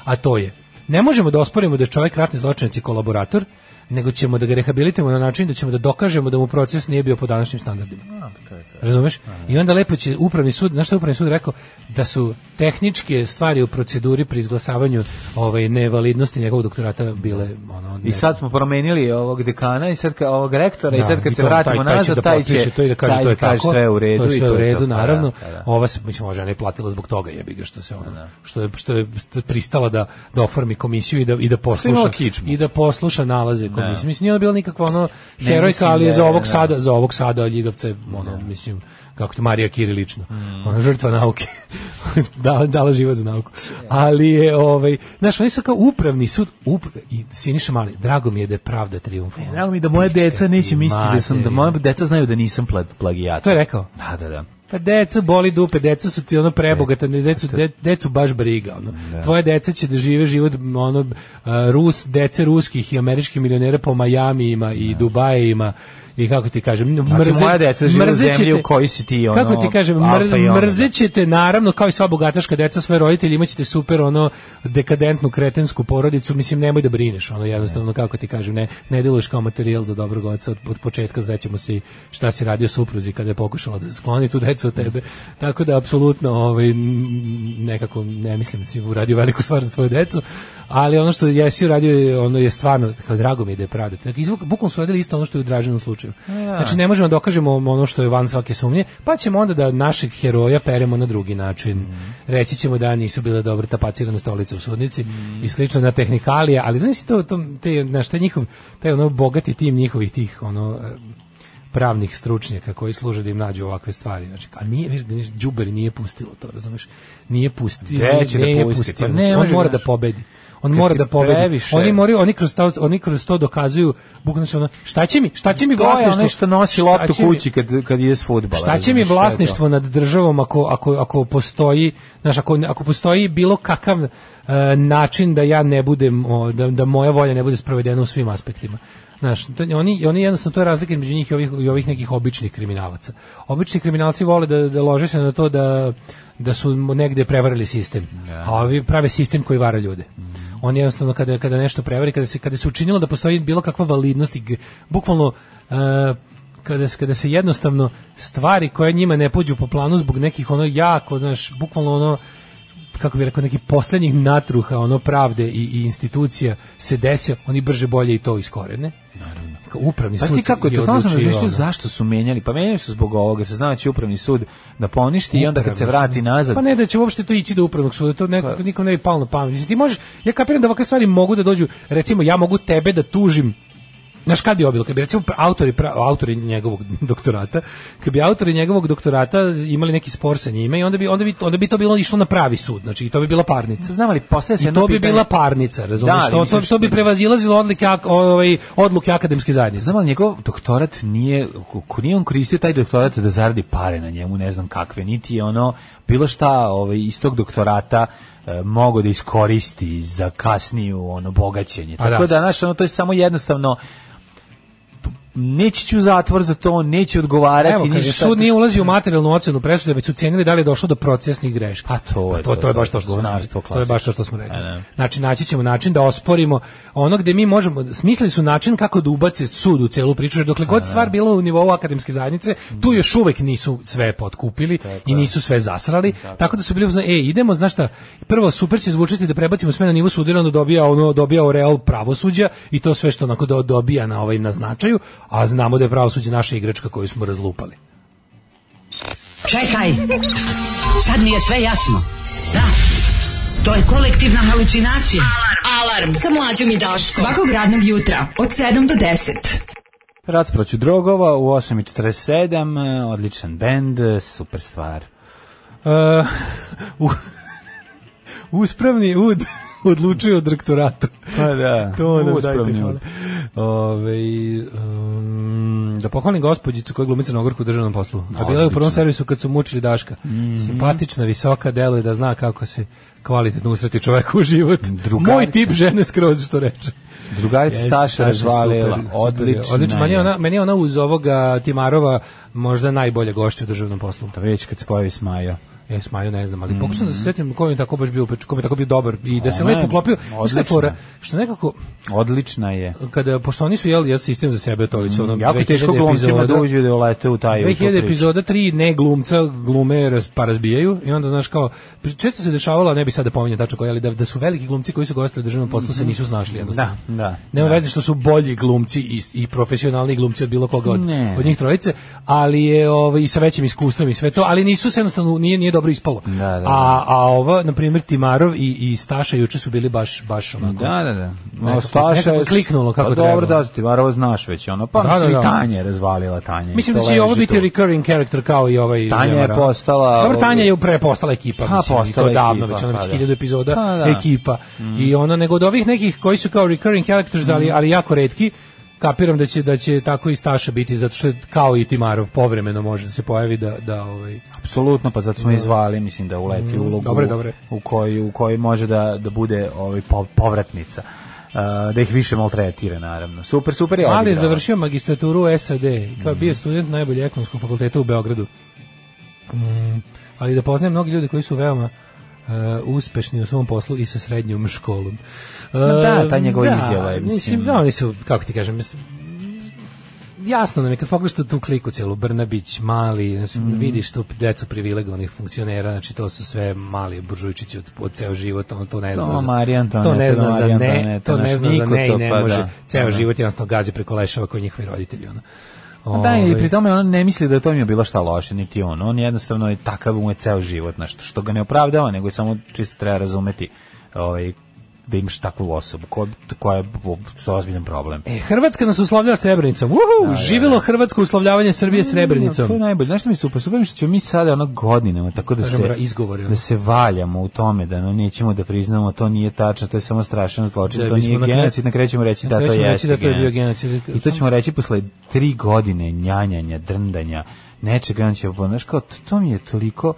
A to je, ne možemo da osporimo da je čovjek ratni zločinac i kolaborator, nego ćemo da ga rehabilitujemo na način da ćemo da dokažemo da mu proces nije bio po današnjim standardima.
pa
Razumeš? I onda lepo će upravni sud, znaš šta je upravni sud rekao? Da su tehničke stvari u proceduri pri izglasavanju ovaj, nevalidnosti njegovog doktorata bile ono,
I
ne-
sad smo promenili ovog dekana i sad ka, ovog rektora i
Da,
sad kad
i
se
to,
vratimo
taj,
nazad,
taj
taj
će, da potpiše
će,
to i da kaže
taj
to je
će kaže
tako,
sve je u redu.
to je
i
sve
to
u
je
redu,
to. Pa da,
naravno.
pa da.
Ova se mislim ova žena je platila zbog toga, jebi ga što se ona što je što je st- pristala da da oformi komisiju i da i da posluša
imala kičmu.
i da posluša nalaze komisije. Mislim nije ona bila nikakva ono
Ne,
herojka,
mislim
ali
da
je za
je,
ovog
da.
sada, za ovog sada ljigavca je ono mislim kako to Marija Kirilično.
Mm.
Ona žrtva nauke. dala, dala život za nauku. Ali je, ovaj, znaš, oni su kao upravni sud, up, i Siniša Mali, drago mi je da je pravda triumfovala.
Drago mi da moje deca neće
Pička ti
misliti da sam, da
materina.
moje deca znaju da nisam pla- plagijator.
To je rekao?
Da, da, da.
Pa deca boli dupe, deca su ti ono prebogata,
E,
ne, decu, de, decu baš briga. Ono. Tvoje deca će da žive život ono, a, Rus, dece ruskih i američkih milionera po Majamijima i Dubajima i kako ti kažem, mrze,
moja deca žive u
mrzeće
zemlji u
te-
kojoj si ti, ono,
Kako ti kažem,
alfa i
mr,
omega.
mrzećete naravno kao i sva bogataška deca, sve roditelji imaćete super ono dekadentnu kretensku porodicu, mislim nemoj da brineš, ono jednostavno kako ti kažem, ne ne deluješ kao materijal za dobrog oca od, od početka, sećamo se i šta si radio supruzi kada je pokušala da skloni tu decu od tebe. Tako da apsolutno ovaj m, nekako ne mislim da si uradio veliku stvar za tvoju decu, ali ono što jesi uradio je ono je stvarno kao drago mi je da je pravda. Dakle, izvuk bukom su radili isto ono što je u Draženom slučaju. Znači ne možemo da dokažemo ono što je van svake sumnje, pa ćemo onda da našeg heroja peremo na drugi način.
Mhm.
Reći ćemo da nisu bile dobro tapacirane stolice u sudnici
Mhm.
i slično na tehnikalije, ali znaš si to, to te, znaš, taj njihov, taj ono bogati tim njihovih tih ono e, pravnih stručnjaka koji služe da im nađu ovakve stvari. Znači, a nije, viš, viš, Đuberi nije pustilo to, razumeš? Nije pustilo.
Gde će da
nije
pusti?
pustio,
Pa
znači,
ne
on
može,
mora da
znaš.
pobedi. On
Kad
mora
si
da pobedi.
previše-
Oni moraju, oni kroz to, oni kroz to dokazuju, bukvalno znači, ono, šta će mi, šta će mi
To je
vlasništvo?
ono što nosi
Šta
loptu
će mi-
kući kad, kad je s futbala.
Šta će mi vlasništvo nad državom ako, ako, ako postoji, znaš, ako, ako postoji bilo kakav e, način da ja ne budem, o, da, da moja volja ne bude sprovedena u svim aspektima. Znaš, to- oni, oni jednostavno, to je razlika između njih i ovih, i ovih nekih običnih kriminalaca. Obični kriminalci vole da, da lože se na to da, da su negde prevarili sistem. A ovi prave sistem koji vara ljude. On jednostavno kada, kada nešto prevari, kada se, kada se učinilo da postoji bilo kakva validnost i g- bukvalno e, kada se, kada se jednostavno stvari koje njima ne pođu po planu zbog nekih ono jako, znaš, bukvalno ono kako bi rekao, neki posljednjih natruha ono pravde i, i institucija se dese, oni brže bolje i to iskorene. Naravno. Upravni
Pa
sud
ti kako je to, stvarno sam
odlučivao,
razmišljao
ono.
zašto su menjali. Pa menjali su zbog ovoga, jer se zna da će upravni sud da poništi i onda kad se
Upravni
vrati
sud.
nazad.
Pa ne da će uopšte to ići do upravnog suda, to neko to nikom ne bi palo na pamet. Mislim, ti možeš, ja kapiram da ovakve stvari mogu da dođu, recimo ja mogu tebe da tužim Znaš kad bi obilo? Kad bi recimo pra- autori, pra- autori njegovog doktorata, kad bi autori njegovog doktorata imali neki spor sa njime i onda bi, onda bi, onda bi to bilo išlo na pravi sud, znači i to bi bila parnica.
Znam, ali postavlja se
I
jedno
to bi
pitanje-
bila pa- parnica, razumiješ?
Da, ali
to,
mislim
to, to bi
što-
prevazilazilo odlike, ak- ovaj, odluke akademske zajednice.
Znam, ali njegov doktorat nije, ko nije on koristio taj doktorat da zaradi pare na njemu, ne znam kakve, niti je ono, bilo šta ovaj, iz tog doktorata e, mogao da iskoristi za kasniju ono bogaćenje.
Pa da.
Tako da, znaš, ono, to je samo jednostavno p- neće ću u zatvor za to, neće odgovarati.
Evo, kaže,
ništa.
sud nije ulazio u materijalnu ocenu presude, već su cijenili da li je došlo do procesnih greški.
Pa to je
to, to je baš to što smo rekli.
Govnarstvo
To je baš to što smo
klasično. A
rekli.
ne.
Znači, naći ćemo način da osporimo ono gde mi možemo, smislili su način kako da ubace sud u celu priču, jer dokle god stvar bila u nivou akademske zajednice, tu još uvek nisu sve potkupili i nisu sve zasrali, tako, da su bili, u fazonu, e, idemo, znaš šta, prvo super će zvučiti da prebacimo sve na nivo sudira, onda dobija ono, dobija oreol pravosuđa i to sve što onako do- dobija na ovaj na značaju, a znamo da je pravosuđe naša igračka koju smo razlupali.
Čekaj, sad mi je sve jasno. Da, to je kolektivna halucinacija.
Alarm sa mlađom i Daškom. Svakog radnog jutra od 7 do 10.
Rat proću drogova u 8.47, e, odličan bend, e, super stvar.
Uh, u, uspravni ud odlučuje o direktoratu.
Pa da,
to nam
uspravni
dajte.
ud.
hvala. Ove, um, da pohvalim gospođicu koja je glumica na ogorku u državnom poslu. A bila je u prvom
Odlično.
servisu kad su mučili Daška. Simpatična, visoka, deluje da zna kako se kvalitetno usreti čoveku u život. Moj tip žene skroz što reče.
Drugarica
Jeste,
Staša razvalila,
super, super je.
odlična
Odlično, meni je
je.
ona, meni je ona uz ovoga Timarova možda najbolja gošća u državnom poslu.
Da već kad se pojavi Smaja.
Ja Smaju ne znam, ali pokušam da se setim ko je tako baš bio, upeč- ko mi je tako bio dobar i da se
Ona je
lepo uklopio. Znaš šta je
odlična.
fora? Što nekako,
Odlična je.
kada, pošto oni su jeli jedan sistem za sebe, to već ono...
Mm, Jako je teško
2000
glumcima da
epizoda-
uđu da ulete u taj u tu
2000
priču.
epizoda, tri ne glumca glume raz, pa razbijaju i onda znaš kao pri- često se dešavalo, a ne bi sad da pominjem tačno koji, ali da, da su veliki glumci koji su gostili u državnom poslu se nisu snašli jednostavno.
Mhm. Da, da,
Nema
da.
veze što su bolji glumci i, i profesionalni glumci od bilo koga od,
Ne.
od njih trojice, ali je ovaj, i sa većim iskustvom i sve to, ali nisu se jednostavno, nije, nije dobro ispalo.
da, da.
A, a ova, na primjer, Timarov i, i Staša juče su bili baš, baš onako...
Da, da, Ono, da.
Nekako- nekako je kliknulo kako
pa,
trebalo.
Dobro, da, ti Timarovo znaš već ono. Pa
Da,
mislim
da,
i
da.
Tanja je razvalila Tanja.
Mislim
To
da će i ovo
leži
biti
tu.
recurring character kao i ovaj
Tanja je
Zemara.
postala-
Dobro, Tanja je pre postala ekipa,
Pa,
mislim, i to
postala
davno
ekipa,
već, ona
pa
već
da.
hiljadu epizoda
Pa, da.
ekipa. I ona nego od ovih nekih koji su kao recurring characters,
Mm.
ali ali jako retki, kapiram da će da će tako i Staša biti zato što je kao i Timarov povremeno može da se pojavi da da ovaj
Apsolutno, pa zato smo izvali, mislim da uleti u ulogu
Mm, dobre, dobre.
u kojoj u kojoj može da da bude ovaj po- povratnica. Uh, da ih više maltretira naravno. Super, super je. Mhm.
Ali je
odigrala.
završio magistraturu u SAD, kao bio student najbolje ekonomskog fakulteta u Beogradu. Mm, ali da poznajem mnogi ljudi koji su veoma e, uspešni u svom poslu i sa srednjom školom. E,
da, ta njegova
da,
izjava je, mislim-
da, oni su, kako ti kažem, mislim, jasno nam je kad pogledaš tu- tu kliku celu Brnabić, mali, znači,
Mhm.
vidiš tu decu privilegovanih funkcionera, znači to su sve mali buržujčići od, od ceo život, ono to ne
To
zna. za-
Marija
to ne
Antoaneta,
zna za
Marija
ne,
Antoaneta,
to ne
naš
zna za
niko
ne i
to,
ne
pa
može.
da.
Ceo
Pa da.
život jednostavno gazi preko leševa koji njihovi roditelji. Ono.
A Da, i
Ovaj,
pri tome on ne misli da to mi je bilo šta loše, niti on. On jednostavno je takav mu je ceo život, nešto što ga ne opravdava, nego je samo čisto treba razumeti ovaj, da imaš takvu osobu ko, koja je bo- s ozbiljan problem.
E, Hrvatska nas uslovljava srebrnicom. Uhu, živelo Hrvatsko uslovljavanje Srbije srebrnicom.
Mm, To je najbolje. Znaš što mi je super? Super mi je što ćemo mi sada ono godinama tako da se,
Razumra- izgovori, ono.
da se valjamo u tome, da no, nećemo da priznamo to nije tačno, to je samo strašan zločin,
Da
to
bismo
nije
na kraju-
genocid, na kraju ćemo reći
Na
da
kraju
to
ćemo reći
jeste
da to je bio genocid.
I to ćemo reći posle tri godine njanjanja, drndanja, nečega, on će, znaš kao, to, to mi je toliko,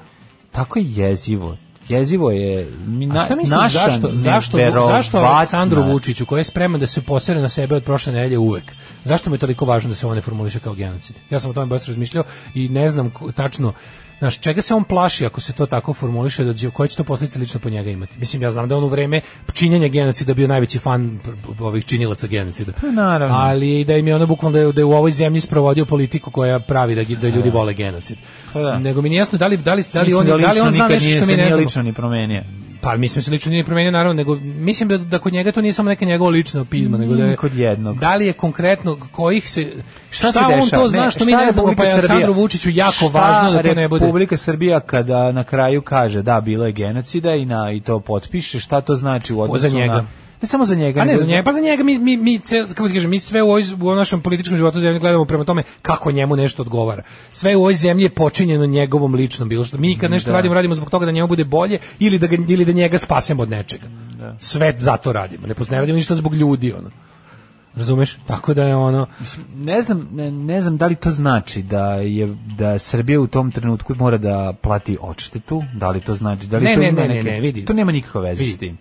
tako je jezivo, jezivo je mi na,
A šta misliš
naša
zašto, zašto,
neverovatna-
zašto Aleksandru Vučiću koji je spreman da se posere na sebe od prošle nedelje uvek? Zašto mu je toliko važno da se on ne formuliše kao genocid? Ja sam o tome baš razmišljao i ne znam ko- tačno Znaš, čega se on plaši ako se to tako formuliše, da će, koje će to posljedice lično po njega imati? Mislim, ja znam da je on u vreme činjenja genocida bio najveći fan pr- pr- ovih činilaca genocida.
Pa naravno.
Ali da im je ono bukvalno da je, da je u ovoj zemlji sprovodio politiku koja pravi da, gi- da ljudi vole genocid.
Pa da.
Nego mi nije jasno da li, da li, da li,
Mislim
on,
da
da li
lično
on zna
nikad
nešto
nije
što mi
se
ne
nije
znamo.
lično ni promenio.
Pa mislim se lično nije promenio naravno, nego mislim da, da kod njega to nije samo neka njegova lična pizma, nego da je,
Ni kod jednog.
Da li je konkretno kojih se šta,
se
on
dešava?
to zna što mi
šta
ne znamo, pa je
Republika
Aleksandru
Srbija?
Vučiću jako
Šta
važno da to ne bude.
Republika Srbija kada na kraju kaže da bilo je genocida i na i to potpiše, šta to znači u odnosu
Pa za njega.
na ne samo za njega,
A ne,
nego
za njega, pa za njega mi, mi, mi, ce- kako ti kažem, mi sve u, ovoj, u ovom našem političkom životu zemlje gledamo prema tome kako njemu nešto odgovara. Sve u ovoj zemlji je počinjeno njegovom ličnom bilo što. Mi kad nešto radimo, radimo zbog toga da njemu bude bolje ili da, ga, ili da njega spasemo od nečega. Sve zato radimo. Ne, poz- ne radimo ništa zbog ljudi, ono. Razumeš? Tako da je ono...
ne znam ne, ne znam da li to znači da je da Srbija u tom trenutku mora da plati odštetu, da li to znači da li
Ne,
to
ne,
ima
ne, ne,
neke-
ne, vidi.
To nema nikakve veze
Vidi.
s tim.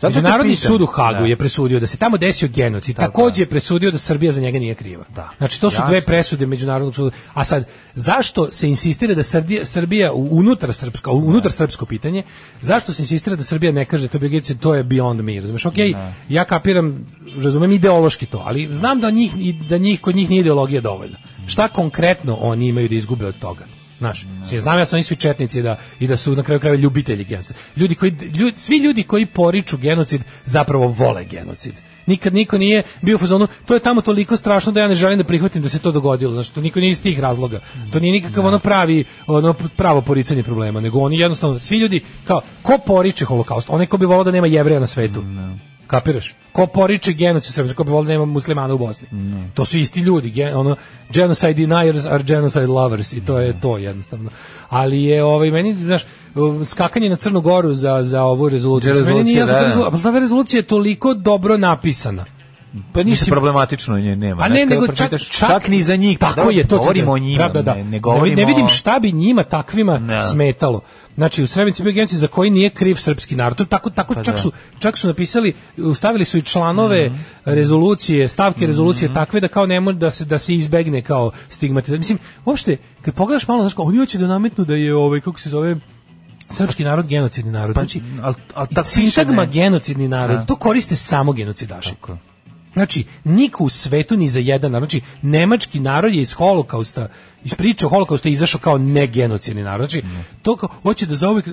Zato te
Međunarodni
pitam.
sud u Hagu
Da.
je presudio da se tamo desio genocid. Takođe je presudio da Srbija za njega nije kriva. Znači to su
Jasno.
dve presude međunarodnog suda. A sad zašto se insistira da Srbija Srbija u- unutar srpsko unutar srpsko pitanje, zašto se insistira da Srbija ne kaže to je bio genocid, to je beyond me, razumeš? Okej, ja kapiram, razumem ideološki to, ali znam da njih i da njih kod njih nije ideologija dovoljna. Šta konkretno oni imaju da izgube od toga? Znaš, se znam ja su oni svi četnici da i da su na kraju krajeva ljubitelji genocida. Ljudi koji ljudi, svi ljudi koji poriču genocid zapravo vole genocid. Nikad niko nije bio u fazonu, to je tamo toliko strašno da ja ne želim da prihvatim da se to dogodilo. Znači, to niko nije iz tih razloga. To nije nikakav ono pravi, ono pravo poricanje problema, nego oni jednostavno, svi ljudi, kao, ko poriče holokaust? Onaj ko bi volao da nema jevreja na svetu. Kapiraš? Ko poriče genocid u Srbiji, ko bi volao da nema muslimana u Bosni. To su isti ljudi, gen- ono, genocide deniers are genocide lovers i to je to jednostavno. Ali je, ovaj, meni, znaš, skakanje na Crnu Goru za, za ovu rezoluciju.
Za
meni nije
rezoluciju,
jasno
da,
rezolu-
da.
Pa ta rezolucija je toliko dobro napisana.
Pa ništa
Mislim-
problematično nje nema.
A ne,
Na kraju
nego čak,
pročitaš, čak ni za njih. pa
Tako
Da,
je to.
Govorimo o njima,
Da, da, da.
ne, ne govorimo
Ne vidim
o-
šta bi njima takvima
Ne.
smetalo. Znači, u Srebrenici je bio genocid za koji nije kriv srpski narod. To je Tako, tako
Pa
čak,
da. Mhm.
su, čak su napisali, stavili su i članove rezolucije, stavke rezolucije takve da kao ne može da se, da se izbegne kao stigmatizacija. Mislim, uopšte, kad pogledaš malo, znaš, kao, oni hoće da nametnu da je, ovaj, kako se zove, srpski narod genocidni narod.
Pa
znači,
Mm, al, al,
i sintagma genocidni narod,
Da.
to koriste samo genocidaši. Znači, niko u svetu ni za jedan narod. Znači, nemački narod je iz holokausta, iz priče o holokaustu izašao kao negenocidni narod. Znači, to kao, hoće da zauvijek,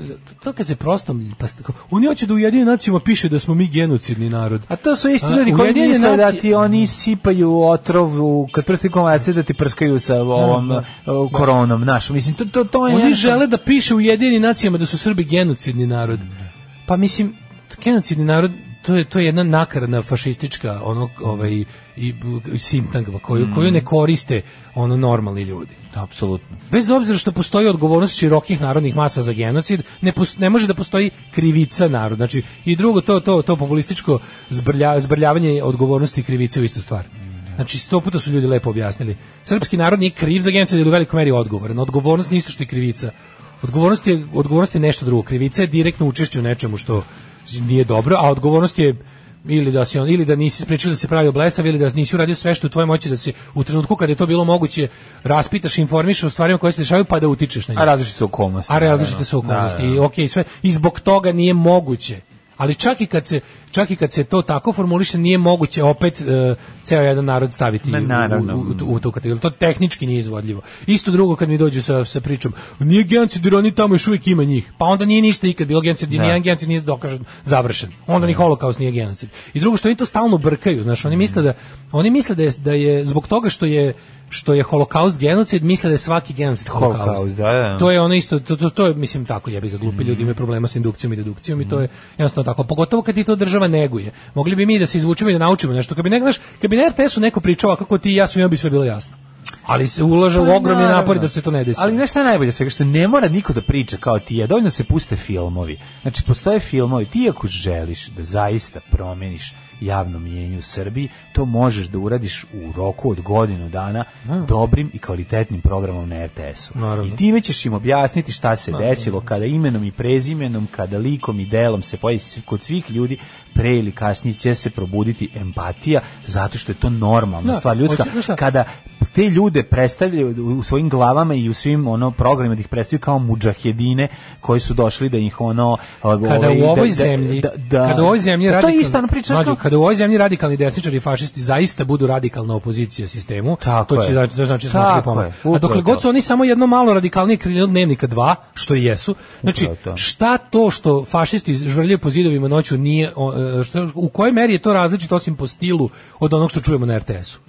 to kad se prostom, pa, s- kao, oni hoće da u jedinim nacijama piše da smo mi genocidni narod.
A to su isti
A,
ljudi koji
Ujedinjene
misle da
nacije-
ti oni sipaju otrov u, kad prsti komacije da ti prskaju sa ovom
da.
uh, koronom našom. Mislim, to, to, to je...
Oni
nešto-
žele da piše u jedinim nacijama da su Srbi genocidni narod. Pa mislim, genocidni narod to je to je jedna nakaradna fašistička ono ovaj i, i sintagma koju
Mm.
koju ne koriste ono normalni ljudi.
Apsolutno.
Bez obzira što postoji odgovornost širokih narodnih masa za genocid, ne, pos- ne može da postoji krivica naroda. Znači, i drugo, to, to, to populističko zbrlja, zbrljavanje odgovornosti i krivice u istu stvar. Znači, sto puta su ljudi lepo objasnili. Srpski narod nije kriv za genocid, ali u velikoj meri je odgovoran. Odgovornost nije isto što i krivica. Odgovornost je, odgovornost je nešto drugo. Krivica je direktno učešće u nečemu što nije dobro, a odgovornost je ili da si on ili da nisi sprečio da se pravi blesav ili da nisi uradio sve što je u tvojoj moći da se u trenutku kada je to bilo moguće raspitaš, informišeš o stvarima koje se dešavaju pa da utičeš na njih.
A različite su okolnosti.
A različite su okolnosti.
Da, da.
I okej, sve i zbog toga nije moguće. Ali čak i kad se čak i kad se to tako formuliše nije moguće opet e, ceo jedan narod staviti
Ma,
u-
naravno.
u, u, tu- u tu kategoriju. To tehnički nije izvodljivo. Isto drugo kad mi dođu sa sa pričom, nije genocid jer oni tamo još uvijek ima njih. Pa onda nije ništa ikad bilo genocid, ni
Da.
jedan genocid nije dokažen, završen. Onda ni holokaust nije genocid. I drugo što oni to stalno brkaju, znaš, oni misle da oni misle da je, da je zbog toga što je što je holokaust genocid, misle da je svaki genocid holokaust.
Holokaust, da, da. Mhm.
To je ono isto, to, to, to je, mislim, tako jebi ga, glupi ljudi imaju problema s indukcijom i dedukcijom i to je jednostavno tako. Pogotovo kad ti to država neguje. Mogli bi mi da se izvučemo i da naučimo nešto. Kad bi, ne, znaš, kad bi na RTS-u neko pričao ovako kako ti i ja svima bi sve bilo jasno. Ali se ulaže u
Pa,
ogromni
naravno.
napori da se to ne desi.
Ali nešto je najbolje od svega što ne mora niko da priča kao ti je, dovoljno se puste filmovi. Znači postoje filmovi, ti ako želiš da zaista promeniš javno mnjenje u Srbiji, to možeš da uradiš u roku od godinu dana dobrim i kvalitetnim programom na RTS-u.
Naravno.
I time ćeš im objasniti šta se desilo kada imenom i prezimenom, kada likom i delom se pojavi s- kod svih ljudi pre ili kasnije će se probuditi empatija zato što je to normalna
Da,
stvar ljudska.
hoću- znaš šta?
Kada te ljude predstavljaju u svojim glavama i u svim ono programima da ih predstavljaju kao mudžahedine koji su došli da ih ono
kada
ovaj,
u
da-
ovoj
da-
zemlji
da- da-
kada u ovoj zemlji
Pa to je
radikalni-
isto ono priča
Mlađo,
što-
kada u ovoj zemlji radikalni desničari i fašisti zaista budu radikalna opozicija sistemu
Tako
to će
je.
znači to znači
Tako
smatrati
je,
pomak
upravo
a dokle
to.
god su oni samo jedno malo radikalnije krenuli od dnevnika 2 što i jesu znači
Upravo to.
šta to što fašisti žvrljaju po zidovima noću nije o, e, što, u kojoj meri je to različito osim po stilu od onog što čujemo na RTS-u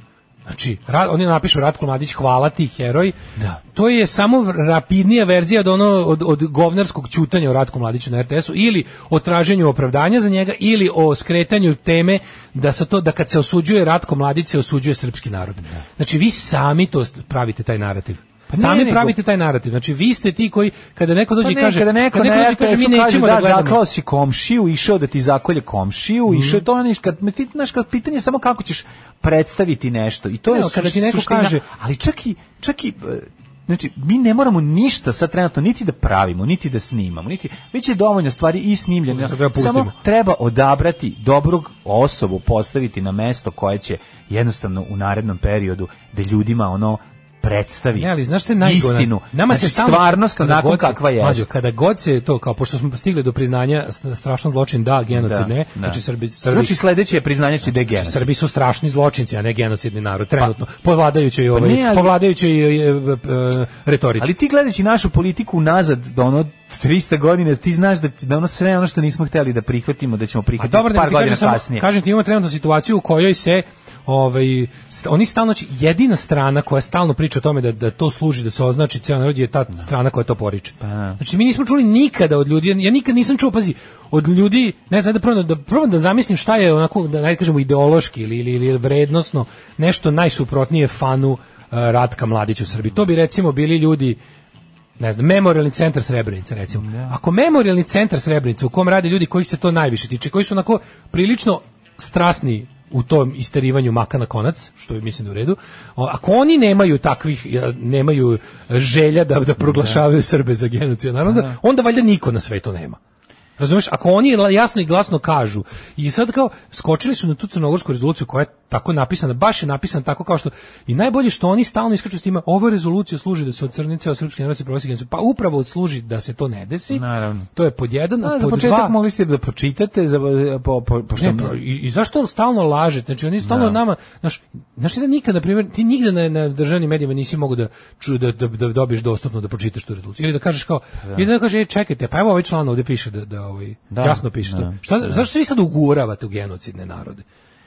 Znači, ra, oni napišu Ratko Mladić, hvala ti, heroj.
Da.
To je samo rapidnija verzija od, ono, od, od govnarskog ćutanja o Ratku Mladiću na RTS-u ili o traženju opravdanja za njega ili o skretanju teme da se to da kad se osuđuje Ratko Mladić se osuđuje srpski narod. Znači vi sami to st- pravite taj narativ.
Pa ne,
sami
nego-
pravite taj narativ. Znači vi ste ti koji kada neko dođe
Pa
i
ne,
kaže
kada neko,
kada
na
dođe i kaže mi
RTS-u kaže,
nećemo
da,
da, gledamo. Mhm.
zaklao si komšiju, išao da ti zakolje komšiju, išao je to ono, kad, ma ti, znaš, kad pitanje je samo kako ćeš predstaviti nešto. I to je
Evo, kada ti neko
suština,
kaže-
ali čak i, čak i e, Znači, mi ne moramo ništa sad trenutno niti da pravimo, niti da snimamo, niti već je dovoljno stvari i snimljeno.
Zato treba pustimo.
Samo treba odabrati dobrog osobu, postaviti na mesto koje će jednostavno u narednom periodu da ljudima ono predstavi
Ne, ali znaš šta je najgore?
istinu,
Nama se
znači,
stalno-
stvarnost
kada
onako
god se-
kakva je.
Mlađo, kada god se to, kao pošto smo stigli do priznanja s- strašan zločin, da, genocid,
Da,
ne,
da.
znači Srbi, Srbi,
Znači sledeće je priznanje će da je genocid.
Srbi su strašni zločinci, a ne genocidni narod, trenutno, po vladajućoj, ovaj,
Pa- ne, ali-
po vladajućoj e, e, e, retorici.
Ali ti gledajući našu politiku nazad do ono 300 godina, ti znaš da, da ono sve ono što nismo hteli da prihvatimo, da ćemo
A
prihvatiti
dobro, Pa da
par
ti kažem,
godina
samo,
kasnije.
kažem ti imamo trenutno situaciju u kojoj se ovaj st- oni stalno će- jedina strana koja stalno priča o tome da da to služi da se označi ceo narod je ta strana koja to poriče.
Pa
Znači mi nismo čuli nikada od ljudi, ja nikad nisam čuo, pazi, od ljudi, ne znam da probam da probam da zamislim šta je onako da ne kažemo ideološki ili ili, ili vrednosno nešto najsuprotnije fanu eh, Ratka Mladića u Srbiji. To bi recimo bili ljudi ne znam, memorialni centar Srebrenica recimo. Ako memorialni centar Srebrenica u kom rade ljudi kojih se to najviše tiče, koji su onako prilično strasni u tom isterivanju maka na konac, što je mislim da je u redu, o, ako oni nemaju takvih, ja, nemaju želja da, da proglašavaju Srbe za genocid, naravno, da, onda valjda niko na svetu nema. Razumeš, ako oni la- jasno i glasno kažu i sad kao skočili su na tu crnogorsku rezoluciju koja je tako napisana, baš je napisana tako kao što i najbolje što oni stalno iskaču s time, ova rezolucija služi da se ocrni ceo srpski narod se proglasi genocid." Pa upravo služi da se to ne desi.
Naravno.
To je pod jedan,
A,
a
za
pod
početak
dva...
mogli ste da pročitate za, po, po, pošto
Ne, pa, i, i zašto stalno lažete? Znači oni stalno
Da.
nama, znaš, znaš ti da nikad na primjer, ti nigde na, na državnim medijima nisi mogao da, ču, da, da, da dobiješ dostupno da pročitaš tu rezoluciju ili da kažeš kao ili da kaže ej čekajte, pa evo ovaj član ovdje piše da da ovaj
Da,
jasno piše
da,
to. Šta, zašto se vi sad uguravate u genocidne narode?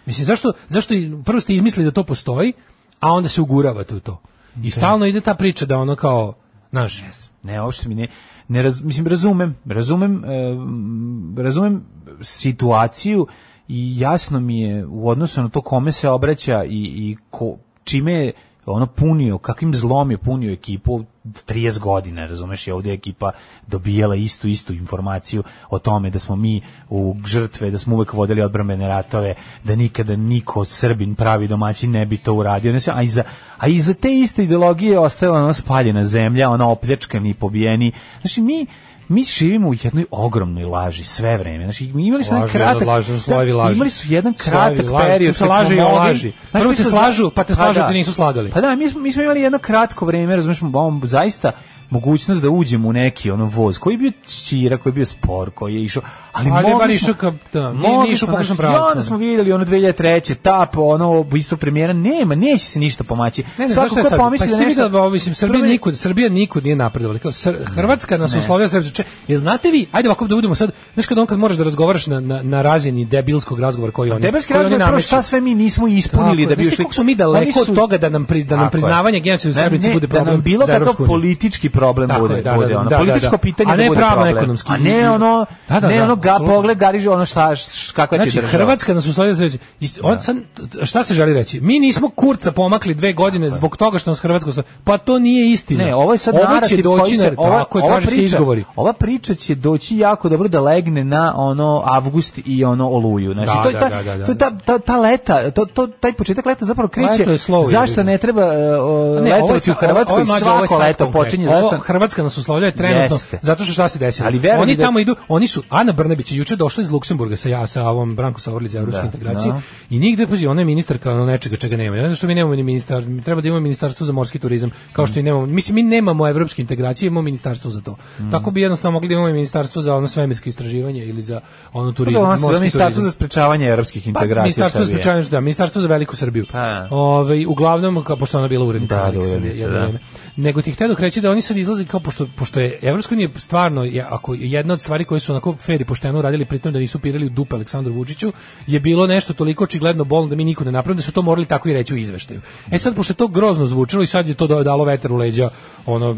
Mislim zašto zašto i- prvo ste izmislili da to postoji, a onda se uguravate u to. I stalno ide ta priča da ono kao znaš,
Ne, uopšte mi ne, ne raz- mislim, razumem, razumem, e, m, razumem situaciju i jasno mi je u odnosu na to kome se obraća i, i ko, čime je ono punio, kakvim zlom je punio ekipu 30 godina, razumeš, je ovdje ekipa dobijala istu, istu informaciju o tome da smo mi u žrtve, da smo uvek vodili odbrambene ratove, da nikada niko Srbin pravi domaćin ne bi to uradio, ne znam, a iza, a iza te iste ideologije je ostajala ona spaljena zemlja, ona opljačkani i pobijeni. Znači, mi mi živimo u jednoj ogromnoj laži sve vreme. Znači, mi imali smo jedan
Laž, jedna
kratak...
laž,
da,
slojevi laži.
Imali su jedan
Slojevi
kratak
laži, tu
period.
se
kad
laže
smo
i o
mogli-
laži.
Znaš,
Prvo
mi
te
smo-
slažu, pa te slažu
da.
te nisu slagali.
Pa da, mi smo, mi smo imali jedno kratko vreme, razumiješ, bom, zaista mogućnost da uđemo u neki ono voz koji je bio ćira, koji je bio spor, koji je išao, ali,
Ali je bar
mogli smo,
išao ka- da, nije-
mogli
nije išao
smo,
u pogrešnom
znaš, I onda
pravcu.
smo vidjeli ono 2003. tap, ono isto premijera, nema, neće se ništa pomaći.
Ne, ne,
Svako
znaš šta je
ko
sad?
pomisli
pa
da
jeste
nešto...
vidjeli da, mislim, Srbija,
Prvo je-
nikud, Srbija nikud nije napredovala. Kao, Sr- Hrvatska nas
Ne.
uslovlja Srbija. Če, je, znate vi, ajde ovako da budemo sad, znaš kad on kad moraš da razgovaraš na, na, na razini debilskog razgovora koji oni,
Teberski
koji oni
razgovor je prvo
nameću.
šta sve mi nismo ispunili
Tako je.
da bi
Znaš ti
ušli. Pa
koliko smo mi
Oni
daleko
su-
od toga da nam, pri, da nam
Tako je.
priznavanje genocida u
Da
Srbiji
ne-
bude problem
Da nam bilo
za
kakav
Evropsku uniju.
politički problem
Tako je,
bude,
da, da,
bude
da,
ono,
da, da,
političko
da.
pitanje
A ne
da bude problem.
pravno-ekonomski.
A ne ono,
Da, da,
ne
da,
ono ga
apsolutno.
pogled gariže ono šta, š- kakva ti je
Znači,
država.
Hrvatska nas uslovlja za reći, is- on, sad, šta se želi reći? Mi nismo kurca pomakli dve godine zbog toga što nas Hrvatska uslovlja. Pa to nije istina.
Ne, ovo je sad
ovo će
narativ
doći
koji se,
na,
ova,
tako je,
ova
traže se
priča,
izgovori.
Ova priča će doći jako dobro da legne na ono avgust i ono oluju. Znači,
Da,
to je
da,
ta,
da, da, da.
to je ta, ta, ta leta, to, to, taj početak leta zapravo kriće
Leto je slow, je
zašto
vidim.
ne treba uh,
Ne, ovo je
letovati
sa-
u Hrvatskoj,
ovo je mlađe, ovo je
svako
sad
leto
konkretno.
počinje,
Ovo
zašto
Hrvatska nas uslovlja trenutno
Jeste.
zato što šta se desilo.
Ali verujem
oni
da-
tamo idu, oni su Ana Brnabić je juče došla iz Luksemburga sa ja sa ovom Branko Savorlić za evropske
Da,
integracije
da.
i nigde pazi ona je ministarka ono nečega čega nema. Ne znam što mi nemamo ni ministar, treba da imamo ministarstvo za morski turizam kao što i nemamo. Mislim mi nemamo evropske integracije, imamo ministarstvo za to. Tako bi jednostavno mogli da imamo i ministarstvo za ono svemirsko istraživanje ili za ono turizam,
Dobro, ono se zove
morski
ministarstvo
turizam.
za sprečavanje evropskih
Pa,
integracija
Ministarstvo za
Srbije.
sprečavanje- da, ministarstvo za veliku Srbiju.
Pa.
Ovaj uglavnom kao pošto ona bila urednica
Da, da,
Velike Srbije,
urednica,
jedno
da.
vreme. Nego ti hteo reći da oni sad izlaze kao pošto pošto je Evropska unija stvarno je, ako je jedna od stvari koje su onako fer i pošteno radili pritom da nisu pirali u dupe Aleksandru Vučiću je bilo nešto toliko očigledno bolno da mi niko ne napravimo da su to morali tako i reći u izveštaju. E sad pošto je to grozno zvučalo i sad je to da- dalo vetar u leđa ono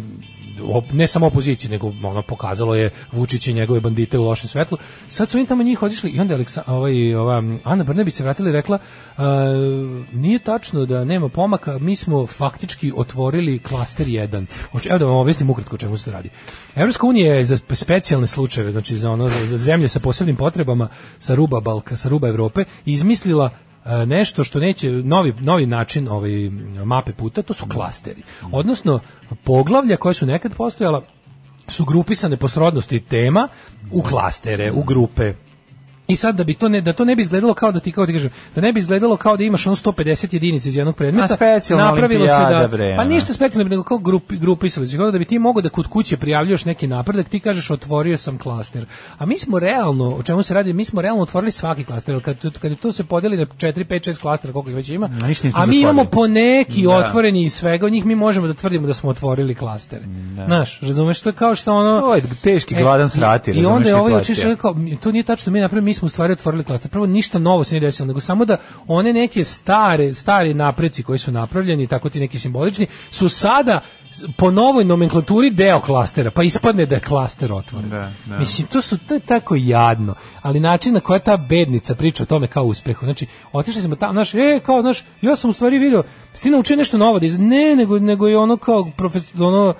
op- ne samo opoziciji, nego ono pokazalo je Vučić i njegove bandite u lošem svetlu. Sad su oni tamo njih otišli i onda je Aleksa, ovaj, ova, Ana Brnabić se vratila i rekla "E, nije tačno da nema pomaka, mi smo faktički otvorili klaster 1. Hoće- Evo da vam objasnim ukratko o čemu se to radi. Evropska unija je za spe- specijalne slučajeve, znači za, ono, za, za zemlje sa posebnim potrebama sa ruba Balka, sa ruba Evrope, izmislila e, nešto što neće novi novi način ovaj mape puta to su klasteri odnosno poglavlja koja su nekad postojala su grupisane po srodnosti tema u klastere, u grupe. I sad da bi to ne da to ne bi izgledalo kao da ti kao ti kažem, da ne bi izgledalo kao da imaš ono 150 jedinica iz jednog predmeta.
A specijalna
napravilo se
olimpijada,
da
bre,
pa
ono.
ništa specijalno nego kao grupi grupisali su. znači, Kao da bi ti mogao da kod kuće prijavljuješ neki napredak, ti kažeš otvorio sam klaster. A mi smo realno, o čemu se radi, mi smo realno otvorili svaki klaster, jer kad kad to se podeli na 4 5 6 klastera koliko ih već ima.
A ništa nismo
A mi imamo po
zatvorili.
neki
Da.
otvoreni iz svega, od njih mi možemo da tvrdimo da smo otvorili klastere. Znaš, razumeš to je kao što ono E,
To je teški gladan srati,
i onda
razumeš
je ovaj
situacija.
očišao i rekao, "Mi- to nije tačno, mi napravili, mi smo u stvari otvorili klaster. Prvo, ništa novo se nije desilo, nego samo da one neke stare, stari napreci koji su napravljeni, tako ti neki simbolični, su sada s- po novoj nomenklaturi deo klastera, pa ispadne da je klaster otvoren.
da.
Mislim, to su to je tako jadno, ali način na koji ta bednica priča o tome kao uspehu. Znači, otišli smo tamo, znaš, e, kao, znaš, ja sam u stvari video, si ti naučio nešto novo, da iz... ne, nego, nego je ono kao profesor, ono,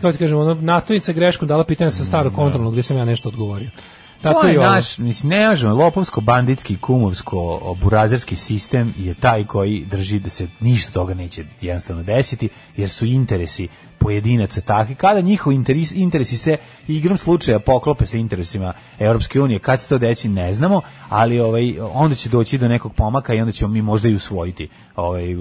kako ti kažem, ono, nastavnica greškom dala pitanje sa starog kontrolnog gdje sam ja nešto odgovorio. Tako
to je
i ovo.
naš, mislim, ne možemo, lopovsko-banditski, kumovsko-burazerski sistem je taj koji drži da se ništa toga neće jednostavno desiti, jer su interesi pojedinaca takvi, kada njihovi interes, interesi se igrom slučaja poklope sa interesima Europske unije, kad se to deći ne znamo, ali ovaj, onda će doći do nekog pomaka i onda ćemo mi možda i usvojiti ovaj,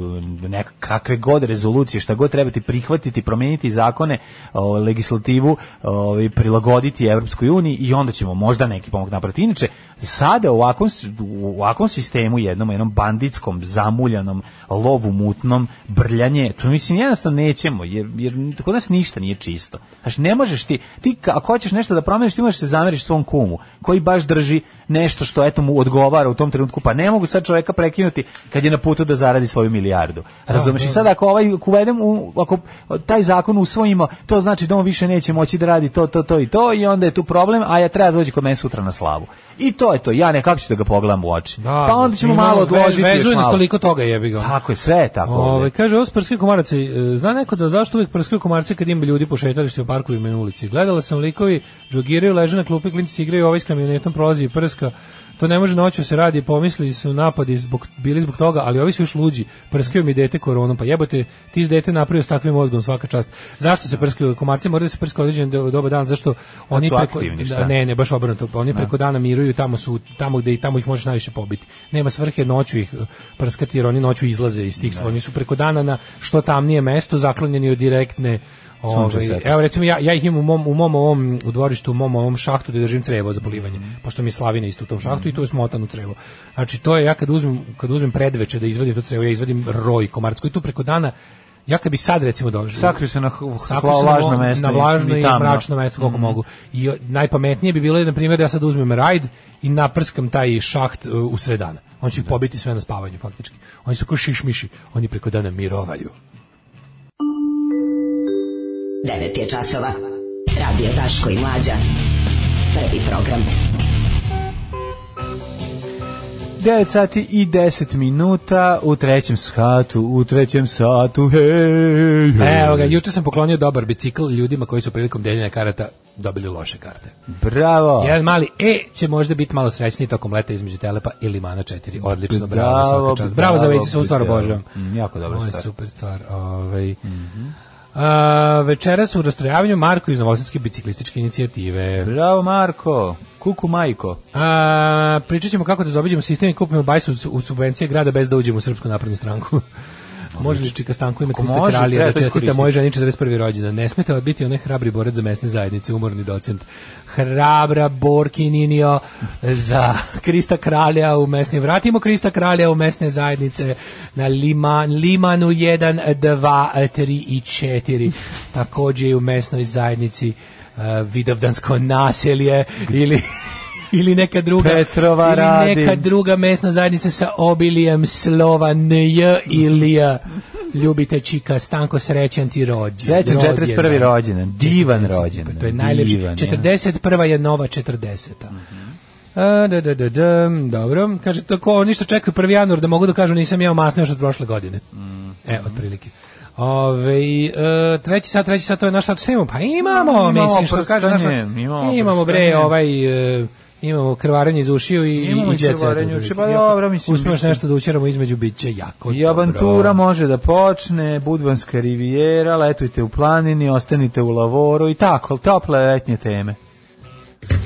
neka, kakve god rezolucije, šta god trebati prihvatiti, promijeniti zakone, ovaj, legislativu, ovaj, prilagoditi Europskoj uniji i onda ćemo možda neki pomak napraviti. Inače, sada u ovakvom, s- u ovakvom sistemu jednom, jednom banditskom, zamuljanom, lovu mutnom, brljanje, to mislim jednostavno nećemo, jer, jer kod nas ništa nije čisto. Znači, ne možeš ti, ti ka- ako hoćeš nešto da promeniš, ti možeš se zameriš svom kumu, koji baš drži nešto što eto mu odgovara u tom trenutku, pa ne mogu sad čoveka prekinuti kad je na putu da zaradi svoju milijardu. Razumeš? I sad ako ovaj ako uvedem u, ako taj zakon usvojimo, to znači da on više neće moći da radi to, to, to i to i onda je tu problem, a ja treba da dođe kod mene sutra na slavu. I to je to. Ja nekako ću da ga pogledam u oči.
Da,
pa onda ćemo
ima-
malo odložiti
ve-
još
Vezuje nas
malo. Pa
toliko toga jebi ga.
Tako je, sve je tako.
Ove,
ovde.
Ovaj, kaže, ovo su prskaju komaraci. E, Zna neko da zašto uvijek prskaju komarci kad ima ljudi po šetalištu u parkovima i na ulici? Gledala sam likovi, džogiraju, leže na klupi, klinci se igraju, ovaj s kamionetom prolazi i prska. To ne može noću se radi, pomisli su napadi zbog, bili zbog toga, ali ovi su još luđi. Prskaju mi dete koronom, pa jebote, ti s dete napravio s takvim mozgom svaka čast. Zašto se prskaju komarci? Moraju da se prskaju određen do- doba dan, zašto oni
su
preko,
aktivni,
da,
šta?
ne, ne, baš obrnuto, oni preko dana miruju, tamo su tamo gde i tamo ih možeš najviše pobiti. Nema svrhe noću ih eh, prskati jer oni noću izlaze iz tih, oni su preko dana na što tamnije mesto zaklonjeni od direktne
Sunčeve
Ovaj,
svetlosti.
evo recimo ja, ja ih imam u mom, u mom ovom u dvorištu, u mom ovom šahtu da držim crevo za polivanje, pošto mi je slavina isto u tom šahtu i to je smotano crevo. Znači to je ja kad uzmem, kad uzmem predveče da izvadim to crevo, ja izvadim roj komarc koji tu preko dana Ja kad bi sad recimo došao,
Sakriju se na h-
Sakrio sam
vlažno
ovo
mesto
na
i-
vlažno
i
i,
tamno. Mhm.
mračno mesto koliko mogu. I o, najpametnije bi bilo, na primjer, da ja sad uzmem rajd i naprskam taj šaht e, u sred dana. On će ih pobiti sve na spavanju, faktički. Oni su kao šišmiši, oni preko dana mirovaju.
9 je časova. Radio Daško i Mlađa. Prvi program.
9 sati i 10 minuta u trećem satu, u trećem satu, hej, hej.
Evo ga, E, juče sam poklonio dobar bicikl ljudima koji su prilikom deljenja karata dobili loše karte.
Bravo.
Jedan mali E će možda biti malo srećniji tokom leta između Telepa i Limana 4. Odlično, bravo, svaka čast. Bravo za vezi, se stvar
bravo.
obožavam.
Mm, jako dobra
Ovo je
stvar.
super stvar. Ovaj.
Mhm.
A, večeras u rastrojavanju Marko iz Novosadske biciklističke inicijative.
Bravo Marko, kuku majko.
A, pričat ćemo kako da zobiđemo sistem i kupimo bajs u, u subvencije grada bez da uđemo u Srpsku naprednu stranku. Može li Čika Stanko ime
Ako
Krista
može,
Kralija
treba
da
to
čestita
iskoristiti.
moje ženi 41. rođendan? Ne smete odbiti onaj hrabri borac za mesne zajednice, umorni docent. Hrabra Borkininio za Krista Kralja u mesnim. Vratimo Krista Kralja u mesne zajednice na Liman, Limanu 1, 2, 3 i 4. Također i u mesnoj zajednici uh, Vidovdansko naselje ili ili neka druga
Petrova
ili neka
Radin.
druga mesna zajednica sa obilijem slova NJ ili J. Ljubite Čika, Stanko, srećan ti rođen.
Srećan 41. rođendan, divan rođendan.
rođen. To je najlepši.
divan, ja. Mhm.
41. je nova 40. A, da, da, da, da, dobro. Kaže, tako, ništa čekaju 1. januar da mogu da kažu nisam jeo masno još od prošle godine.
Mhm.
E, otprilike. Ove, e, treći sat, treći sat, to je naš sat, sve imamo, pa imamo,
Imamo
mislim, što kaže naš,
prskanje, imamo
imamo bre,
prskanje.
ovaj, e, Imamo krvarenje iz ušiju i,
Imamo
i,
i krvarenje
djece.
ušiju, pa dobro, mislim,
Uspemo još
mislim.
nešto da učeramo između biće jako
I avantura može da počne, Budvanska rivijera, letujte u planini, ostanite u lavoru i tako, tople letnje teme.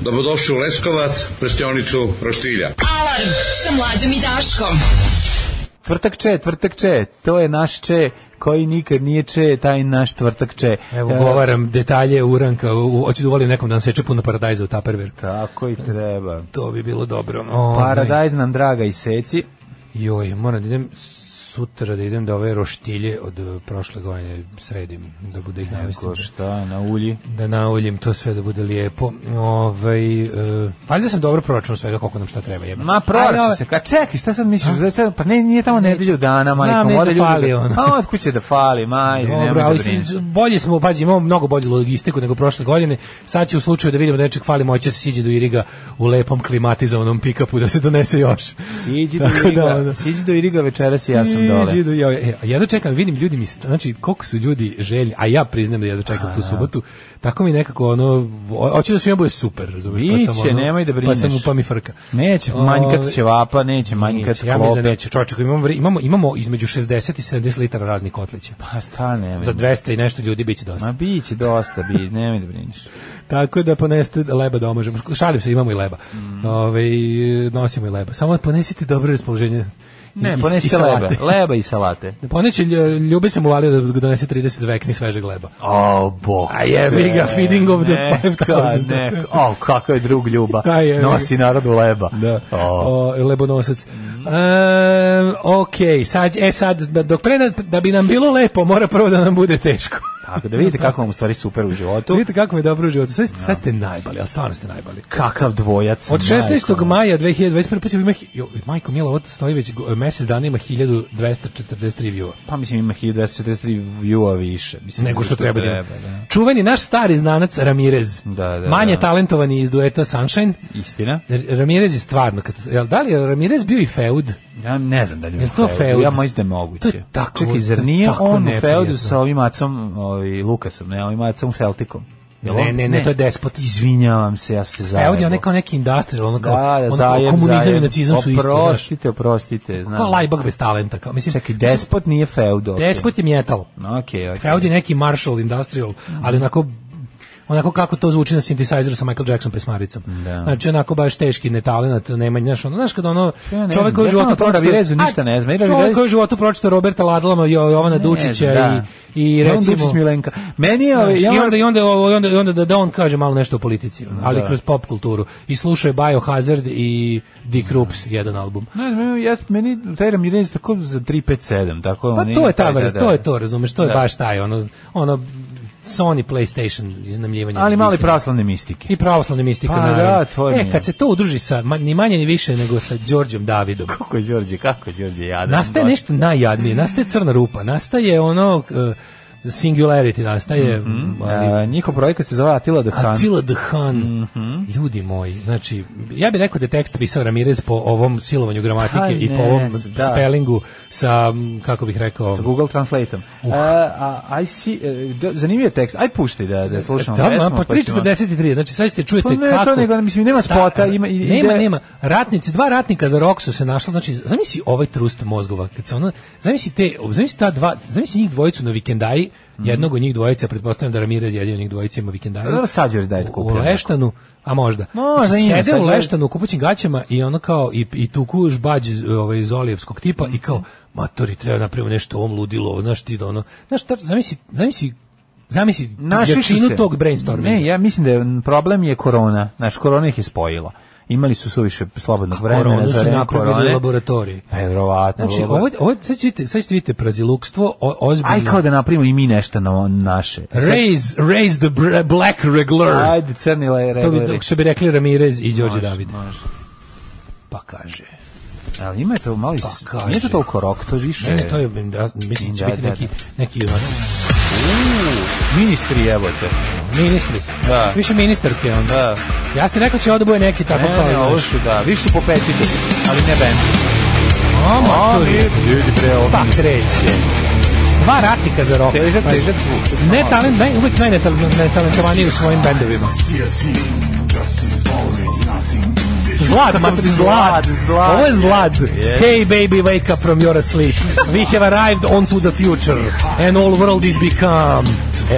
Dobrodošli u Leskovac, prštionicu Roštilja.
Alarm sa mlađom i Daškom.
Tvrtak če, tvrtak če, to je naš če koji nikad nije če, taj naš tvrtak če.
Evo,
E,
govaram detalje uranka, u- hoću da volim nekom da nam seče puno paradajza u taperver.
Tako i treba.
To bi bilo dobro. ono,
Ovaj.
pa
Paradajz nam draga i seci.
Joj, moram da idem sutra da idem da ove roštilje od e, prošle godine sredim, da bude ih namestim.
Eko šta, na ulji.
Da nauljim to sve da bude lijepo. Ovaj e, valjda sam dobro proračunao svega koliko nam šta treba ovaj- jebe.
Ma prorači se, ka čekaj, šta sad misliš? Da sad- pa ne, nije tamo nedelju dana, majko,
nešto
mora ljudi.
fali,
da-
ono.
A od kuće da fali, majko, nemoj
Dobro,
da
ali
brineš.
s- bolje smo, pazi, imamo mnogo bolju logistiku nego prošle godine. Sad će u slučaju da vidimo da nečeg fali, moće se siđe do Iriga u lepom klimatizovanom pikapu da se donese još.
Siđi do
Tako da,
Iriga,
ono.
siđi do Iriga večeras i ja sam dole.
Siđi do- joj, e, a jedno čekam, vidim ljudi mi, st- znači koliko su ljudi željni, a ja priznam da jedno čekam tu subotu, tako mi nekako ono, o- hoću da svima bude super, razumeš, pa sam
Biće,
ono,
nemoj da
pa
brineš.
sam mu pa mi frka.
Neće
Ove,
manjkat ćevapa, Ovaj- neće manjkat
Neće, ja mislim da neće, čovječe, koji imamo, vre- imamo, imamo između 60 i 70 litara raznih kotlića.
Pa šta ne.
Za 200 i nešto ljudi biće dosta.
Ma biće dosta, bi, nemoj da brineš.
Tako da poneste leba da omažemo. Šalim se, imamo i leba.
Mm.
Ove, nosimo i leba. Samo ponesite dobro raspoloženje. I-
Ne,
i- i
ponesite
salate.
leba, leba i salate.
Poneće, lj- Ljube sam uvalio da ga donese 30 vekni svežeg leba.
O, bok.
A jebi ga, feeding of the
Neka,
5000.
neka. O, kakav je drug ljuba.
A jebi ga.
Nosi narodu leba. Da. O.
O, lebonosac. Ehm, ok, sad, e sad, dok pre, da- da bi nam bilo lepo, mora prvo da nam bude teško.
Tako da vidite kako vam u stvari super u životu.
Vidite kako mi je dobro u životu. Sad, sad ste najbali, ali stvarno ste najbali.
Kakav dvojac.
Od 16.
majko.
maja 2021. Pazi, ima, hi- jo, majko Mila, ovo stoji već go- mesec dana ima 1243 view
Pa mislim ima 1243 view više. Mislim,
nego što treba da ima.
da.
Čuveni naš stari znanac Ramirez.
Da, da,
Manje
da.
talentovani iz dueta Sunshine.
Istina.
R- Ramirez je stvarno... katas- Jel, da li je Ramirez bio i feud?
Ja ne znam da li je
Jel
u
to
feudu,
feud?
Ja mislim da je moguće.
To je tako-
Čekaj,
to
zar
je
nije
tako
on u
neprijatno.
feudu sa ovim Acom, ovaj, Lukasom, ne, ovim Acom Celticom? Jel
Ne,
on?
ne, ne, to je despot.
Izvinjavam se, ja se zajebo.
Feud je onaj kao neki industrial, ono kao,
da, Pa
ono kao
da, zajem,
komunizam
zajem.
i nacizam su isto. znaš.
Oprostite, oprostite. Znam.
Kao lajbak bez talenta. Kao, mislim,
Čekaj, despot nije feud. Okay.
Despot je metal.
Okej, okej.
Feud je neki Marshall Industrial, ali onako onako kako to zvuči na synthesizeru sa Michael Jackson pesmaricom.
Da.
Znači onako baš teški netalenat, nema znaš, ono, znaš kad ono
Ja ne
čovjek
znam,
koji u
ja
životu
stvarno o Ravirezu
A,
ništa ne znam. I
Čovjek
Ravirez-
koji u životu pročitao Roberta Ladlama, Jo- Jovana Dučića
znam, da.
i i
Jovan
recimo
Dučić Milenka. Meni je... ovaj,
Znaš,
ja
I
moram-
onda, i onda, i onda, i onda da, da on kaže malo nešto o politici, ono, ali
Da.
kroz pop kulturu. I slušao je Biohazard i Dick Krups, jedan album.
Ne znam, ja, meni taj Ramirez je tako za 357, tako
Pa
on
to
ima
je ta
taj, da,
vrsta,
da.
to je to, razumeš, to je
Da.
baš taj, ono, ono Sony PlayStation iznamljivanje.
Ali mali
vikenda.
praslavne mistike.
I pravoslavne mistike,
Pa da,
naravno.
to mi
E,
je.
kad se to udruži sa, ma- ni manje ni više nego sa Đorđem Davidom,
Kako je Đorđe, kako je Đorđe jadan.
nastaje
baš.
nešto najjadnije, nastaje crna rupa, nastaje ono... eh, singularity nastaje ali-
A, njihov projekat se zove Atila the Hun.
Attila the Hun. Mhm. Ljudi moji, znači, ja bih rekao da je tekst pisao Ramirez po ovom silovanju gramatike
Pa
i po
ne,
ovom
da.
spellingu sa, m, kako bih rekao...
sa Google Translateom. Uh. a, a, I see, e, da- zanimljiv je tekst. Aj pušti da, da slušamo
Da,
pesmu.
ma, pa
ćemo-
343, znači sad ćete čujete
Pa ne,
kako...
to nego, mislim, nema spota, ima- i-
nema,
ide-
nema. Ratnici, dva ratnika za Roksu se našla, znači, zamisli ovaj trust mozgova, kad se ono, zamisli te, zamisli ta dva, zamisli njih dvojicu na vikendaji, jednog od njih dvojica, pretpostavljam da Ramirez jedin od njih dvojica ima vikendaju.
Mhm. Dobro, sad Đorđe David
U-
kupio
U
neko.
Leštanu, a možda.
Možda
Znači,
ima,
sede
sad
u
Đorđe-
Leštanu u kupućim gaćama i ono kao, i, i tuku žbađ iz, ovaj, iz olijevskog tipa i
Mhm.
kao, matori, treba napravimo nešto ovom ludilu, znaš ti da ono, znaš, tačno, zamisli, zamisli, zamisli
Našli su
jačinu
se.
tog brainstorminga.
Ne, ja mislim da je m, problem je korona. Znaš, korona ih je spojila. Imali su suviše slobodnog vremena
Koronu
za
Ono, su
vreme
napravili
korone.
laboratoriji.
Pa, verovatno.
Znači,
labo-
ovo, ovo, sad ćete vidite, sad ćete vidite prazilukstvo, o- ozbiljno.
Aj kao da napravimo i mi nešto na naše. E, sad-
Raise, raise the br- black regular.
Ajde, crni le,
to bi,
regleri.
dok što bi rekli Ramirez i Đorđe
Može,
David.
može.
Pa kaže.
Ali ima je to malo...
Pa,
Pa,
kaže.
nije to toliko rok, to je više...
Ne, ne, to je, da, mislim, će
E. Da,
biti
da,
neki, neki ono,
Ministri, evo te.
ministri. Znači,
Da.
Više ministarke, onda.
Da.
Ja ste rekao će ovdje bude neki tako
Ne,
kao.
ne, ovo su da, više su popecite, ali ne bend.
O, maturi.
Ljudi pre ovo.
Pa kreće. Dva ratnika za rok.
Težak,
Pa-
težak zvuk.
Ne talent, naj, uvek najnetal- najtalentovaniji u svojim bendovima. Zlad, mam zlad. Ovo je zlad. Hey baby, wake up from your sleep. We have arrived onto the future. And all world is become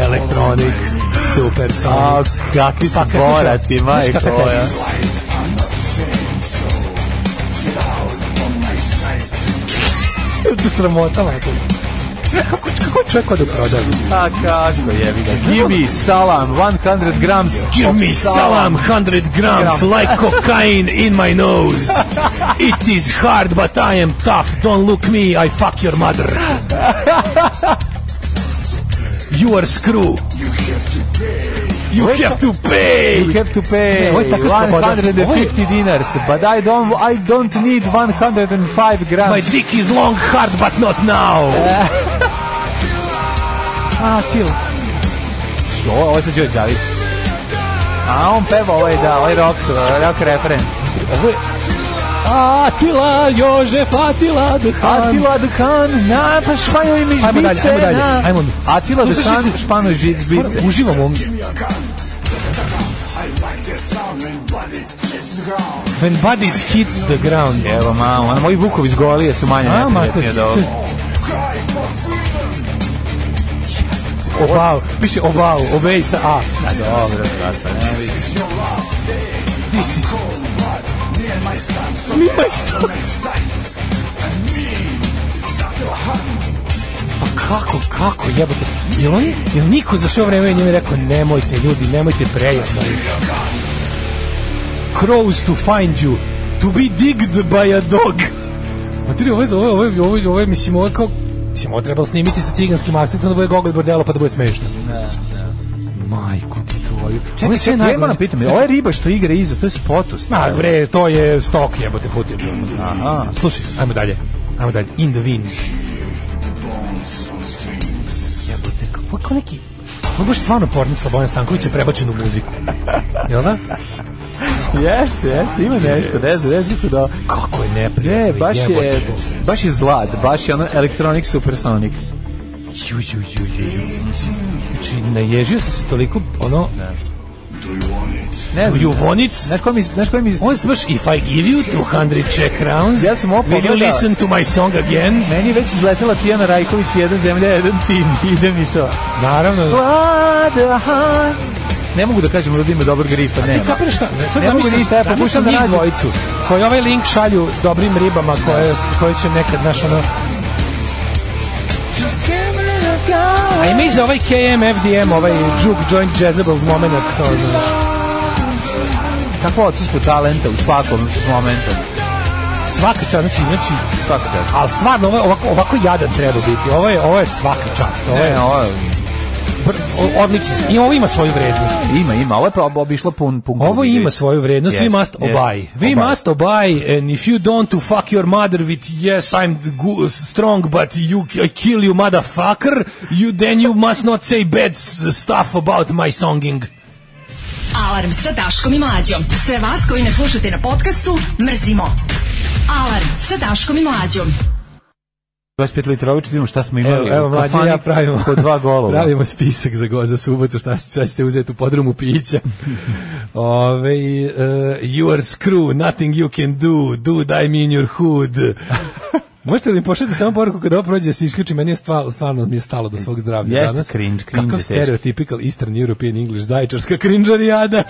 electronic. Super song. Pa, A,
kakvi su borati, majko moja.
Sramota, majko. Kako, kako je čovjek ode u prodaju?
A Pa, kako je, ga. Give
ono-
me salam, 100 grams.
Give
of
me salam, 100 grams, like cocaine in my nose. It is hard, but I am tough. Don't look me, I fuck your mother. You are screw. You have to pay.
You have to pay.
Ne, ovo je taka sloboda. Ovo je-
150 dinars, but I don't, I don't need 105 grams.
My dick is long, hard, but not now.
A, kill. Što, ovo je sad Đorđe David. A on peva ovaj, da, ovaj rock, rock refren. Ovo je...
Atila, Jože, Fatila, Duhan.
Atila Duhan, na, pa španjoj mi žbice,
Ajmo dalje, ajmo dalje.
na.
Ajmo.
Atila
Slušaj,
Duhan,
slušaj,
španjoj žbice.
Uživam u ovom. When bodies hits the ground.
Evo, mamo, a moji vukovi iz Golije su manje
A,
neprijatnije
mater,
od ovog.
Obao, piše obao, obej sa A.
A, dobro, sad, pa ne vidim.
Ti si. Mi majstor. Pa kako, kako, jebote. Jel on, jel niko za sve vreme njemu rekao, nemojte ljudi, nemojte prejedno. Crows to find you, to be digged by a dog. Materi, ovo je, ovo je, ovo je, ovo je, ovo je, mislim, ovo je kao, mislim, ovo je trebalo snimiti sa ciganskim akcentom da bude gogol bordelo pa da bude smešno. Majko ti tvoju. Ovo
Čekaj,
je sve
čekaj,
najgore.
ja
Znači,
moram pitam, ovo je riba što igra iza, to je spotus.
Ma bre, to je stok jebote futim.
Aha.
Slušaj, ajmo dalje. Ajmo dalje. In the wind. Jebote, kako kao neki... Ovo je baš stvarno pornic Slobodan Stanković je prebačen u muziku. Jel da?
Jeste, jeste, ima nešto, ne znam, ne znam kako da...
Kako je neprijatno.
Ne, baš je,
jebote.
baš je zlad, baš je ono Electronic Supersonic.
Ju, ju, ju, ju, ju. Znači, naježio sam se toliko, ono...
Ne znam.
You want it?
Znaš koji mi, znaš koji mi...
On se baš, if I give you 200 check rounds,
Ja sam opao,
will you
da.
listen to my song again?
Meni je već izletela Tijana Rajković, jedan zemlja, jedan tim, ide mi to.
Naravno.
Ne mogu da kažem da ima dobar grip, pa
Ti
nema.
kapiraš šta? Ne, sad
Ne mogu
zamislim-
ništa, ja
zamislim
pokušam da
njih
nađem-
dvojicu koji ovaj link šalju dobrim ribama koje, koje će nekad, znaš, ono... A ima i za ovaj KMFDM, ovaj Juke Joint Jezebels moment, to znaš.
Kako odsustvo talenta u svakom momentu.
Svaka čast, znači, znači,
Svaka čast.
ali stvarno ovo je ovako, ovako jadan treba biti. Ovo je, ovo je svaka čast, ovo je
Ne, ovo je-
br- o- odlično. I ovo ima svoju vrednost.
Ima, ima, ovo je prob- obišlo pun, pun
Ovo
krug.
ima svoju vrednost, we
Jeste,
must
jeste.
obey. We
Obaj.
must obey and if you don't to fuck your mother with yes I'm go- strong but you I kill you motherfucker, you then you must not say bad s- stuff about my songing.
Alarm sa Daškom i Mlađom. Sve vas koji ne slušate na podcastu, mrzimo. Alarm sa Daškom i Mlađom.
25 litrova, vidimo šta smo imali.
Evo, evo
u
mlađe
kafani
ja pravimo.
Po dva golova.
Pravimo spisak za go za subotu, šta se- šta ćete uzeti u podrumu pića. Ove, uh, you are screw, nothing you can do, do die me in your hood. Možete li mi pošaljati samo poruku kada ovo prođe da se isključi, meni je stvarno, stvarno mi je stalo do svog zdravlja
Jeste
danas.
cringe, cringe
Kakav
je teški.
stereotypical Eastern European English zajčarska krinđarijada.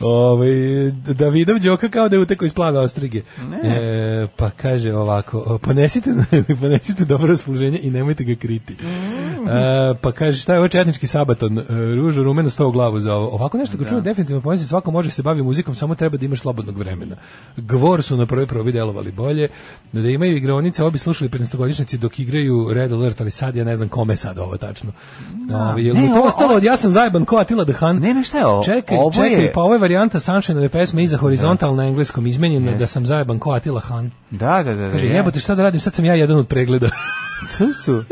Ove, Ovaj, Davidov Đoka kao da je utekao iz plave ostrige. E, pa kaže ovako, o, ponesite, ponesite dobro raspoloženje i nemojte ga kriti.
Mm.
E, pa kaže, šta je ovo četnički sabaton? E, Ružu rumeno sto u glavu za ovo. Ovako nešto ko čuva definitivno ponesi, svako može se bavi muzikom, samo treba da imaš slobodnog vremena. Gvor su na prvoj probi delovali bolje, da imaju igraonice, obi slušali 15-godišnjaci dok igraju Red Alert, ali sad ja ne znam kome je sad ovo tačno. Ove, jel
Ne,
mu to
ovo-
ostalo od ja sam zajeban ko Atila Dehan?
Ne, ne, šta je ovo?
Čekaj,
Ovo
čekaj,
je-
pa ovo je varijanta Sunshineove pesme iza horizontal na engleskom izmenjena da sam zajeban ko Atila Han.
Da, da, da.
Kaže,
da,
jebote, šta da radim, sad sam ja jedan od pregleda.
To su,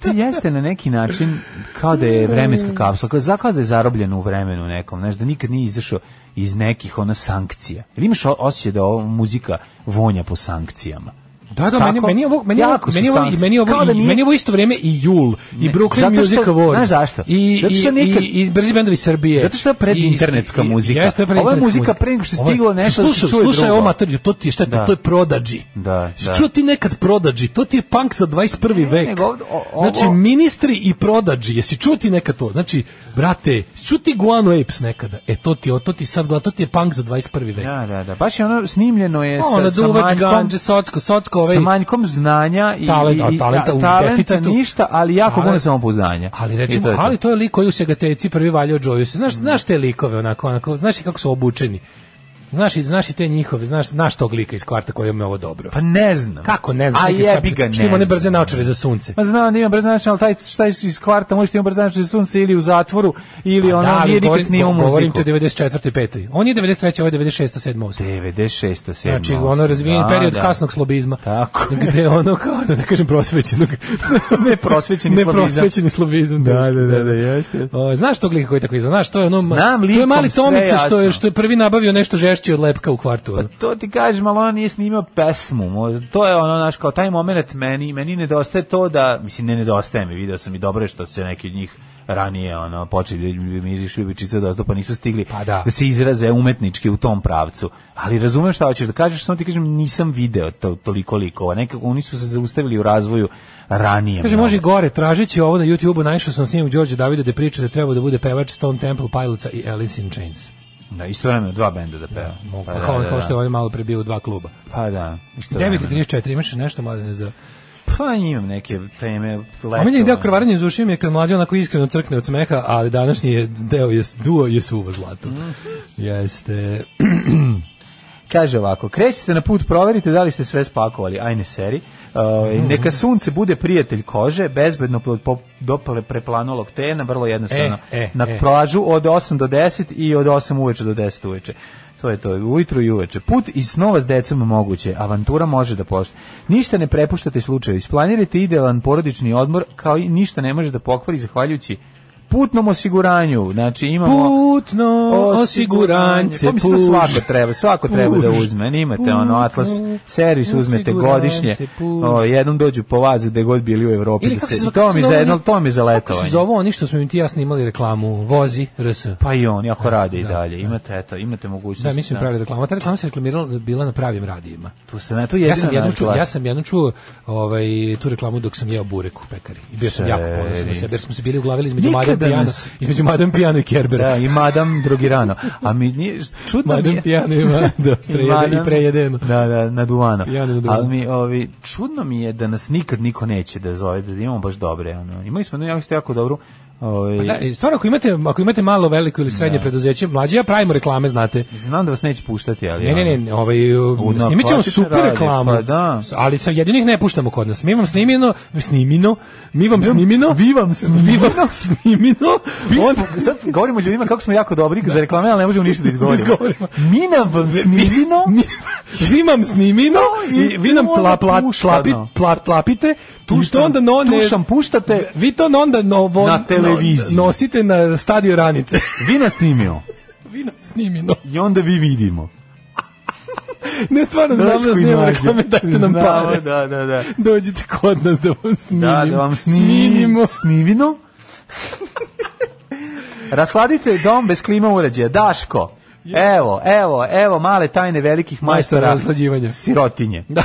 to jeste na neki način kao da je vremenska kapsula, kao, za- kao da je zarobljena u vremenu nekom, znaš, da nikad nije izašao iz nekih ono sankcija. Ili imaš o- osjećaj da ova muzika vonja po sankcijama?
Da, da, meni,
Kako?
meni ovo, meni ovo,
Jako su
meni ovo,
samci.
meni ovo,
Kao da
i-
nije-
meni ovo isto vrijeme i Jul, i Brooklyn
zato što-
Music Awards.
znaš zašto?
I,
Zato što
i,
nikad-
i, i brzi bendovi Srbije.
Zato što je predinternetska
I- i-
muzika.
Jeste, je
Ovo je
predinternetska
muzika pre nego što je
Ovo je-
stiglo nešto da se
slušaj,
čuje
Slušaj,
drugo.
ovo materiju, to ti je šta, je to?
Da.
to je prodađi.
Da,
Si
da.
čuo ti nekad prodađi, to ti je punk za 21. vek.
nego ovdje- o- ovo-
Znači, ministri i prodađi, jesi čuo ti nekad to? Znači, brate, jesi čuo ti Guano Apes nekada? E, to ti, je- to ti sad, gleda, to ti je punk za 21. vek.
Da, da, da. Baš je ono snimljeno je
Ono,
sa, sa
duvač,
manjkom,
ganđe, socko, socko, ovaj-
sa manjkom znanja i,
Talent- a
i, i
talenta u
talenta
deficitu.
ništa, ali jako
Talent-
puno samopouzdanja.
Ali
I
recimo,
to Mm. je to.
ali to je lik koji u Segateci prvi valjao Joyce. Znaš, znaš te likove onako, onako, znaš i kako su obučeni. Znaš, i- znaš i te njihove, znaš, znaš tog lika iz kvarta koji je ovo dobro.
Pa ne znam.
Kako ne znaš?
A
lik iz
jebi
kvarta?
ga, ne
Što ima one
znam. Pa,
brze naočare za sunce.
Ma znam da ima brznačan, ali taj šta je iz kvarta, možete ima brznačan sunce ili u zatvoru, ili ono,
Pa ali
nije nikad
govorim-
snimao muziku.
Govorim ti o 94. 5. On je 93. ovo je 96. 7. 8.
96. 7.
Znači, ono razvijen
Da,
period
da.
kasnog slobizma.
Tako.
Gde ono, kao da ne kažem prosvećenog.
ne prosvećeni slobizam.
Neprosvećeni slobizam.
Da,
teško,
da, da, da, jeste.
O, znaš tog lika koji tako izgleda? Znaš, to je ono... ma-
Znam
to je
likom,
mali
sve
Tomica što je,
jasno.
što je prvi nabavio nešto žešće od lepka u kvartu. ono.
Pa To ti kažem, ali on nije snimao pesmu. možda. To je ono, znaš, kao taj moment meni, meni nedostaje to da, mislim, ne nedostaje mi, video sam i dobro je što se neki od njih ranije ono počeli da mirišu ljubičice dosta pa nisu stigli
da.
da se izraze umetnički u tom pravcu ali razumem šta hoćeš da kažeš samo ti kažem nisam video to, toliko likova nekako oni su se zaustavili u razvoju ranije
Kaže, može i gore, tražeći ovo na YouTube-u, naišao sam snimak Đorđe Davida da priča da treba da bude pevač Stone Temple Pilotsa i Alice in Chains.
da, istovremeno dva benda da peva
Mogu,
Pa
pa,
da,
kao,
da,
kao
da.
što je ovaj malo prebio u dva kluba.
pa da istovremeno.
9.34, imaš nešto mladene za...
pa imam neke teme leto,
Omiljeni deo krvarenja iz ušima je kad mlađe onako iskreno crkne od smeha, ali današnji je deo je duo je suvo zlato.
Mhm.
Jeste.
Kaže ovako, krećete na put, proverite da li ste sve spakovali, aj ne seri. Ovaj,
Mm.
neka sunce bude prijatelj kože, bezbedno pod- po- dopale preplanulog tena, vrlo jednostavno.
E, e,
na
e.
plažu od 8 do 10 i od 8 uveče do 10 uveče. To je to, ujutru i uveče. Put i snova s decom moguće, avantura može da pošta. Ništa ne prepuštate slučaju, isplanirajte idealan porodični odmor, kao i ništa ne može da pokvari zahvaljujući putnom osiguranju. Znači imamo
Putno osigurance
pa mislim da
puž.
svako treba, svako treba da
Puž.
uzme. Imate ono Atlas servis uzmete
osigurance,
godišnje.
puž.
O, jednom dođu po vas gde god bili u Evropi
Ili
da
kako
se
se zove-
to mi
kako se
za
zove
jedno
oni-
to mi za
Kako se
letovanje.
zove oni što smo im ti i ja snimali reklamu? Vozi RS.
Pa i on jako rade i
da,
dalje. Imate eto, imate mogućnost.
Da, mi smo im pravili reklamu. Ta reklama se reklamirala da je bila na pravim radijima.
Tu se na to
Ja sam
jedino
jednom
naš
čuo,
glas.
ja sam jednom čuo ovaj, tu reklamu dok sam jeo burek u pekari. I bio sam jako ponosan na
Seri.
sebe, jer smo se bili uglavili između
Nikada
Madame Pijano,
nas-
između Madame Pijano i Kerbera.
Da, i madam drugi rano. A mi nije čudno mi
Madam
je.
pijano ima, da, prejede-
Madam-
i prejedeno.
Da, da, na duvano.
Pijano na duvano.
Ali mi, ovi, čudno mi je da nas nikad niko neće da zove, da imamo baš dobre. Ono. Imali smo jednu jako, jako dobru Ovi,
Pa da, i stvarno ako imate ako imate malo veliko ili srednje preduzeće, mlađe ja pravimo reklame, znate.
Znam da vas neće puštati, ali...
Ne, ne,
ono,
ne, ovaj
Budno,
snimit ćemo
klasično
super
radi,
reklamu.
pa da.
Ali sa jedinih ne puštamo kod nas. Mi vam snimino, snimino, mi vam snimino,
Vi vam snimino.
vi vam snimino.
Vi
on-
smo, sad govorimo ljudima kako smo jako dobri za reklame, ali ne možemo ništa da izgovorimo.
Da izgovorimo.
Mi nam vam snimino,
mi- vi vam snimino i vi nam
ono
tla, pla, tlapi,
Puštano.
tla, tlapite i to onda no, ne,
tušam puštate,
vi to onda novo,
Na televiziji.
no- nosite na stadio ranice
vi nas snimio.
vi nam snimino
I onda vi vidimo.
ne stvarno znam da
Daško i
snimamo
Mlađa.
reklame dajte nam
Znamo,
pare
Da, da, da.
dođite kod nas da vam snimimo.
Da, da vam snimimo. Snimino. Raskladite dom bez klima uređaja. Daško, evo, evo, evo male tajne velikih
Majstora
majstora
rashlađivanja.
Sirotinje.
Da.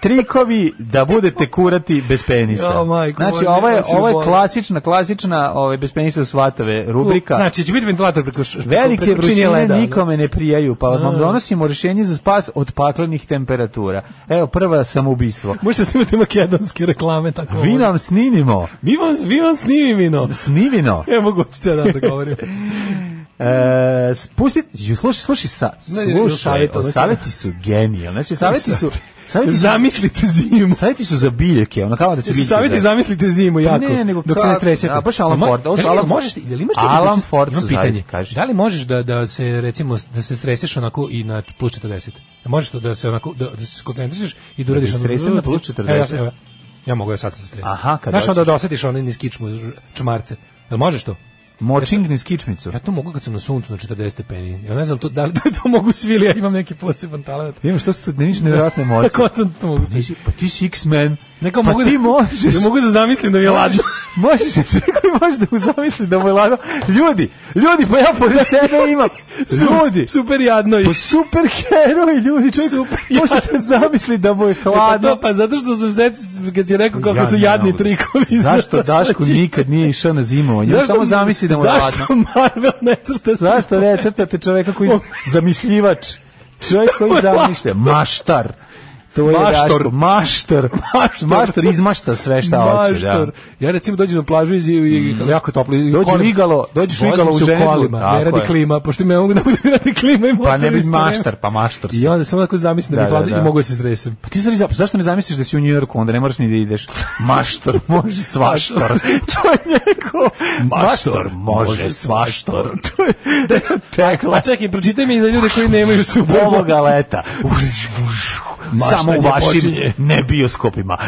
Trikovi da budete kurati bez penisa.
Jo, majko,
znači,
moja,
ovo je,
hoću da
ovo je
bolim.
klasična, klasična ovaj, bez penisa u svatave rubrika.
Znači, će biti ventilator preko š-
Velike
preko činije
vrućine
leda, ono.
nikome ne prijaju, pa vam
A.
donosimo rješenje za spas od paklenih temperatura. Evo, prva samoubistvo.
Možete snimati makedonske reklame, tako.
Vi
ono.
nam snimimo,
Mi vam, vi vam snimimino.
snimino.
Ne mogu ćete ja da govorim.
E, spustite, ju, slušaj, slušaj, sa,
Ne, ne, ne,
slušaj,
savjeta, ne.
savjeti su genijalni. Znači, savjeti su, savjeti su,
Zamislite zimu.
savjeti su za biljke, ono kao da se biljke.
Savjeti
zave.
zamislite zimu jako.
Pa ne, nego
dok se ne
kako-
stresete.
a, baš Alan
Ma,
Ford, ovo su
da li
Alan-
možeš ti- da li imaš ti
Alan
mogućnost-
Ford
imam
su
pitanje.
zavjeti, kaži.
Da li možeš da da se recimo da se stresiš onako i na plus 40? Da možeš to da se onako da, da se skoncentrišeš i da uradiš
se
ono-
stresem na plus 40?
Evo, ja- evo, ja mogu ja sad se stresim.
Aha, kad
Znaš onda
hoćeš.
da osetiš onaj niz kičmu čmarce. Jel možeš to?
Močing niz kičmicu.
Ja to mogu kad sam na suncu na 40 stepeni. Ja ne znam to, da li to, to mogu svi ili ja imam neki poseban talent.
Imam što su tu ništa nevjerojatne moći.
Kako to, to mogu svi?
Nisi, pa ti si X-Men.
Neka
pa
mogu
ti
da-
možeš.
Ja mogu da zamislim da mi je ladno.
Možeš se čekaj, možeš da mu zamisli da mu je ladno. Ljudi, ljudi, pa ja pored sebe imam. Ljudi,
Super jadno je.
pa super heroj, ljudi, čovjek,
Super
možeš da zamisli da mu je
Pa
hladno.
to, pa zato što sam se, kad si rekao kako
Ja
su
ne
jadni
mogu.
trikovi.
Zašto Daško nikad nije išao na zimovanje? On Samo zamisli da mu je
Zašto
ladno.
Marvel ne crta
Zašto ne crtate čoveka koji zamisljivač? Čovjek koji zamišlja. Maštar. To je
Maštor.
Daško. Maštor. Maštor. izmašta sve šta hoće. Da.
Maštor. Ja recimo dođem na plažu i, i mm. jako je toplo. i- i
Dođe
kolim-
u igalo, dođeš u
Vozim
igalo u
se
ženu.
kolima, ne radi klima, pošto me mogu da bude mi radi klima i motor.
Pa ne bi
isto vreme.
maštar, pa maštor. si.
I onda samo tako zamislim da,
Da,
mi
da,
hladno
da.
i mogu da se stresem.
Pa ti stvari zapravo, zašto ne zamisliš da si u Njujorku, onda ne moraš ni da ideš. Maštor može svaštor. to je njegov. Maštor može svaštor. to je tekla.
A Pa čekaj, pročitaj mi za ljude koji nemaju super
ovoga
moć.
leta. Samo
Maštanje
u vašim
počinje.
ne bioskopima.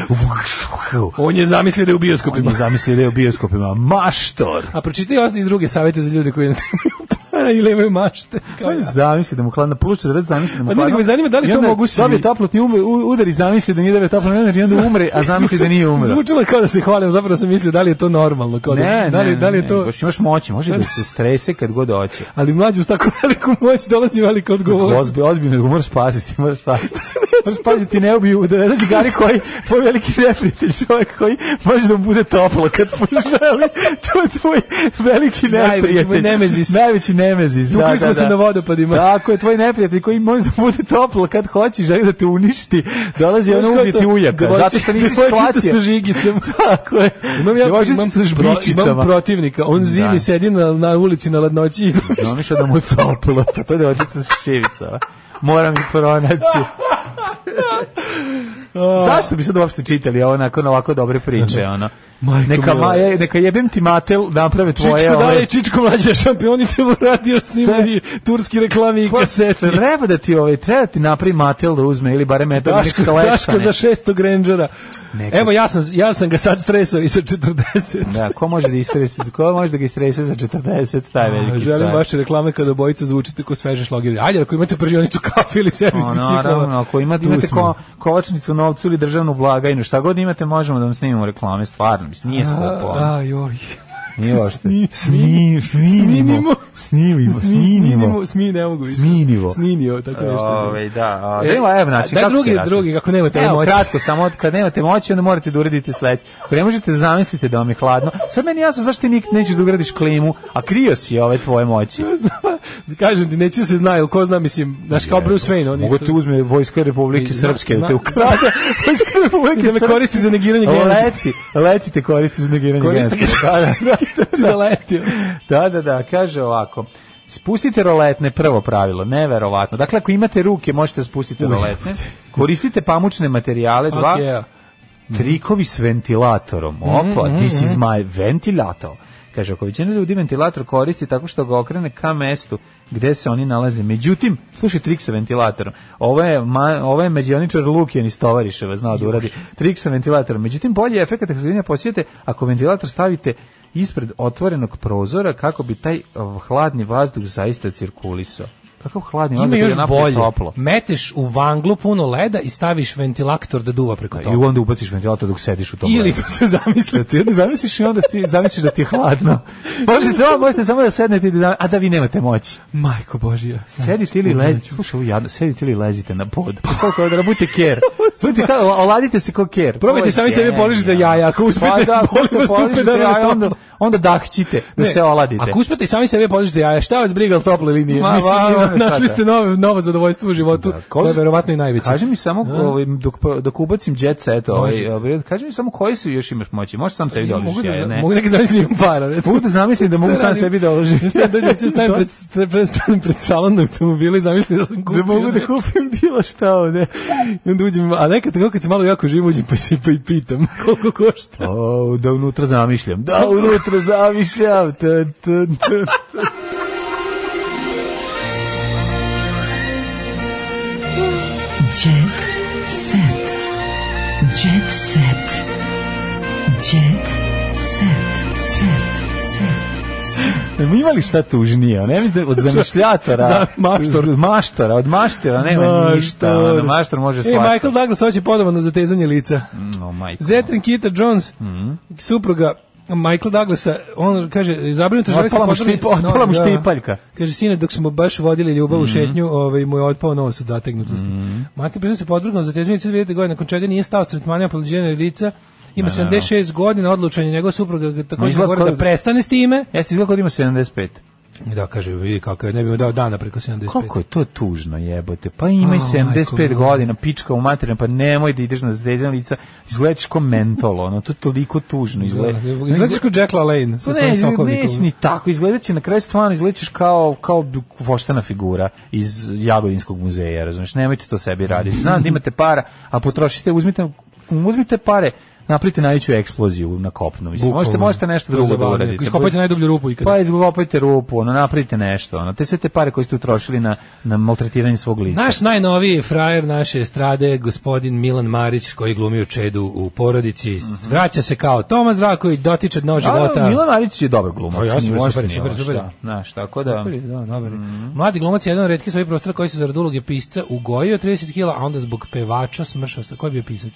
On je zamislio da je u
On
bioskopima.
je zamislio da je u bioskopima. Maštor.
A pročitaj osni i druge savete za ljude koji nemaju para ili imaju mašte. Kao
On je
ja.
Pa zamisli da mu hladno plus 40 zamisli da mu
Pa ne, nego me zanima da li
I
to
onda
mogu svi.
Dobije toplotni umre, u- udar i zamisli da nije dobio toplotni udar i onda umre, a zamisli da nije umre.
Zvučalo je kao da se hvalim, zapravo sam mislio da li je to normalno. Kao da,
Ne,
da li,
ne,
da li je
ne,
to...
baš imaš moći, može da se strese kad god hoće.
Ali mlađu s tako veliku moć dolazi velika odgovornost.
Ozbi, ozbiljno, nego moraš spasiti, moraš spasiti. moraš spasiti, ti ne ubiju, da ne dođe Gari koji, tvoj veliki neprijatelj, čovjek koji može da mu bude toplo kad poželi, to je tvoj veliki
Najveći
neprijatelj.
tvoj nemezis.
Najveći nemezis, da, da, da.
Tukli smo se na vodopadima.
Tako je, tvoj neprijatelj koji može da bude toplo kad hoće, želi da te uništi, dolazi
Znaš
ono
ko je
ubije
to?
ti ujaka,
Devojčica-
zato što nisi
devojčica
shvatio.
sa žigicama.
Tako je.
Imam ja
Devojčica
imam,
sa
pro- imam
žbičicama.
protivnika. On zimi
Da.
sedi na, na ulici na ladnoći i sluša.
No, mišla da mu je toplo, pa to je devojčica sa šivicama. Moram ih pronaći. Zašto bi sad uopšte čitali ovo nakon ovako dobre priče, ono?
Majko
neka,
mila.
ma, je, neka jebem ti matel, naprave tvoje...
Čičko
ove-
dalje, Čičko mlađe šampioni film radio snimani, turski reklami i
Ko-
kaseti.
Treba da ti, ovaj, treba da ti napravi matel da uzme ili barem eto da
Daško,
nek se lešta
Daško za
nešto.
600 Rangera.
Neka-
Evo, ja sam, ja sam ga sad stresao i sa 40.
Da, ko može da istrese, ko može da ga istrese za 40, taj veliki car.
Želim vaše reklame kada obojica zvučite ko sveže šlogeri. Ajde, ako imate pržionicu kafe ili servis
O,
biciklova.
Ono, Naravno, ako imate,
tu
imate
smo.
ko, kovačnicu novcu ili državnu blagajnu, šta god imate, možemo da vam snimimo reklame, stvarno, mislim, nije skupo. ono.
A, a, joj.
Nije ošte.
Sni-
Sni-
Sninimo.
Snimimo. Snimimo. Snimimo.
Smi, ne mogu više.
Sninivo.
Sninio, tako nešto.
pa Ove, Ovaj, da. a,
E,
Evo, evo, znači,
daj
kako
drugi,
se raste?
drugi, kako nemate
Evo,
moći.
kratko, samo od- kad nemate moći, onda morate da uradite sledeće. Ako ne možete da zamislite da vam je hladno, sad meni jasno zašto ti nikad nećeš da ugradiš klimu, a krio si ove tvoje moći.
Kažem ti, neće se zna, jel ko zna, mislim, znaš, kao Bruce Wayne, on
Mogu
isto...
te uzme Vojska Republike
I-
Srpske, da
zna-
te ukrade. Vojska Republike
I da me
Srpske.
koristi za negiranje genocida.
Leti, leti te koristi za negiranje
Koristi
genocida. Da, da, da.
da letio.
Da, da, da, kaže ovako. Spustite roletne, prvo pravilo, neverovatno. Dakle, ako imate ruke, možete da spustite roletne. Koristite pamučne materijale, dva.
Fuck yeah.
Trikovi s ventilatorom.
Mm-hmm,
Opa, this is my ventilator. Kaže, ako većina ljudi ventilator koristi tako što ga okrene ka mestu gde se oni nalaze. Međutim, slušaj trik sa ventilatorom. Ovo je, ma, ovo je međioničar Lukijan iz Tovariševa, znao da uradi. Trik sa ventilatorom. Međutim, bolji je efekt ako se vinja posijete, ako ventilator stavite ispred otvorenog prozora kako bi taj eh, hladni vazduh zaista cirkulisao. Kakav hladni
Ima
vazduh
još
je napravo
bolje.
toplo.
Meteš u vanglu puno leda i staviš ventilator da duva preko
I
toga.
onda ubaciš ventilator dok sediš u tom
Ili
ledu.
to se zamisli.
Da ti onda zamisliš i onda ti zamisliš da ti je hladno. Možete, ovo, možete samo da sednete, i da, a da vi nemate moći.
Majko Božija.
Sedite ili lezite, slušaj, ovo jadno, sedite ili lezite na pod. Pa Koliko je da budete ker. Budite kao, oladite se ko ker.
Probajte
Ovo je
sami sebi
genijalno.
poližite jaja, ako uspete,
pa da,
molim vas, dupe da
poližite
vam je
jaja, onda,
toplo.
onda dahćite, da
Ne,
se oladite.
Ako uspete i sami sebe podižite jaja, šta vas briga jel toplo ili nije?
Ma,
Mislim,
va, va,
našli
šta
ste novo, novo zadovoljstvo u životu,
Da, ko
koje je
su-
verovatno i najveće.
Kaži mi samo,
Da.
ovaj, dok, dok ubacim jet set,
Može.
ovaj, ovaj, kaži mi samo koji su još imaš moći. Možeš sam sebi da
mogu,
oližiš
da,
jaja, ne?
mogu neki zamisli imam para, recimo.
Mogu da zamislim da mogu
Šta radim?
sam sebi da oližim.
Šta dođem ću stavim pred, pred, pred, stavim pred salon automobila i zamislim da sam kupio.
da mogu da kupim bilo šta ovde.
I onda uđem, a nekad tako kad se malo jako živim, uđem pa se pa i pitam koliko košta.
O, Pa, da unutra zamišljam. Da unutra zamišljam. Ta, ta, ta.
Jet set. Jet set. Jet set. Set. Set.
Ima li šta tužnije? Ne mislim da od zamišljatora,
Za- maštor.
od maštora, od maštora nema ništa.
Maštor.
Ono, maštor može
E,
svašta. Mm.
Michael Douglas hoće ponovno za tezanje lica.
No, majko.
Zetrin Kita Jones,
Mm.
supruga Michael Douglasa, on kaže, zabrinuto želi se
Otpala mu
potvrdi-
štipa- otpala mu
da.
štipaljka.
Kaže, sine, dok smo baš vodili ljubav u šetnju, ovaj, mu je otpao nos od zategnutosti. Mm Michael Douglas se podvrgao za tezanje lica 2000. godine, nakon čega nije stao s tretmanima poluđenja lica, ima
Ne, ne, ne.
76 godina, odlučan je njegova supruga ga
Ma,
takođe
izgleda
zagovara
kao-
da prestane s time.
Jeste izgleda kod ima 75.
Da, kaže, vidi kako je, ne bi mu dao dana preko 75.
Kako je to tužno jebote? Pa ima i
A,
75
majko,
godina, pička u materinu, pa nemoj da ideš na zvezdan lica, izgledaš kao mentol, ono, to je toliko tužno izgleda.
Da, izgledaš kao Jack LaLanne sa
Pa
svojim
ne,
sokovnikom.
neće ni tako, izgledat će na kraju stvarno, izgledaš kao, kao voštana figura iz Jagodinskog muzeja, razumiješ, nemojte to sebi raditi. Znam da imate para, a potrošite, uzmite, uzmite pare, napravite najveću eksploziju na kopnu. Mislim,
Bukvalno.
možete, možete nešto
To je
drugo da
zabavno.
uradite.
Iskopajte najdublju rupu ikada.
Pa izkopajte rupu, ono, napravite nešto. Ono. Te sve te pare koje ste utrošili na, na maltretiranje svog lica.
Naš najnoviji frajer naše estrade, gospodin Milan Marić, koji glumi u Čedu u porodici, vraća se kao Toma Zraković, dotiče dno života.
A, Milan Marić je dobar glumac.
Pa ja sam
uopšte
super,
nije
super,
loš,
super.
da. Znaš, tako da...
Dobar je, da, dobar je. Mladi glumac je jedan od retkih svojih prostora koji se zarad uloge pisca ugojio 30 kila, a onda zbog pevača smršao. se. Ko je bio pisac?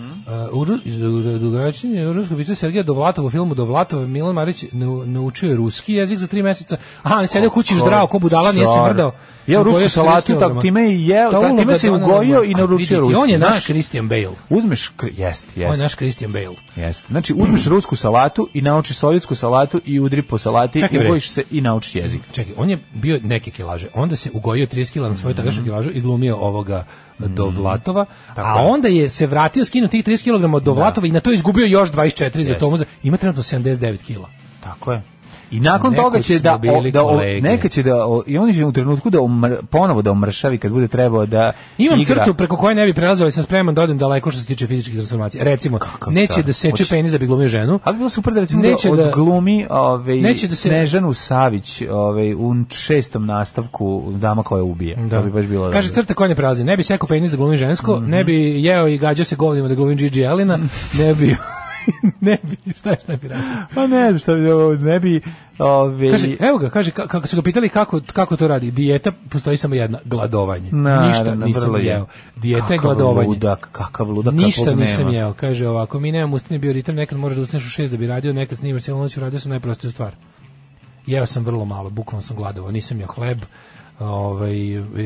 Uh, Uru- iz- u- Dugaračin je ruskog pisca Sergeja Dovlatova u filmu Dovlatova. Milan Marić nau- naučio je ruski jezik za tri meseca. Aha, on sedeo kući ždrao, ko budala, nije se
Car.
mrdao.
Jeo
Ugojio
rusku
40
salatu,
kilograma.
tako time i
Ta
jeo, tako time
uloga
se
Donalda
ugojio
Blake.
i
A,
naručio
vidite,
ruski,
On je naš
znaš.
Christian Bale.
Uzmeš, kr- jest,
On je
jest.
naš Christian Bale.
Jeste. Znači, uzmeš rusku salatu i naučiš sovjetsku salatu i udri po salati,
Čekaj, bre.
ugojiš se i naučiš jezik.
Čekaj, on je bio neke kilaže. Onda se ugojio 30 kila na svoju tadašnju
Mhm.
kilažu i glumio ovoga e, do Vlatova. a onda je se vratio, skinuo tih 30 kg do Vlatova i na to izgubio još 24 za tomu. Ima trenutno 79 kila.
Tako je. I nakon
Neko
toga će
su
da, o,
bili
da o,
kolege.
neka će da o, i on će u trenutku da umr, ponovo da omršavi kad bude trebao da
Imam
igra.
crtu preko koje ne bi prelazio, ali sam spreman da odem daleko što se tiče fizičkih transformacija. Recimo, neće
car.
da seče
Hoće-
penis da bi glumio ženu.
Ali bi bilo super da recimo
Neće
da
da-
odglumi ovaj,
Neće da se-
Snežanu Savić ovaj, u šestom nastavku Dama koja ubije. Da. Mhm. To bi baš bilo
Kaže
dobro.
crta koja ne prelazi. Ne bi sekao penis da glumim žensko, ne bi jeo i gađao se govnima da glumim Gigi Elina, ne bi... ne bi, šta je, šta bi radio?
Pa ne znam šta bi ovo, ne bi ovaj,
Kaže, evo ga, kaže, ka- kako su ga pitali kako, kako to radi, dijeta postoji samo jedna, gladovanje.
Naravno,
Ništa nisam
vrlo je.
jeo. Dijeta je
Kakav
gladovanje.
Ludak, kakav ludak,
Ništa
kakvog
nisam
nema.
jeo, kaže ovako, mi nemam ustani bioritam, nekad moraš da ustaneš u šest da bi radio, nekad snimaš cijelu noć, uradio sam najprostiju stvar. Jeo sam vrlo malo, bukvalno sam gladovao, nisam jeo hleb, ovaj,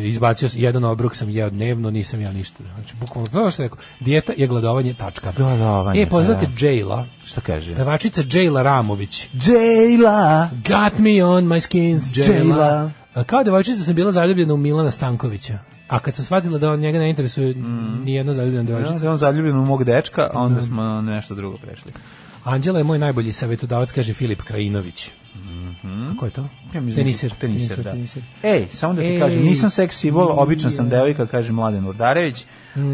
izbacio sam, jedan obrok sam jeo dnevno, nisam jeo ništa. Znači, bukvalno, prvo što je rekao, dijeta je gladovanje, tačka.
Gladovanje,
E, pozvate
da.
Jaila,
Šta kaže?
pevačica Jaila Ramović.
Jayla.
Got me on my skins,
Jayla.
Jayla. A Kao devojčica sam bila zaljubljena u Milana Stankovića. A kad sam shvatila da on njega ne interesuje
Mhm.
ni jedna zaljubljena
Ja
devojčica.
sam zaljubljen u mog dečka, a onda smo na nešto drugo prešli.
Anđela je moj najbolji savjetodavac, kaže Filip Krajinović. A ko je to?
Mhm. Ja mislim-
Teniser.
teniser, da.
teniser.
Ej, samo da ti
Ej.
kažem, nisam seks simbol, obično sam devojka, kaže Mladen Urdarević.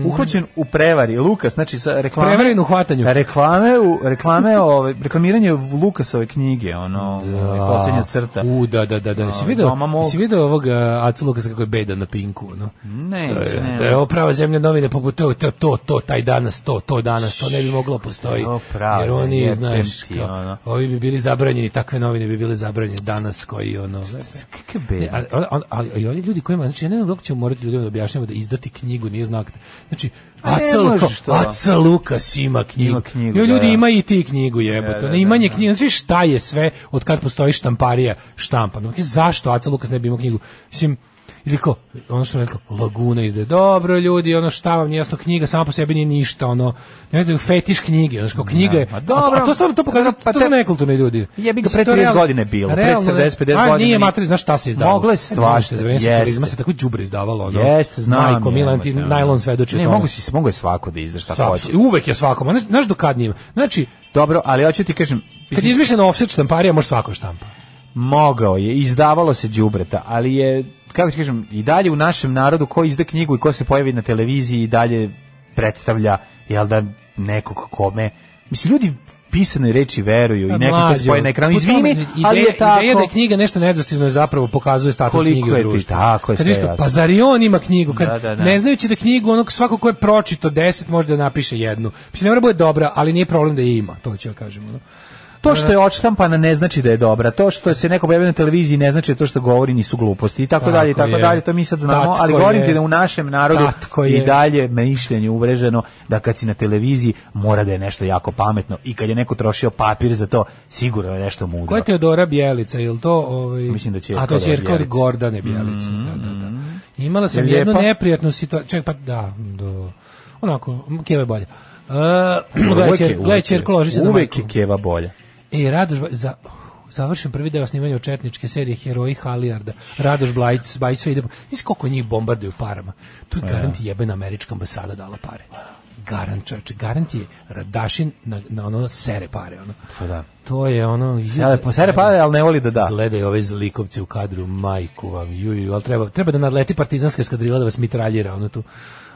Uhvaćen u prevari, Lukas, znači sa reklame.
Prevaren Mhm. u hvatanju.
Reklame, u, reklame, ovaj, reklamiranje Lukasove knjige, ono, ovaj, posljednja crta.
U, da, da, da, da. Si
A,
video,
doma mog. Mhm.
si video ovog a, Acu Lukasa kako je bedan na pinku, ono? no?
Ne,
To je,
ne.
to je ovo prava zemlja novine, poput to, to, to, to, taj danas, to, to danas, to ne bi moglo postoji.
Ovo ono prava
Jer oni,
zemlja,
znaš,
jebem ti,
kao,
ono.
ovi bi bili zabranjeni, takve novine bi bile zabranjene danas koji, ono, znaš.
Kakve
Ne, a,
bedne.
a, a, a, i ovi ljudi kojima, znači, ja ne znam dok ćemo morati ljudima da objašnjamo da izdati knjigu nije znak. Znači,
A Pa ne
Aca, Lu-
možeš to.
Aca Lukas ima knjigu.
Ima knjigu,
Jo, ljudi,
da, da.
ima i ti knjigu jebote.
Da, da,
ono, imanje
da, da.
knjiga, znači šta je sve od kad postoji štamparija štampano. Mislim, Zašto Aca Lukas ne bi imao knjigu? Mislim, ili ko, ono što je rekao, Laguna izde, dobro ljudi, ono šta vam nije jasno, knjiga sama po sebi nije ništa, ono, nemojte fetiš knjige, ono što knjiga je,
Da, ma dobro.
a, to stvarno to pokazuje,
Pa
to
te-
su nekulturni ljudi.
Jebi ga,
Mislim,
pre
to je
30
realno-
godine bilo, pre
realno,
40, 50
A
godina
nije
ni-
materi, znaš šta se izdavalo?
Moglo je
E,
svašta,
za vreme socijalizma se
jeste.
tako đubre izdavalo, ono.
Jeste, znam.
Majko,
je,
Milan ti
nemojte,
najlon
ono.
svedoči o
Ne,
tome.
mogu si, mogu je svako da izda šta
Sa-
hoće.
Uvek je svakom, a znaš- znaš do kad njima. Znači,
Dobro, ali hoću ti kažem,
kad je izmišljena offset štamparija, može svako štampa.
mogao je, izdavalo se đubreta, ali je, kako ti kažem, i dalje u našem narodu ko izda knjigu i ko se pojavi na televiziji i dalje predstavlja, jel da, nekog kome, mislim, ljudi pisane reči veruju i
Pa,
neko to
mlađo,
spoje na ekranu,
po tome,
izvini,
ideja-
ali je tako.
Ideja da je knjiga nešto nedostižno je zapravo pokazuje status
Koliko
knjige u
je ti-
društvu.
tako je
Kad
sve
viš kao,
jasno.
pa zar i on ima knjigu? Kad,
Da, da, da.
Ne znajući da knjigu onog svako ko je pročito deset može da napiše jednu. Mislim, ne mora bude dobra, ali nije problem da je ima, to ću ja kažem. ono.
To što je odštampana ne znači da je dobra. To što se neko pojavi na televiziji ne znači da to što govori nisu gluposti i tako,
Tako
dalje i tako
je.
dalje. To mi sad znamo,
Tatko
ali govorim
je.
ti da u našem narodu
Tatko je.
i dalje me mišljenje uvreženo da kad si na televiziji mora da je nešto jako pametno i kad je neko trošio papir za to, sigurno je nešto mudro.
Ko je Teodora Bjelica, je li to... Ovaj...
Mislim da ćerka
A to je
od
ćerka od
Bjelice.
Gordane Bjelice, da, da, da. Imala sam
Mhm. Je li
jednu
lijepa?
neprijatnu situaciju, čekaj, pa da, do... onako, keva je bolje. Uh,
Uvek
gledaj,
je-
čer,
uvek
gledaj
je-
čerku, loži se na
Uvek
majku.
je keva bolja.
E, Radoš, Ba- za, završen prvi deo snimanja četničke serije Heroji Halijarda. Radoš Blajić, Bajić sve ide. Nisi koliko njih bombarduju parama. Tu je
Ja.
garant jebena američka ambasada dala pare. Garant, čovječe, garant je Radašin na, na ono sere pare. Ono.
Pa da.
To je ono...
Sere- po- sere pare, ali ne voli da da.
Gledaj ove zlikovce u kadru, majku vam, ju, ju, ali treba, treba da nadleti partizanska skadrila da vas mitraljira, ono tu.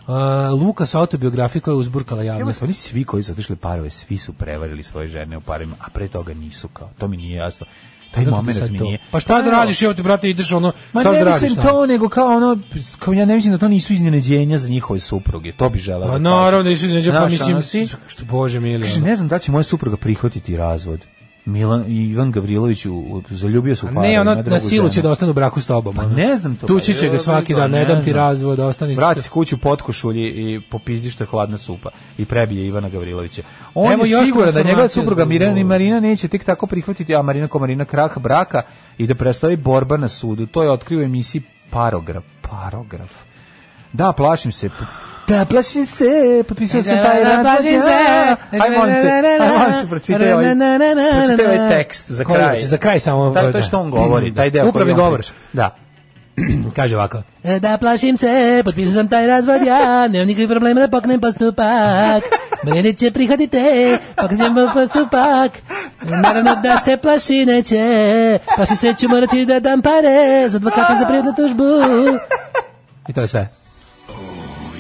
Uh, Luka sa autobiografije koja je uzburkala
Evo,
javnost.
oni svi koji su otišli parove, svi su prevarili svoje žene u parima, a pre toga nisu kao. To mi nije jasno. Taj
Kako ti
moment
sad
mi
to?
nije.
Pa šta da radiš, evo ti brate, ideš ono,
Ma
šta
ne
da radiš?
mislim
šta?
to, nego kao ono, kao ja ne mislim da to nisu iznenađenja za njihove supruge, to bi želeo.
Pa
da
naravno,
kažem.
nisu iznenađenja, pa
Znaš,
mislim,
ono, svi-
što bože mili.
Kaže,
ono.
ne znam da li će moja supruga prihvatiti razvod. Milan Ivan Gavrilović u- u- zaljubio se u
A
parove,
Ne, ono,
ima drugu
na silu će
ženu.
da ostane u braku s tobom.
Pa
ono.
ne znam to.
Tući će
pa,
ga svaki dan, ne dam ti
znam.
razvod, ostani.
Vrati se kući u potkošulji i popizdi što je hladna supa i prebije Ivana Gavrilovića. On
Evo još
je siguran da njegova
transformacija
supruga
za
Mirjana i
drugo.
Marina neće tek tako prihvatiti, a Marina Komarina krah braka i da predstavi borba na sudu. To je otkrio u emisiji Parograf. Parograf. Da, plašim se. Da, plašim se, potpisao sam taj razvod.
Plašim se.
Ajmo, ajmo, pročitaj ovaj, pročitaj ovaj tekst za
Koji
kraj.
hoće? Za kraj samo.
Taj, to je što on govori, taj deo
Upravi
koji on
govor.
priča. Da.
Kaže ovako. E, Da plašim se, potpisao sam taj razvod ja, nemam nikakvih problema da poknem postupak. Mene će prihvatite, poknem postupak. Naravno da se plaši neće, plaši se ću morati da dam pare za advokata za privatnu tužbu. I to je sve.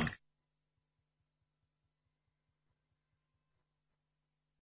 10.